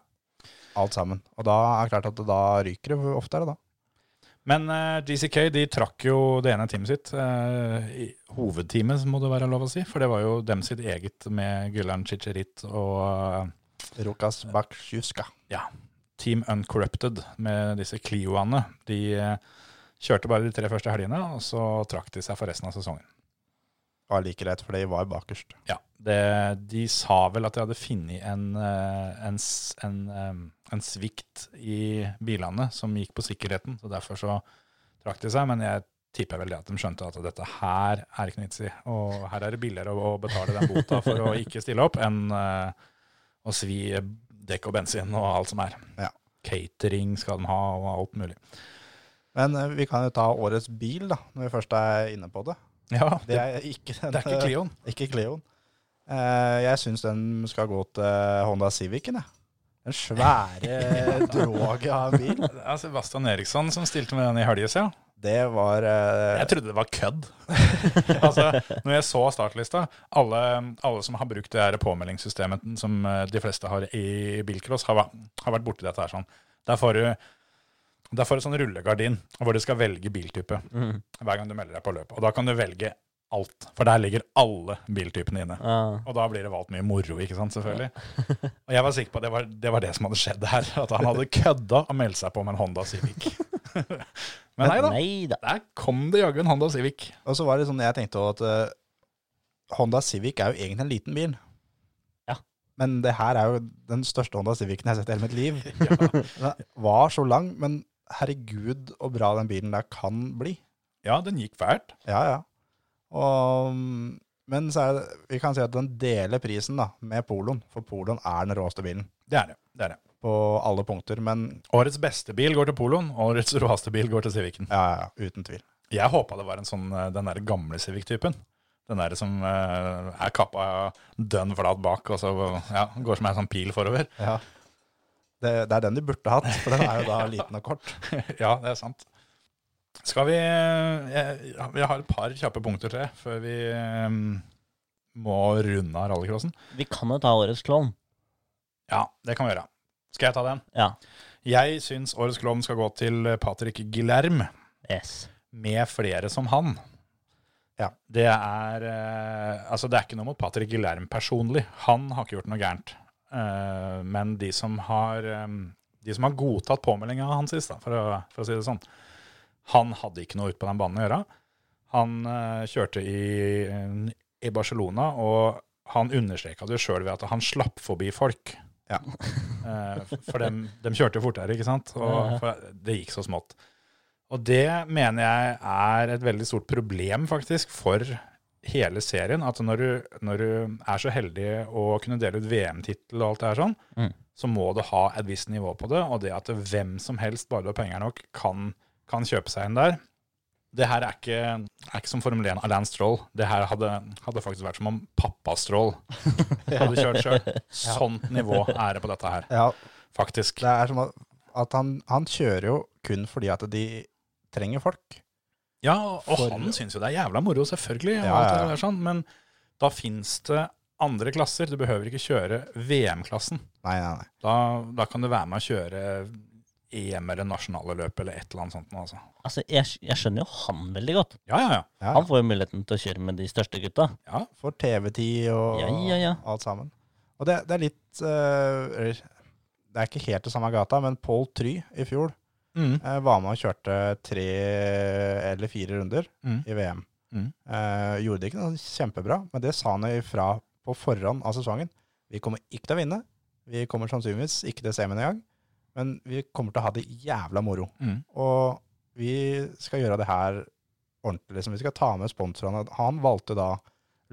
[SPEAKER 5] alt sammen. Og da er det klart at det da ryker det oftere, da.
[SPEAKER 3] Men eh, GCK de trakk jo det ene teamet sitt. eh, i hovedteamet, må det være lov å si. For det var jo dem sitt eget med Gullan Chicherit og eh,
[SPEAKER 5] Rukas Baksjuska.
[SPEAKER 3] Team Uncorrupted med disse Clioene. De eh, kjørte bare de tre første helgene, og så trakk de seg for resten av sesongen.
[SPEAKER 5] Var like greit, for de var bakerst.
[SPEAKER 3] Ja, det, De sa vel at de hadde funnet en, eh, en, s- en, eh, en svikt i bilene som gikk på sikkerheten, så derfor så trakk de seg. Men jeg tipper vel det at de skjønte at dette her er ikke noe vits i. Og her er det billigere å, å betale den bota for å ikke stille opp enn eh, å svi dekk og bensin og alt som er.
[SPEAKER 5] Ja.
[SPEAKER 3] Catering skal de ha, og alt mulig.
[SPEAKER 5] Men eh, vi kan jo ta årets bil, da, når vi først er inne på det.
[SPEAKER 3] Ja,
[SPEAKER 5] Det er ikke, den,
[SPEAKER 3] Det er ikke Clioen.
[SPEAKER 5] Ikke Clioen. Eh, jeg syns den skal gå til Honda Civicen, jeg. Den svære droget av en bil.
[SPEAKER 3] Det er Sebastian Eriksson som stilte med den i helges, ja.
[SPEAKER 5] Det var eh,
[SPEAKER 3] Jeg trodde det var kødd. altså, når jeg så startlista, alle, alle som har brukt det her påmeldingssystemet som eh, de fleste har i bilcross, har, va- har vært borti dette her sånn. Der får du der får du sånn rullegardin hvor du skal velge biltype
[SPEAKER 4] Mm.
[SPEAKER 3] hver gang du melder deg på løp. Og da kan du velge alt, for der ligger alle biltypene inne.
[SPEAKER 4] Ja.
[SPEAKER 3] Og da blir det valgt mye moro, ikke sant, selvfølgelig. Og jeg var sikker på at det var det, var det som hadde skjedd her. At han hadde kødda og meldt seg på med en Honda Civic. Men nei da.
[SPEAKER 4] Nei da.
[SPEAKER 3] Der kom det jaggu en Honda Civic.
[SPEAKER 5] Og så var det sånn, jeg tenkte også at eh, Honda Civic er jo egentlig en liten bil.
[SPEAKER 4] Ja.
[SPEAKER 5] Men det her er jo den største Honda Civicen jeg har sett i hele mitt liv. Den var så lang, men herregud hvor bra den bilen der kan bli.
[SPEAKER 3] Ja, den gikk fælt.
[SPEAKER 5] Ja, ja. Og, mm, men så er det, vi kan si at den deler prisen da, med Poloen, for Poloen er den råeste bilen
[SPEAKER 3] Det er det. det er det.
[SPEAKER 5] på alle punkter, men
[SPEAKER 3] Årets beste bil går til Poloen, årets råeste bil går til Civicen.
[SPEAKER 5] ja, ja, uten tvil.
[SPEAKER 3] Jeg håpa det var en sånn, eh, den der gamle Civic-typen. Den der som eh, er kappa dønn flat bak og så ja, går som ei sånn pil forover.
[SPEAKER 5] Ja. Det, det er den de burde hatt, for den er jo da liten og kort.
[SPEAKER 3] ja, det er sant. Skal vi jeg, Vi har et par kjappe punkter til før vi eh, må runde av rallycrossen.
[SPEAKER 4] Vi kan jo ta årets klovn.
[SPEAKER 3] Ja, det kan vi gjøre. Skal jeg ta den?
[SPEAKER 4] Ja.
[SPEAKER 3] Jeg syns årets klovn skal gå til Patrick Gillerm,
[SPEAKER 4] Yes.
[SPEAKER 3] med flere som han.
[SPEAKER 5] Ja.
[SPEAKER 3] Det er eh, Altså, det er ikke noe mot Patrick Gillerm personlig. Han har ikke gjort noe gærent. Eh, men de som har eh, De som har godtatt påmeldinga hans sist, da, for, å, for å si det sånn, han hadde ikke noe ut på den banen å gjøre. Han eh, kjørte i, eh, i Barcelona, og han understreka det sjøl ved at han slapp forbi folk.
[SPEAKER 5] Ja.
[SPEAKER 3] Eh, for dem, dem kjørte fortere, ikke sant? Og for det gikk så smått. Og det mener jeg er et veldig stort problem faktisk for hele serien. At når du, når du er så heldig å kunne dele ut VM-tittel og alt det her sånn,
[SPEAKER 4] Mm.
[SPEAKER 3] så må du ha et visst nivå på det. Og det at hvem som helst, bare du har penger nok, kan, kan kjøpe seg en der. Det her er ikke, er ikke som Formel 1 av Lance Stroll. Det her hadde, hadde faktisk vært som om pappa Stroll hadde kjørt sjøl. Sånt nivå er det på dette her,
[SPEAKER 5] Ja,
[SPEAKER 3] faktisk.
[SPEAKER 5] det er som at, at han, han kjører jo kun fordi at de trenger folk.
[SPEAKER 3] Ja, og
[SPEAKER 5] For-
[SPEAKER 3] han syns jo det er jævla moro, selvfølgelig, og
[SPEAKER 5] Ja,
[SPEAKER 3] alt
[SPEAKER 5] ja,
[SPEAKER 3] det
[SPEAKER 5] ja.
[SPEAKER 3] der sånn, men da fins det andre klasser. Du behøver ikke kjøre VM-klassen.
[SPEAKER 5] Nei, nei, nei.
[SPEAKER 3] Da, da kan du være med å kjøre EM eller nasjonale løp eller et eller annet sånt. nå, Altså.
[SPEAKER 4] Altså, jeg, skj- jeg skjønner jo han veldig godt.
[SPEAKER 3] Ja, ja, ja.
[SPEAKER 5] Ja,
[SPEAKER 4] Han får jo muligheten til å kjøre med de største gutta.
[SPEAKER 5] For TV-tid og
[SPEAKER 4] Ja, ja, ja.
[SPEAKER 5] alt sammen. Og det, det er litt eh, eller, Det er ikke helt det samme gata, men Pål Try i fjor
[SPEAKER 3] Mm.
[SPEAKER 5] eh, var med og kjørte tre eller fire runder
[SPEAKER 3] Mm.
[SPEAKER 5] i VM.
[SPEAKER 3] Mm.
[SPEAKER 5] Eh, gjorde det ikke noe kjempebra, men det sa han ifra på forhånd av sesongen. Vi kommer ikke til å vinne. Vi kommer sannsynligvis ikke til semien engang. Men vi kommer til å ha det jævla moro.
[SPEAKER 3] Mm.
[SPEAKER 5] Og vi skal gjøre det her ordentlig. Liksom. Vi skal ta med sponsorene. Han valgte da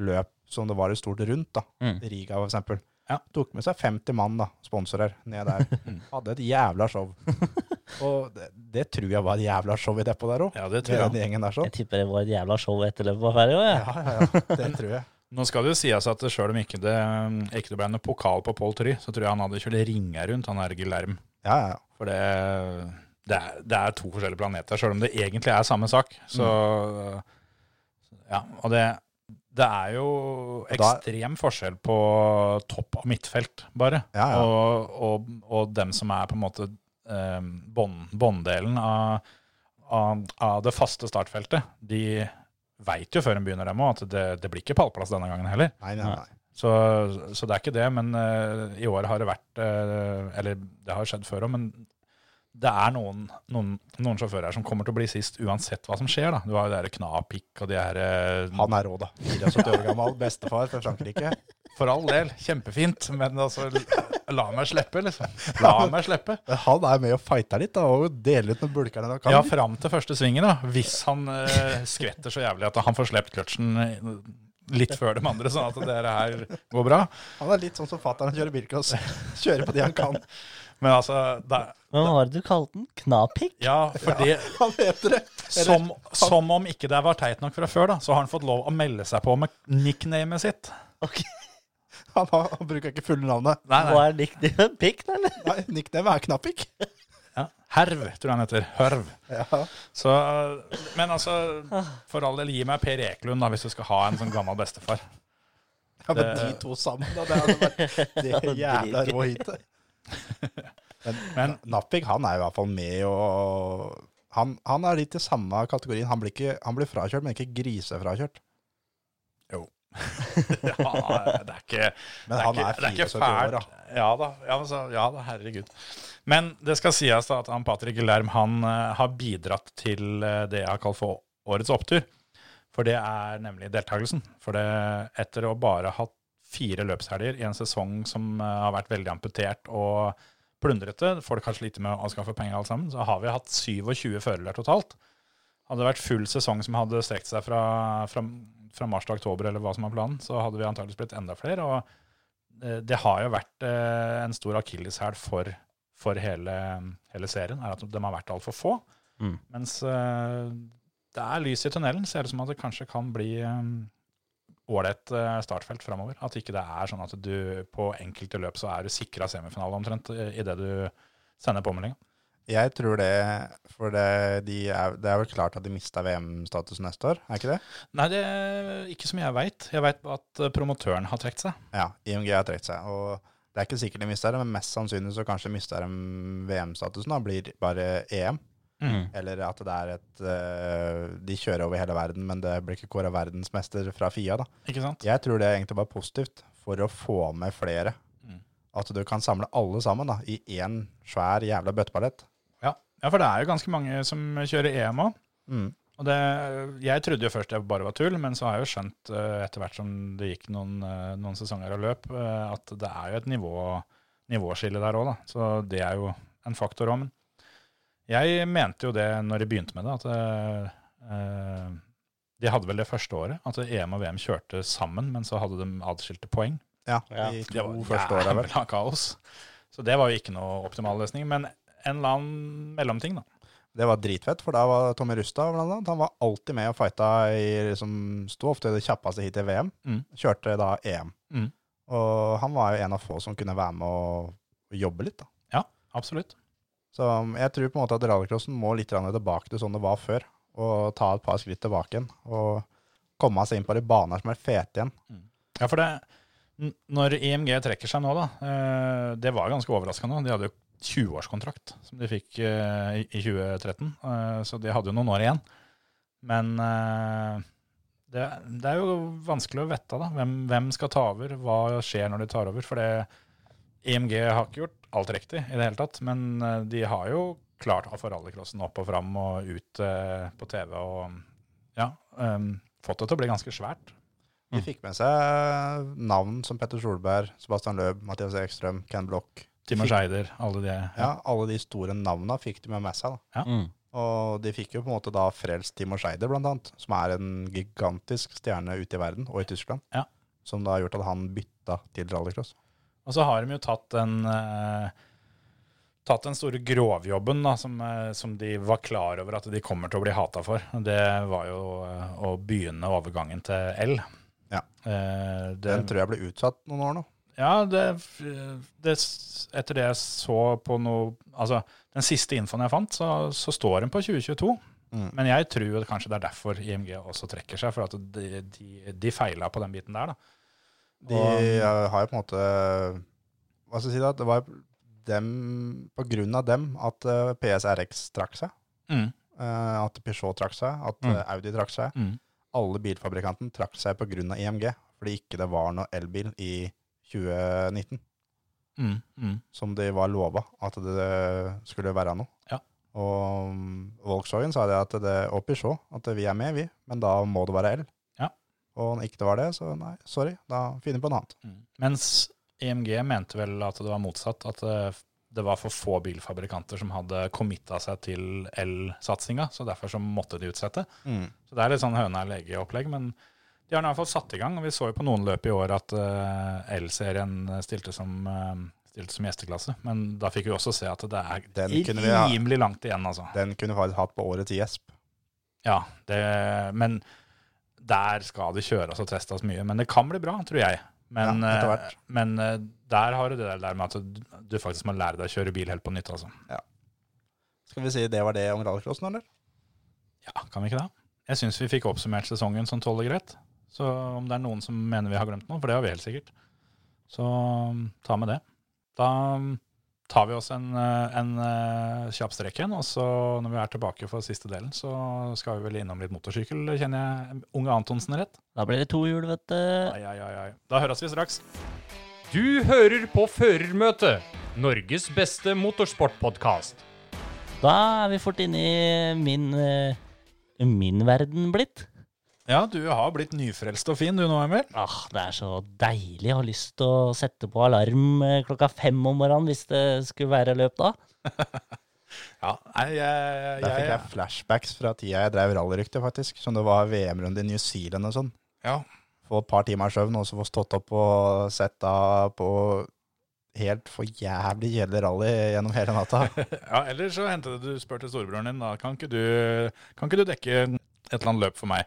[SPEAKER 5] løp som det var et stort rundt. da.
[SPEAKER 4] Mm.
[SPEAKER 5] Riga, for eksempel.
[SPEAKER 3] Ja.
[SPEAKER 5] Tok med seg 50 mann, da, sponsorer, ned der. Hadde et jævla show. Og det, det tror jeg var et jævla show i depot der òg.
[SPEAKER 3] ja, det tror
[SPEAKER 5] Den
[SPEAKER 3] jeg.
[SPEAKER 5] gjengen der sånn.
[SPEAKER 4] Jeg tipper det var et jævla show etter løpet var ferdig òg, jeg.
[SPEAKER 5] Ja, ja, ja. Det tror jeg.
[SPEAKER 3] Nå skal det jo sies at sjøl om ikke det ikke det ble noe pokal på Pål Try, så tror jeg han hadde kjørt ringer rundt han her Gillerm.
[SPEAKER 5] Ja, ja, ja.
[SPEAKER 3] For det, det, er, det er to forskjellige planeter, sjøl om det egentlig er samme sak. Så ja, og det, det er jo
[SPEAKER 5] da-
[SPEAKER 3] ekstrem forskjell på topp og midtfelt, bare.
[SPEAKER 5] Ja, ja.
[SPEAKER 3] Og, og, og dem som er på en måte eh, bånd- bånddelen av, av, av det faste startfeltet. De veit jo før en begynner dem òg at det, det blir ikke pallplass denne gangen heller.
[SPEAKER 5] Nei, nei, nei.
[SPEAKER 3] Så, så det er ikke det, men eh, i år har det vært eh, Eller det har skjedd før òg, men det er noen, noen, noen sjåfører her som kommer til å bli sist uansett hva som skjer. da. Du har jo det her Knapik og de her eh,
[SPEAKER 5] Han er rå, da. 74 år gammel, bestefar fra Frankrike.
[SPEAKER 3] For all del, kjempefint, men altså La meg slippe, liksom. La meg slippe.
[SPEAKER 5] Men han er med og fighter litt, da, og deler ut noen bulker når han kan.
[SPEAKER 3] Ja, fram til første svingen, da. Hvis han eh, skvetter så jævlig at han får slept kløtsjen eh, litt før de andre, sånn at det her går bra.
[SPEAKER 5] Han er litt sånn som fatter'n kjører bilcross. Kjører på de han kan.
[SPEAKER 3] Men altså det, er-
[SPEAKER 4] Hva var det du kalte den? Knapikk?
[SPEAKER 3] Ja, for det
[SPEAKER 5] Han heter det.
[SPEAKER 3] Som, som om ikke det var teit nok fra før, da, så har han fått lov å melde seg på med nicknamet sitt.
[SPEAKER 5] Han, har, han bruker ikke fulle navnet.
[SPEAKER 4] Hva er nicknamet? Pikk, eller?
[SPEAKER 5] Nei, Nickname er Knappik.
[SPEAKER 3] Ja. Herv, tror jeg han heter. Hørv.
[SPEAKER 5] Ja.
[SPEAKER 3] Så, men altså, for all del, gi meg Per Ekelund da, hvis du skal ha en sånn gammel bestefar.
[SPEAKER 5] Ja, men
[SPEAKER 3] Det-
[SPEAKER 5] de to sammen, da. Det hadde vært det jævla rå heatet. Men, men Nappik, han er i hvert fall med og han, han er litt i samme kategorien. Han blir, ikke, han blir frakjørt, men ikke grisefrakjørt.
[SPEAKER 3] Ja, det er ikke,
[SPEAKER 5] Men
[SPEAKER 3] det er
[SPEAKER 5] han
[SPEAKER 3] ikke,
[SPEAKER 5] er
[SPEAKER 3] det er ikke
[SPEAKER 5] 74 år,
[SPEAKER 3] fælt.
[SPEAKER 5] da.
[SPEAKER 3] Ja da, ja, altså, ja da, herregud. Men det skal sies da at han Patrick Lerm han eh, har bidratt til eh, det jeg har kalt for årets opptur. For det er nemlig deltakelsen. For det, etter å bare ha hatt fire løpshelger i en sesong som eh, har vært veldig amputert og plundrete, folk har slitt med å skaffe penger alt sammen, så har vi hatt 27 førere totalt. Hadde det vært full sesong som hadde strekt seg fra, fra, fra mars til oktober, eller hva som er planen, så hadde vi antakeligvis blitt enda flere. og eh, det har jo vært eh, en stor akilleshæl for, for hele, hele serien, er at de har vært altfor få.
[SPEAKER 4] Mm.
[SPEAKER 3] Mens eh, det er lys i tunnelen, ser det ut som at det kanskje kan bli eh, ålreit eh, startfelt framover. At ikke det er sånn at du på enkelte løp så er du sikra semifinale omtrent idet du sender påmeldinga.
[SPEAKER 5] Jeg tror det, for det, de er, det er vel klart at de mista VM-statusen neste år, er ikke det?
[SPEAKER 3] Nei, det er ikke som jeg veit. Jeg veit at eh, promotøren har trukket seg.
[SPEAKER 5] Ja, IMG har trukket seg. Og Det er ikke sikkert de mister dem, men mest sannsynlig så kanskje mister de VM-statusen. da, Blir bare EM.
[SPEAKER 4] Mm.
[SPEAKER 5] Eller at det er et eh, De kjører over hele verden, men det blir ikke kåra verdensmester fra FIA, da.
[SPEAKER 3] Ikke sant?
[SPEAKER 5] Jeg tror det er egentlig bare positivt for å få med flere.
[SPEAKER 3] Mm.
[SPEAKER 5] At du kan samle alle sammen da, i én svær jævla bøtteballett.
[SPEAKER 3] Ja. ja, for det er jo ganske mange som kjører E EM òg.
[SPEAKER 5] Mm.
[SPEAKER 3] Og det, jeg trodde jo først det bare var tull, men så har jeg jo skjønt eh, etter hvert som det gikk noen, eh, noen sesonger og løp, eh, at det er jo et nivå, nivåskille der òg, da. Så det er jo en faktor òg. Men jeg mente jo det når jeg begynte med det, at eh, de hadde vel det første året at EM og VM kjørte sammen, men så hadde de adskilte poeng.
[SPEAKER 5] Ja,
[SPEAKER 4] Ja.
[SPEAKER 5] de to
[SPEAKER 3] Det var
[SPEAKER 5] første åra, vel.
[SPEAKER 3] jævla kaos. Så det var jo ikke noe optimal løsning. Men en eller annen mellomting, da.
[SPEAKER 5] Det var dritfett, for da var Tommy Rustad blant annet. Han var alltid med og fighta i liksom, Sto ofte i det kjappeste hit i VM.
[SPEAKER 3] Mm.
[SPEAKER 5] Kjørte da EM.
[SPEAKER 3] Mm.
[SPEAKER 5] Og han var jo en av få som kunne være med og jobbe litt, da.
[SPEAKER 3] Ja, absolutt.
[SPEAKER 5] Så um, jeg tror på en måte at rallycrossen må litt grann tilbake til sånn det var før, og ta et par skritt tilbake igjen. Og komme seg inn på de baner som er fete igjen.
[SPEAKER 3] Ja, for det, n- når IMG trekker seg nå, da, eh, det var ganske overraskende. De hadde jo 20-årskontrakt som de fikk eh, i i 2013, eh, så de hadde jo noen år igjen. Men eh, det, det er jo vanskelig å vette da, hvem, hvem skal ta over, hva skjer når de tar over. For det, IMG har ikke gjort alt riktig i det hele tatt, men eh, de har jo klart å få rallycrossen opp og fram og ut eh, på TV og ja, eh, fått det til å bli ganske svært.
[SPEAKER 5] De
[SPEAKER 3] Mm.
[SPEAKER 5] fikk med seg navn som Petter Solberg, Sebastian Løb, Mathias Ekstrøm, Ken Block.
[SPEAKER 3] Timmer
[SPEAKER 5] Fikk-
[SPEAKER 3] Scheider, alle de.
[SPEAKER 5] Ja, alle de store navna fikk de med seg. da.
[SPEAKER 4] Mm.
[SPEAKER 5] Og de fikk jo på en måte da frelst Timo Scheider, blant annet, som er en gigantisk stjerne ute i verden, og i Tyskland.
[SPEAKER 3] Ja.
[SPEAKER 5] Som da har gjort at han bytta til rallycross.
[SPEAKER 3] Og så har de jo tatt den, eh, tatt den store grovjobben da, som, eh, som de var klar over at de kommer til å bli hata for. Det var jo eh, å begynne overgangen til L.
[SPEAKER 5] Ja.
[SPEAKER 3] Eh, det,
[SPEAKER 5] Den tror jeg ble utsatt noen år nå.
[SPEAKER 3] Ja, det, det, etter det jeg så på noe Altså, den siste infoen jeg fant, så, så står den på 2022.
[SPEAKER 5] Mm.
[SPEAKER 3] Men jeg tror jo kanskje det er derfor IMG også trekker seg, for at de, de, de feila på den biten der, da.
[SPEAKER 5] De
[SPEAKER 3] Og-
[SPEAKER 5] eh, har jo på en måte Hva skal jeg si da? Det var dem, på grunn av dem at eh, PSRX trakk seg.
[SPEAKER 3] Mm.
[SPEAKER 5] eh, At Peugeot trakk seg, at
[SPEAKER 3] Mm.
[SPEAKER 5] eh, Audi trakk seg.
[SPEAKER 3] Mm.
[SPEAKER 5] Alle bilfabrikantene trakk seg på grunn av IMG, fordi ikke det var noe elbil i 2019.
[SPEAKER 3] Mm. Mm.
[SPEAKER 5] som de var lova at det skulle være noe.
[SPEAKER 3] Ja.
[SPEAKER 5] Og Volkswagen sa det at det, og Peugeot at vi er med, vi, men da må det være L.
[SPEAKER 3] Ja.
[SPEAKER 5] Og når ikke det var det, så nei, sorry, da finner vi på noe annet.
[SPEAKER 3] Mens EMG mente vel at det var motsatt, at eh, det var for få bilfabrikanter som hadde committa seg til elsatsinga, så derfor så måtte de utsette.
[SPEAKER 5] Mm.
[SPEAKER 3] Så det er litt sånn høna eller egget-opplegg, men de har nå i hvert fall satt i gang. og Vi så jo på noen løp i år at eh, L-serien stilte som, eh, stilte som gjesteklasse, men da fikk vi også se at det
[SPEAKER 5] Den
[SPEAKER 3] er
[SPEAKER 5] kunne vi ha.
[SPEAKER 3] rimelig langt igjen, altså.
[SPEAKER 5] Den kunne vi faktisk hatt på årets gjesp.
[SPEAKER 3] Ja, det, men der skal det kjøres og testes mye. Men det kan bli bra, tror jeg. Men,
[SPEAKER 5] Ja, etter
[SPEAKER 3] eh,
[SPEAKER 5] hvert.
[SPEAKER 3] men eh, der har du det der med at du- du faktisk må lære deg å kjøre bil helt på nytt. Altså.
[SPEAKER 5] Skal vi si det var det om rallycrossen, eller?
[SPEAKER 3] Ja, kan vi ikke det? Jeg syns vi fikk oppsummert sesongen sånn tålelig greit. Så om det er noen som mener vi har glemt noe, for det har vi helt sikkert, så mm, ta med det. Da mm, tar vi oss en, eh, en eh, kjapp strekk igjen, og så når vi er tilbake for siste delen, så skal vi vel innom litt motorsykkel, kjenner jeg unge Antonsen rett?
[SPEAKER 4] Da blir det to hjul, vet du.
[SPEAKER 3] Ai, ai, ai, ai. Da høres vi straks.
[SPEAKER 6] Du hører på Førermøtet, Norges beste motorsportpodkast.
[SPEAKER 4] Da er vi fort inne i min, eh, min verden blitt.
[SPEAKER 3] Ja, du har blitt nyfrelst og fin du nå, Emil.
[SPEAKER 4] Ah, det er så deilig. Jeg har lyst til å sette på alarm eh, klokka fem om morgenen hvis det skulle være løp da.
[SPEAKER 3] Ja, nei, jeg,
[SPEAKER 5] Der fikk
[SPEAKER 3] jeg,
[SPEAKER 5] jeg flashbacks fra tida jeg drev rallyrykte, faktisk. Som det var VM-runde i New Zealand og sånn.
[SPEAKER 3] ja.
[SPEAKER 5] Få et par timer søvn, og så få stått opp og sett da på helt for jævlig kjedelig rally gjennom hele natta.
[SPEAKER 3] ja, eller så hentet du spør til storebroren din, da. Kan ikke du, kan ikke du dekke et eller annet løp for meg?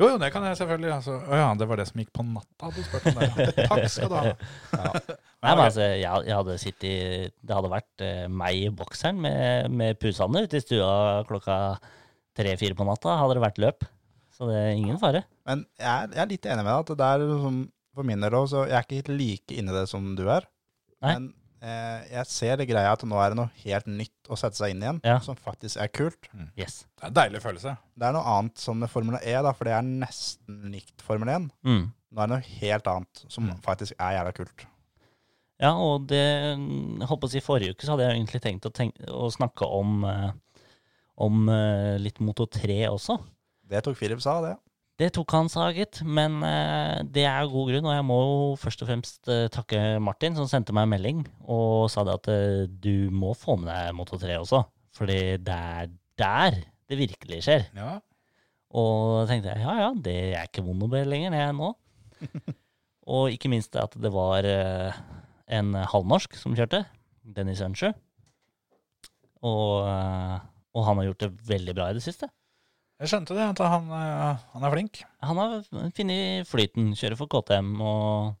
[SPEAKER 3] Jo, jo, det kan jeg selvfølgelig. Altså, å ja, det var det som gikk på natta du spurte om det. ja. Takk skal du ha.
[SPEAKER 4] Nei, men altså, jeg, jeg hadde sittet i Det hadde vært eh, meg i bokseren med, med pusene ute i stua klokka tre-fire på natta. Hadde det vært løp. Så det er ingen fare.
[SPEAKER 5] Men jeg er, jeg er litt enig med deg at det er liksom, for min del òg, så jeg er ikke helt like inni det som du er.
[SPEAKER 4] Nei.
[SPEAKER 5] Men eh, jeg ser det greia at nå er det noe helt nytt å sette seg inn igjen,
[SPEAKER 4] Ja.
[SPEAKER 5] som faktisk er kult.
[SPEAKER 4] Yes.
[SPEAKER 3] Det er en deilig følelse.
[SPEAKER 5] Det er noe annet som med Formel E, da, for det er nesten likt Formel 1.
[SPEAKER 4] Mm.
[SPEAKER 5] Nå er det noe helt annet som faktisk er jævla kult.
[SPEAKER 4] Ja, og det jeg holdt på å si forrige uke så hadde jeg egentlig tenkt å, tenk- å snakke om, eh, om eh, litt Moto 3 også.
[SPEAKER 5] Det tok Philip sa, det.
[SPEAKER 4] Det tok han, sa gitt, men eh, det er jo god grunn, og jeg må jo først og fremst eh, takke Martin, som sendte meg en melding og sa det at eh, du må få med deg Moto 3 også, fordi det er der det virkelig skjer.
[SPEAKER 3] Ja.
[SPEAKER 4] Og da tenkte jeg ja, ja, det er ikke Monobel lenger, det er jeg nå. og ikke minst det at det var eh, en halvnorsk som kjørte, Dennis Ønsjø. Og, eh, og han har gjort det veldig bra i det siste.
[SPEAKER 3] Jeg skjønte det, at han, eh, han er flink.
[SPEAKER 4] Han har funnet flyten, kjører for KTM og,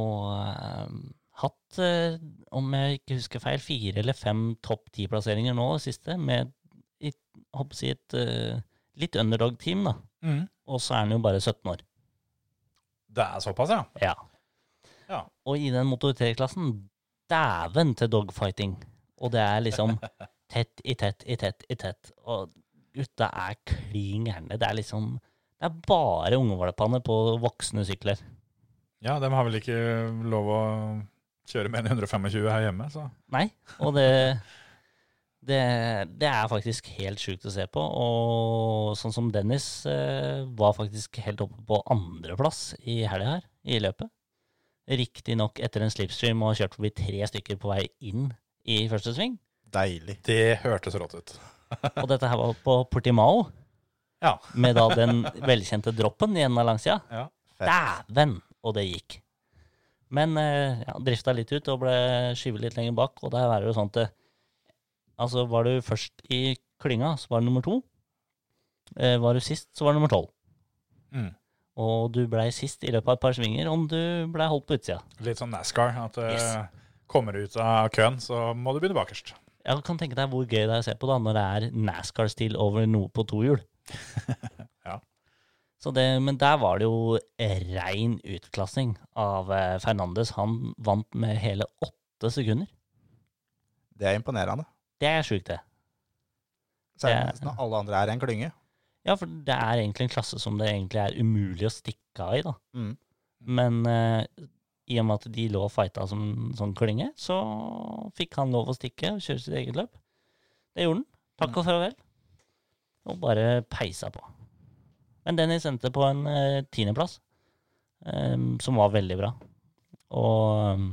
[SPEAKER 4] og eh, hatt, eh, om jeg ikke husker feil, fire eller fem topp ti-plasseringer nå det siste, med i- håper å si, et eh, litt underdog-team, da. Og så er han jo bare 17 år.
[SPEAKER 3] Mm. Det er såpass, ja.
[SPEAKER 4] Ja.
[SPEAKER 3] Ja.
[SPEAKER 4] Og i den motor 3-klassen, dæven til dogfighting. Og det er liksom tett i tett i tett i tett. Og gutta er klin gærne. Det er liksom Det er bare ungevalpene på voksne sykler.
[SPEAKER 3] Ja, De har vel ikke lov å kjøre mer enn 125 her hjemme, så
[SPEAKER 4] Nei. Og det Det, det er faktisk helt sjukt å se på. Og sånn som Dennis eh, var faktisk helt oppe på andreplass i helga her, i løpet. Riktignok etter en slipstream og har kjørt forbi tre stykker på vei inn i første sving.
[SPEAKER 5] Deilig.
[SPEAKER 3] Det hørtes rått ut.
[SPEAKER 4] Og dette her var på Portimao,
[SPEAKER 3] Ja.
[SPEAKER 4] med da den velkjente droppen i enden av langsida.
[SPEAKER 3] Ja.
[SPEAKER 4] Dæven! Og det gikk. Men eh, ja, drifta litt ut og ble skyvet litt lenger bak, og der er det jo sånn at det- Altså, var du først i klynga, så var du nummer to. Eh, var du sist, så var du nummer tolv.
[SPEAKER 3] Mm.
[SPEAKER 4] Og du blei sist i løpet av et par svinger om du blei holdt på utsida.
[SPEAKER 3] Litt sånn NASCAR. At eh,
[SPEAKER 4] Yes.
[SPEAKER 3] kommer du ut av køen, så må du begynne bakerst.
[SPEAKER 4] Jeg kan tenke deg hvor gøy det er å se på da, når det er NASCAR-stil over noe på to hjul.
[SPEAKER 3] Ja.
[SPEAKER 4] Så det, men der var det jo rein utklassing av eh, Fernandes. Han vant med hele åtte sekunder.
[SPEAKER 5] Det er imponerende.
[SPEAKER 4] Det er sjukt, det.
[SPEAKER 5] Særlig
[SPEAKER 4] Det-
[SPEAKER 5] nesten alle andre er en klynge.
[SPEAKER 4] Ja, for det er egentlig en klasse som det egentlig er umulig å stikke av i, da.
[SPEAKER 5] Mm.
[SPEAKER 4] Men eh, i og med at de lå og fighta som sånn klynge, så fikk han lov å stikke og kjøre sitt eget løp. Det gjorde han. Takk og farvel. Og bare peisa på. Men Dennis endte på en eh, tiendeplass, eh, som var veldig bra. Og eh,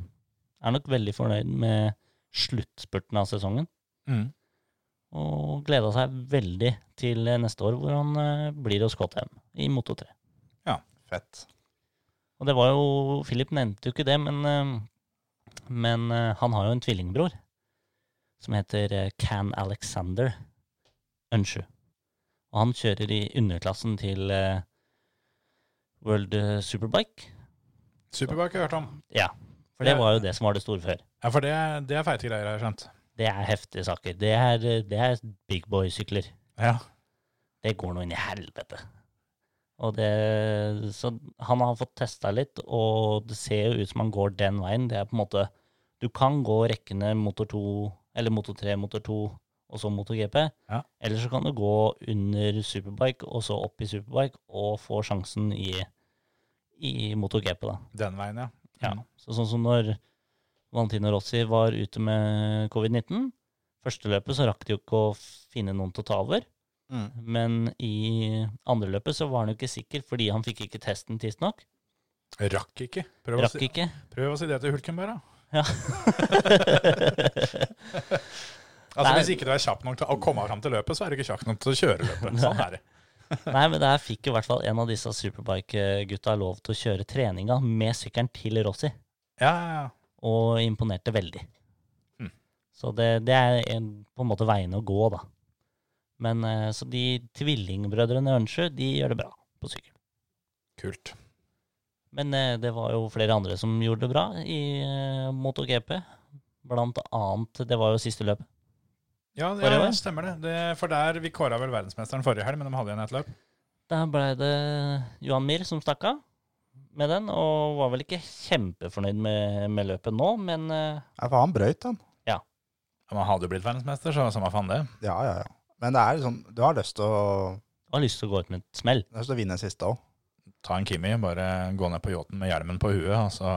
[SPEAKER 4] er nok veldig fornøyd med sluttspurten av sesongen.
[SPEAKER 3] Mm.
[SPEAKER 4] Og gleda seg veldig til eh, neste år, hvor han eh, blir hos KTM i Moto 3.
[SPEAKER 5] Fett.
[SPEAKER 4] Og det var jo Philip nevnte jo ikke det, men, eh, men eh, han har jo en tvillingbror som heter eh, Can Alexander Unshu. Og han kjører i underklassen til eh, World eh, Superbike.
[SPEAKER 3] Superbike har jeg hørt om.
[SPEAKER 4] Ja, for det
[SPEAKER 3] Ja.
[SPEAKER 4] var jo det som var det store før.
[SPEAKER 3] Ja, For det, det er feite greier, har jeg skjønt.
[SPEAKER 4] Det er heftige saker. Det er, eh, det er big boy-sykler.
[SPEAKER 3] Ja.
[SPEAKER 4] det går nå inn i helvete. Og det, så han har fått testa litt, og det ser jo ut som han går den veien. Det er på en måte Du kan gå rekkene motor 2, eller motor 3, motor 2, og så motor GP.
[SPEAKER 3] Ja.
[SPEAKER 4] Eller så kan du gå under superbike, og så opp i superbike, og få sjansen i, i motor GP, da.
[SPEAKER 3] Den veien, ja.
[SPEAKER 4] Ja. Så sånn som når Valentino Rossi var ute med covid-19. Første løpet så rakk de jo ikke å finne noen til å ta over.
[SPEAKER 5] Mm.
[SPEAKER 4] Men i andre løpet så var han jo ikke sikker, fordi han fikk ikke testen tidsnok.
[SPEAKER 3] Rakk ikke. Prøv,
[SPEAKER 4] Rakk
[SPEAKER 3] Å si,
[SPEAKER 4] ikke.
[SPEAKER 3] prøv å si det til Hulkenberg, da. Altså,
[SPEAKER 4] Nei.
[SPEAKER 3] hvis ikke du er kjapp nok til å komme fram til løpet, så er du ikke kjapp nok til å kjøre løpet. Sånn er det.
[SPEAKER 4] Nei, men der fikk i hvert fall en av disse superbike-gutta lov til å kjøre treninga med sykkelen til Rossi,
[SPEAKER 3] Ja, ja, ja.
[SPEAKER 4] og imponerte veldig.
[SPEAKER 3] Mm.
[SPEAKER 4] Så det, det er en, på en måte veien å gå, da. Men eh, så de tvillingbrødrene Ønsjø, de gjør det bra på sykkel.
[SPEAKER 3] Kult.
[SPEAKER 4] Men eh, det var jo flere andre som gjorde det bra i eh, MotoGP. Blant annet Det var jo siste løpet.
[SPEAKER 3] Ja,
[SPEAKER 4] Forrige
[SPEAKER 3] ja
[SPEAKER 4] år?
[SPEAKER 3] stemmer det. det. For der vi kåra vel verdensmesteren forrige helg, men de hadde igjen et løp.
[SPEAKER 4] Der blei det Johan Mir som stakk av. med den, og var vel ikke kjempefornøyd med, med løpet nå, men eh,
[SPEAKER 5] Ja, for han brøyt, han.
[SPEAKER 3] Ja, Man hadde jo blitt verdensmester, så samme faen det.
[SPEAKER 5] Ja, ja, ja. Men det er liksom, du har lyst til å,
[SPEAKER 4] har lyst til å gå ut med et smell.
[SPEAKER 5] du har lyst til å vinne siste òg.
[SPEAKER 3] Ta en Kimi, bare gå ned på yachten med hjelmen på huet, og så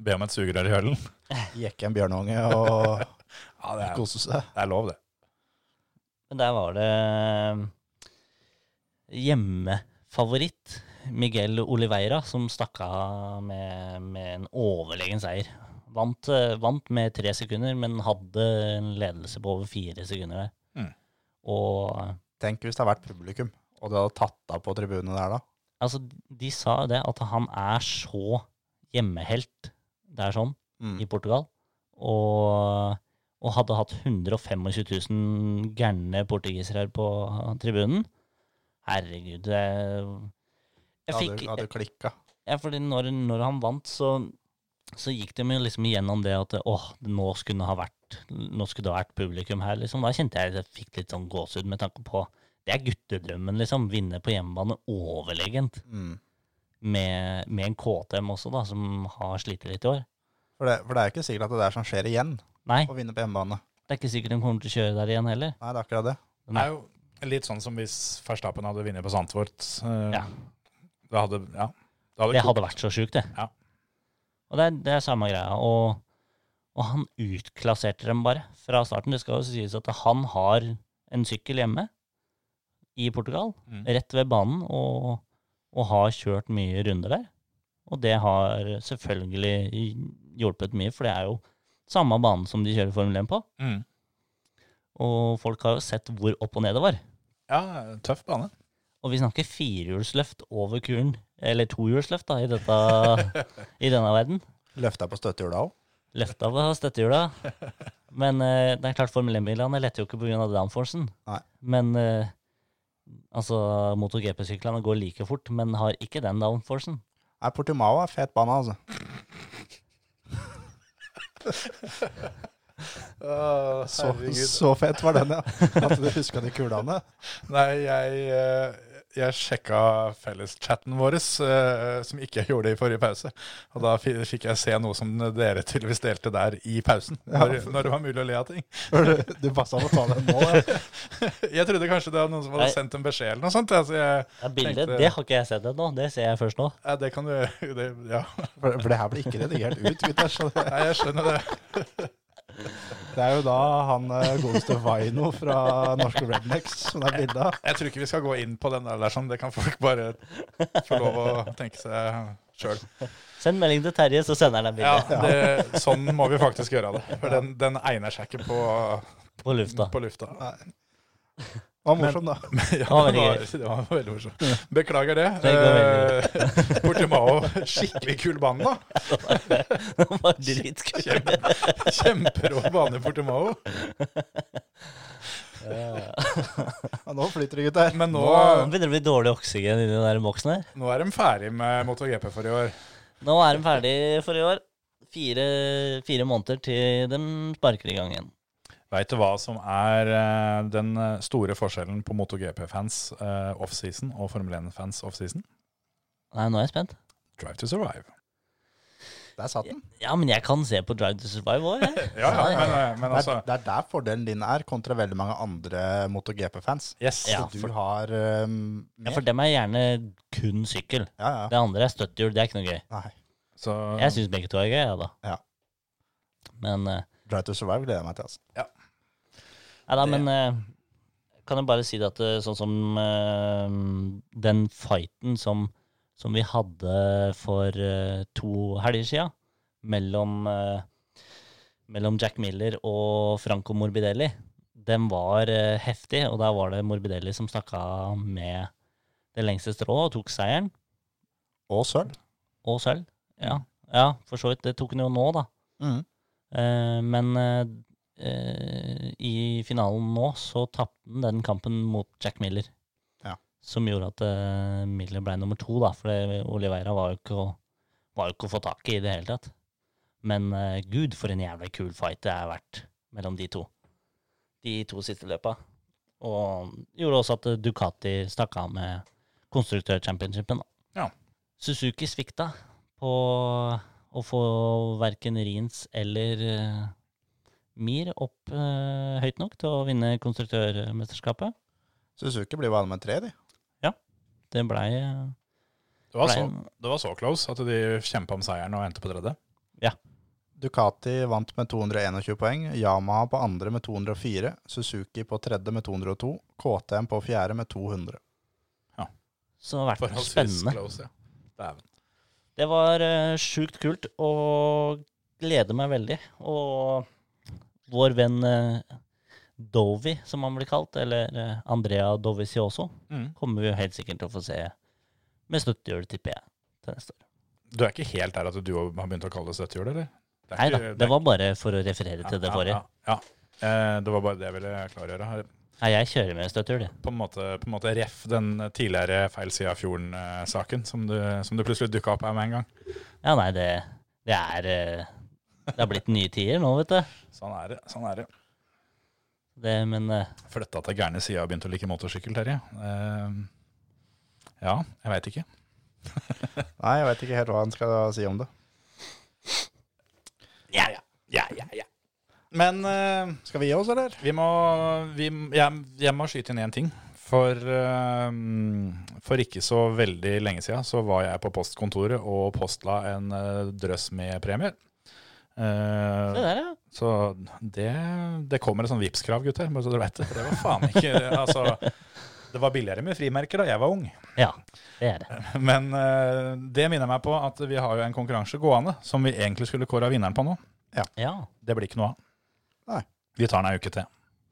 [SPEAKER 3] be om et sugerør i hølen.
[SPEAKER 5] Jekke en bjørnunge og
[SPEAKER 3] Ja, det er,
[SPEAKER 5] kose seg.
[SPEAKER 3] det er lov, det.
[SPEAKER 4] Men der var det eh, hjemmefavoritt Miguel Oliveira som stakk av med, med en overlegen seier. Vant, eh, vant med tre sekunder, men hadde en ledelse på over fire sekunder der.
[SPEAKER 3] Mm.
[SPEAKER 4] Og eh,
[SPEAKER 5] Tenk hvis det har vært publikum, og du hadde tatt av på tribunene der da.
[SPEAKER 4] altså, de sa jo det, at han er så hjemmehelt, det er sånn, i Portugal. Og, og hadde hatt 125 000 gærne portugisere her på tribunen. Herregud, det
[SPEAKER 5] Da
[SPEAKER 4] jeg
[SPEAKER 5] hadde,
[SPEAKER 4] fikk,
[SPEAKER 5] da hadde du klikka.
[SPEAKER 4] ja, fordi når, når han vant, så, så gikk de jo liksom igjennom det at åh, nå skulle det ha vært, nå skulle det ha vært publikum her, liksom. Da kjente jeg at jeg fikk litt sånn gåsehud med tanke på Det er guttedrømmen, liksom. Vinne på hjemmebane overlegent.
[SPEAKER 5] Mm.
[SPEAKER 4] Med, med en KTM også, da, som har slitt litt i år.
[SPEAKER 5] For, det, for det er jo ikke sikkert at det der som skjer igjen,
[SPEAKER 4] Nei,
[SPEAKER 5] å vinne på hjemmebane.
[SPEAKER 4] det er ikke sikkert de kommer til å kjøre der igjen heller.
[SPEAKER 5] Nei, det er akkurat det.
[SPEAKER 3] Det er jo litt sånn som hvis Verstappen hadde vunnet på Sandtvort. eh,
[SPEAKER 4] Ja.
[SPEAKER 3] Det hadde, ja. Det hadde
[SPEAKER 4] Det
[SPEAKER 3] kokt.
[SPEAKER 4] hadde vært så sjukt, det.
[SPEAKER 3] Ja.
[SPEAKER 4] Og det er, det er samme greia. Og, og han utklasserte dem bare fra starten. Det skal jo sies at han har en sykkel hjemme i Portugal,
[SPEAKER 3] Mm.
[SPEAKER 4] rett ved banen, og, og har kjørt mye runder der. Og det har selvfølgelig hjulpet mye, for det er jo samme banen som de kjører Formel 1 på.
[SPEAKER 3] Mm.
[SPEAKER 4] Og folk har jo sett hvor opp og ned det var.
[SPEAKER 3] Ja, tøff bane.
[SPEAKER 4] Og vi snakker firehjulsløft over kuren, eller tohjulsløft da, i, dette, i denne verden.
[SPEAKER 5] Løfta på støttehjula òg.
[SPEAKER 4] Løfta på støttehjula. Men eh, det er klart Formel 1-bilene letter jo ikke pga. downforcen.
[SPEAKER 5] Nei.
[SPEAKER 4] Men eh, altså, motor-GP-syklene går like fort, men har ikke den downforcen.
[SPEAKER 5] Nei, Portimao er fet bane, altså. Så, så fet var den, ja. At du huska de kulene.
[SPEAKER 3] Nei, jeg, eh, jeg sjekka felleschatten vår, som ikke jeg gjorde i forrige pause. Og da fi- fikk jeg se noe som dere tydeligvis delte der i pausen, når, når det var mulig å le av ting.
[SPEAKER 5] Du passa på å ta den nå. Ja.
[SPEAKER 3] Jeg trodde kanskje det var noen som hadde
[SPEAKER 4] Nei.
[SPEAKER 3] sendt en beskjed eller noe sånt. Altså, jeg,
[SPEAKER 4] Det er bildet,
[SPEAKER 3] Tenkte-
[SPEAKER 4] det har ikke jeg sett ennå. Det ser jeg først nå.
[SPEAKER 3] ja, det kan du det, Ja,
[SPEAKER 5] For, for det her blir ikke redigert ut, gutter. Så det,
[SPEAKER 3] Nei, jeg skjønner det.
[SPEAKER 5] det er jo da han eh, godeste Vaino fra norske Rednecks som det er bilde av.
[SPEAKER 3] Jeg tror ikke vi skal gå inn på den der, der sånn. det kan folk bare få lov å tenke seg sjøl.
[SPEAKER 4] Send melding til Terje, så sender han deg
[SPEAKER 3] Ja,
[SPEAKER 4] bildet
[SPEAKER 3] det, sånn må vi faktisk gjøre det. For den, den egner seg ikke på,
[SPEAKER 4] på lufta.
[SPEAKER 3] på lufta.
[SPEAKER 5] Det var morsom, da.
[SPEAKER 3] Ja,
[SPEAKER 4] var
[SPEAKER 3] det var,
[SPEAKER 4] veldig
[SPEAKER 3] det var veldig morsomt. Beklager det.
[SPEAKER 4] Det går
[SPEAKER 3] Eh, Portimao, skikkelig kul bane, da.
[SPEAKER 4] Det var dritkult.
[SPEAKER 3] Kjempe, kjemperå bane, Portimao.
[SPEAKER 5] Ja, nå flyter det, gutter.
[SPEAKER 3] Men nå,
[SPEAKER 4] Nå begynner det å bli dårlig oksygen i den der boksen her.
[SPEAKER 3] nå er de ferdig med MotoGP for i år.
[SPEAKER 4] Nå er de ferdig for i år. Fire, fire måneder til de sparker i gang igjen.
[SPEAKER 3] Veit du hva som er eh, den store forskjellen på MotoGP-fans eh, offseason og Formel 1-fans offseason?
[SPEAKER 4] Nei, nå er jeg spent.
[SPEAKER 3] Drive to survive.
[SPEAKER 5] Der satt den.
[SPEAKER 4] Ja, men jeg kan se på Drive to Survive òg, jeg.
[SPEAKER 3] Ja, ja, men, eh, men
[SPEAKER 5] Det
[SPEAKER 3] altså
[SPEAKER 5] er, det er der fordelen din er, kontra veldig mange andre MotoGP-fans.
[SPEAKER 3] Yes.
[SPEAKER 4] Ja.
[SPEAKER 5] Du har um,
[SPEAKER 4] Ja,
[SPEAKER 5] mer.
[SPEAKER 4] for dem er gjerne kun sykkel.
[SPEAKER 5] Ja, ja.
[SPEAKER 4] Det andre er støttehjul, det er ikke noe gøy.
[SPEAKER 5] Nei.
[SPEAKER 3] Så
[SPEAKER 4] Jeg syns begge to er gøy, jeg, da.
[SPEAKER 5] Ja.
[SPEAKER 4] Men eh,
[SPEAKER 5] Drive to Survive gleder jeg meg til. altså.
[SPEAKER 4] Nei da, men eh, kan jeg bare si det at eh, sånn som eh, den fighten som, som vi hadde for eh, to helger sia mellom, eh, mellom Jack Miller og Franco Morbidelli, den var eh, heftig, og der var det Morbidelli som snakka med det lengste strået og tok seieren.
[SPEAKER 5] Og sølv.
[SPEAKER 4] Og sølv. Ja. ja, for så vidt. Det tok han jo nå, da.
[SPEAKER 5] Mhm.
[SPEAKER 4] Eh, men eh, eh, i finalen nå så tapte han den kampen mot Jack Miller.
[SPEAKER 5] Ja.
[SPEAKER 4] Som gjorde at eh, Miller ble nummer to, da. For det- Oliveira var jo ikke å, var jo ikke å få tak i i det hele tatt. Men eh, gud, for en jævlig kul fight det er vært mellom de to. De to siste løpa. Og gjorde også at eh, Ducati stakk av med konstruktør-championshipen. da. Suzuki svikta på å få verken Rins eller eh, Mir opp eh, høyt nok til å vinne konstruktørmesterskapet.
[SPEAKER 5] Suzuki blir bare med tre, de.
[SPEAKER 4] Det eh, blei
[SPEAKER 3] Det var, sånn
[SPEAKER 4] Blei
[SPEAKER 3] så,
[SPEAKER 4] en-
[SPEAKER 3] det var så close at de kjempa om seieren og endte på tredje.
[SPEAKER 5] Ducati vant med 221 poeng, Yamaha på andre med 204, Suzuki på tredje med 202, KTM på fjerde med 200.
[SPEAKER 4] så det har vært
[SPEAKER 3] Forholdsvis
[SPEAKER 4] spennende.
[SPEAKER 3] close, ja. Dæven.
[SPEAKER 4] Det var eh, sjukt kult og gleder meg veldig. Og vår venn eh, Dovi, som han blir kalt, eller eh, Andrea Dovizioso,
[SPEAKER 3] Mm.
[SPEAKER 4] kommer vi jo helt sikkert til å få se med støttehjul, tipper jeg. Til neste år.
[SPEAKER 3] Du er ikke helt der at du har begynt å kalle det støttehjul, eller? Det er
[SPEAKER 4] Nei da,
[SPEAKER 3] ikke-
[SPEAKER 4] det var bare for å referere til
[SPEAKER 3] Ja,
[SPEAKER 4] det forrige.
[SPEAKER 3] Ja, ja. Eh, Det var bare det jeg ville klargjøre. Har
[SPEAKER 4] Nei, jeg kjører med støttehjul, jeg.
[SPEAKER 3] På en måte, på en måte ref den tidligere feil side av fjorden-saken, som, du- som du plutselig dukka opp her med en gang.
[SPEAKER 4] Ja, nei, det, det er eh, Det har blitt nye tider nå, vet du.
[SPEAKER 3] Sånn er det. sånn er det.
[SPEAKER 4] Det, men eh,
[SPEAKER 3] Flytta til gærne sida og begynte å like motorsykkel, Terje. Eh, Ja, jeg veit ikke.
[SPEAKER 5] Nei, jeg vet ikke helt hva han skal si om det.
[SPEAKER 3] Ja, ja. ja, ja, ja. Men eh,
[SPEAKER 5] Skal vi gi oss, eller?
[SPEAKER 3] Vi må, vi, jeg, jeg må skyte inn én ting. For, eh, for ikke så veldig lenge siden så var jeg på postkontoret og postla en eh, drøss med premier. Eh,
[SPEAKER 4] det der, ja.
[SPEAKER 3] så det, det kommer et sånn Vipps-krav, gutter. Bare så dere vet det. For det var faen ikke Altså, det var billigere med frimerker da jeg var ung.
[SPEAKER 4] Ja, det er det.
[SPEAKER 3] Men eh, det minner meg på at vi har jo en konkurranse gående som vi egentlig skulle kåra vinneren på nå.
[SPEAKER 4] Ja.
[SPEAKER 3] Det blir ikke noe av.
[SPEAKER 5] Nei.
[SPEAKER 3] Vi tar den ei uke til.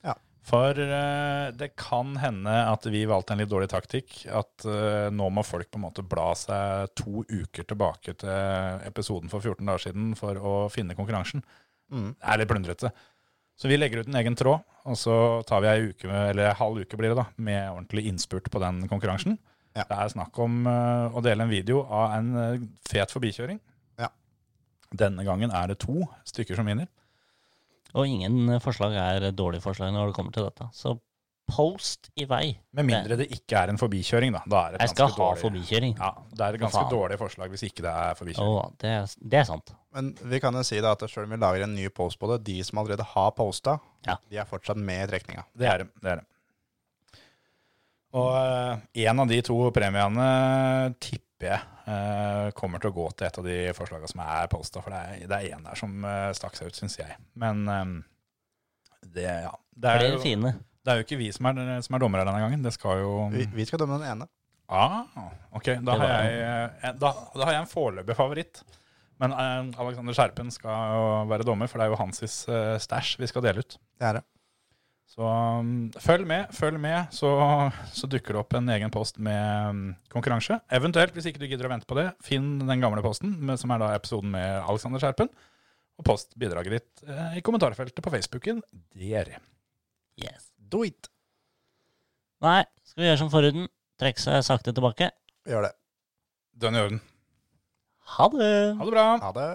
[SPEAKER 5] Ja.
[SPEAKER 3] For eh, det kan hende at vi valgte en litt dårlig taktikk. At eh, nå må folk på en måte bla seg to uker tilbake til episoden for 14 dager siden for å finne konkurransen.
[SPEAKER 5] Mm.
[SPEAKER 3] Det er litt plundrete. Så vi legger ut en egen tråd, og så tar vi ei uke, med, eller ei halv uke blir det da, med ordentlig innspurt på den konkurransen.
[SPEAKER 5] Ja.
[SPEAKER 3] Det er snakk om eh, å dele en video av en eh, fet forbikjøring.
[SPEAKER 5] Ja.
[SPEAKER 3] Denne gangen er det to stykker som vinner.
[SPEAKER 4] Og ingen eh, forslag er dårlige forslag når det kommer til dette. Så post i vei.
[SPEAKER 3] Med mindre det ikke er en forbikjøring, da. da er det
[SPEAKER 4] Jeg skal
[SPEAKER 3] ganske
[SPEAKER 4] ha
[SPEAKER 3] dårlig.
[SPEAKER 4] forbikjøring.
[SPEAKER 3] Ja, det er et ganske
[SPEAKER 4] faen.
[SPEAKER 3] dårlig forslag hvis ikke det er forbikjøring.
[SPEAKER 4] Å, det, er, det er sant.
[SPEAKER 5] Men vi kan jo si da at selv om vi lager en ny post på det, de som allerede har posta,
[SPEAKER 4] Ja.
[SPEAKER 5] de er fortsatt med i trekninga.
[SPEAKER 3] Det er det. det, er det. Og eh, en av de to premiene tipper jeg eh, kommer til å gå til et av de forslagene som er posta, for det er, det er en der som eh, stakk seg ut, syns jeg. Men eh, det, ja. det, er
[SPEAKER 4] Flere
[SPEAKER 3] jo,
[SPEAKER 4] fine.
[SPEAKER 3] det er jo ikke vi som er, som er dommere denne gangen. Det skal jo
[SPEAKER 5] Vi, vi skal dømme den ene.
[SPEAKER 3] Ah, ok. Da
[SPEAKER 4] Det
[SPEAKER 3] har,
[SPEAKER 4] var
[SPEAKER 3] jeg, eh, da, da har jeg en foreløpig favoritt. Men eh, Alexander Skjerpen skal jo være dommer, for det er jo hans eh, stæsj vi skal dele ut.
[SPEAKER 5] Det er det.
[SPEAKER 3] Så mm, følg med, følg med, så, så dukker det opp en egen post med mm, konkurranse. Eventuelt, hvis ikke du gidder å vente på det, finn den gamle posten, med, som er da episoden med Alexander Skjerpen, og post bidraget ditt eh, i kommentarfeltet på Facebooken der.
[SPEAKER 4] Yes.
[SPEAKER 5] Do it!
[SPEAKER 4] Nei, skal vi gjøre som forhuden? Trekke seg sakte tilbake.
[SPEAKER 5] Gjør det.
[SPEAKER 3] Dønn i orden.
[SPEAKER 4] Ha det!
[SPEAKER 3] Ha det bra!
[SPEAKER 5] Ha det.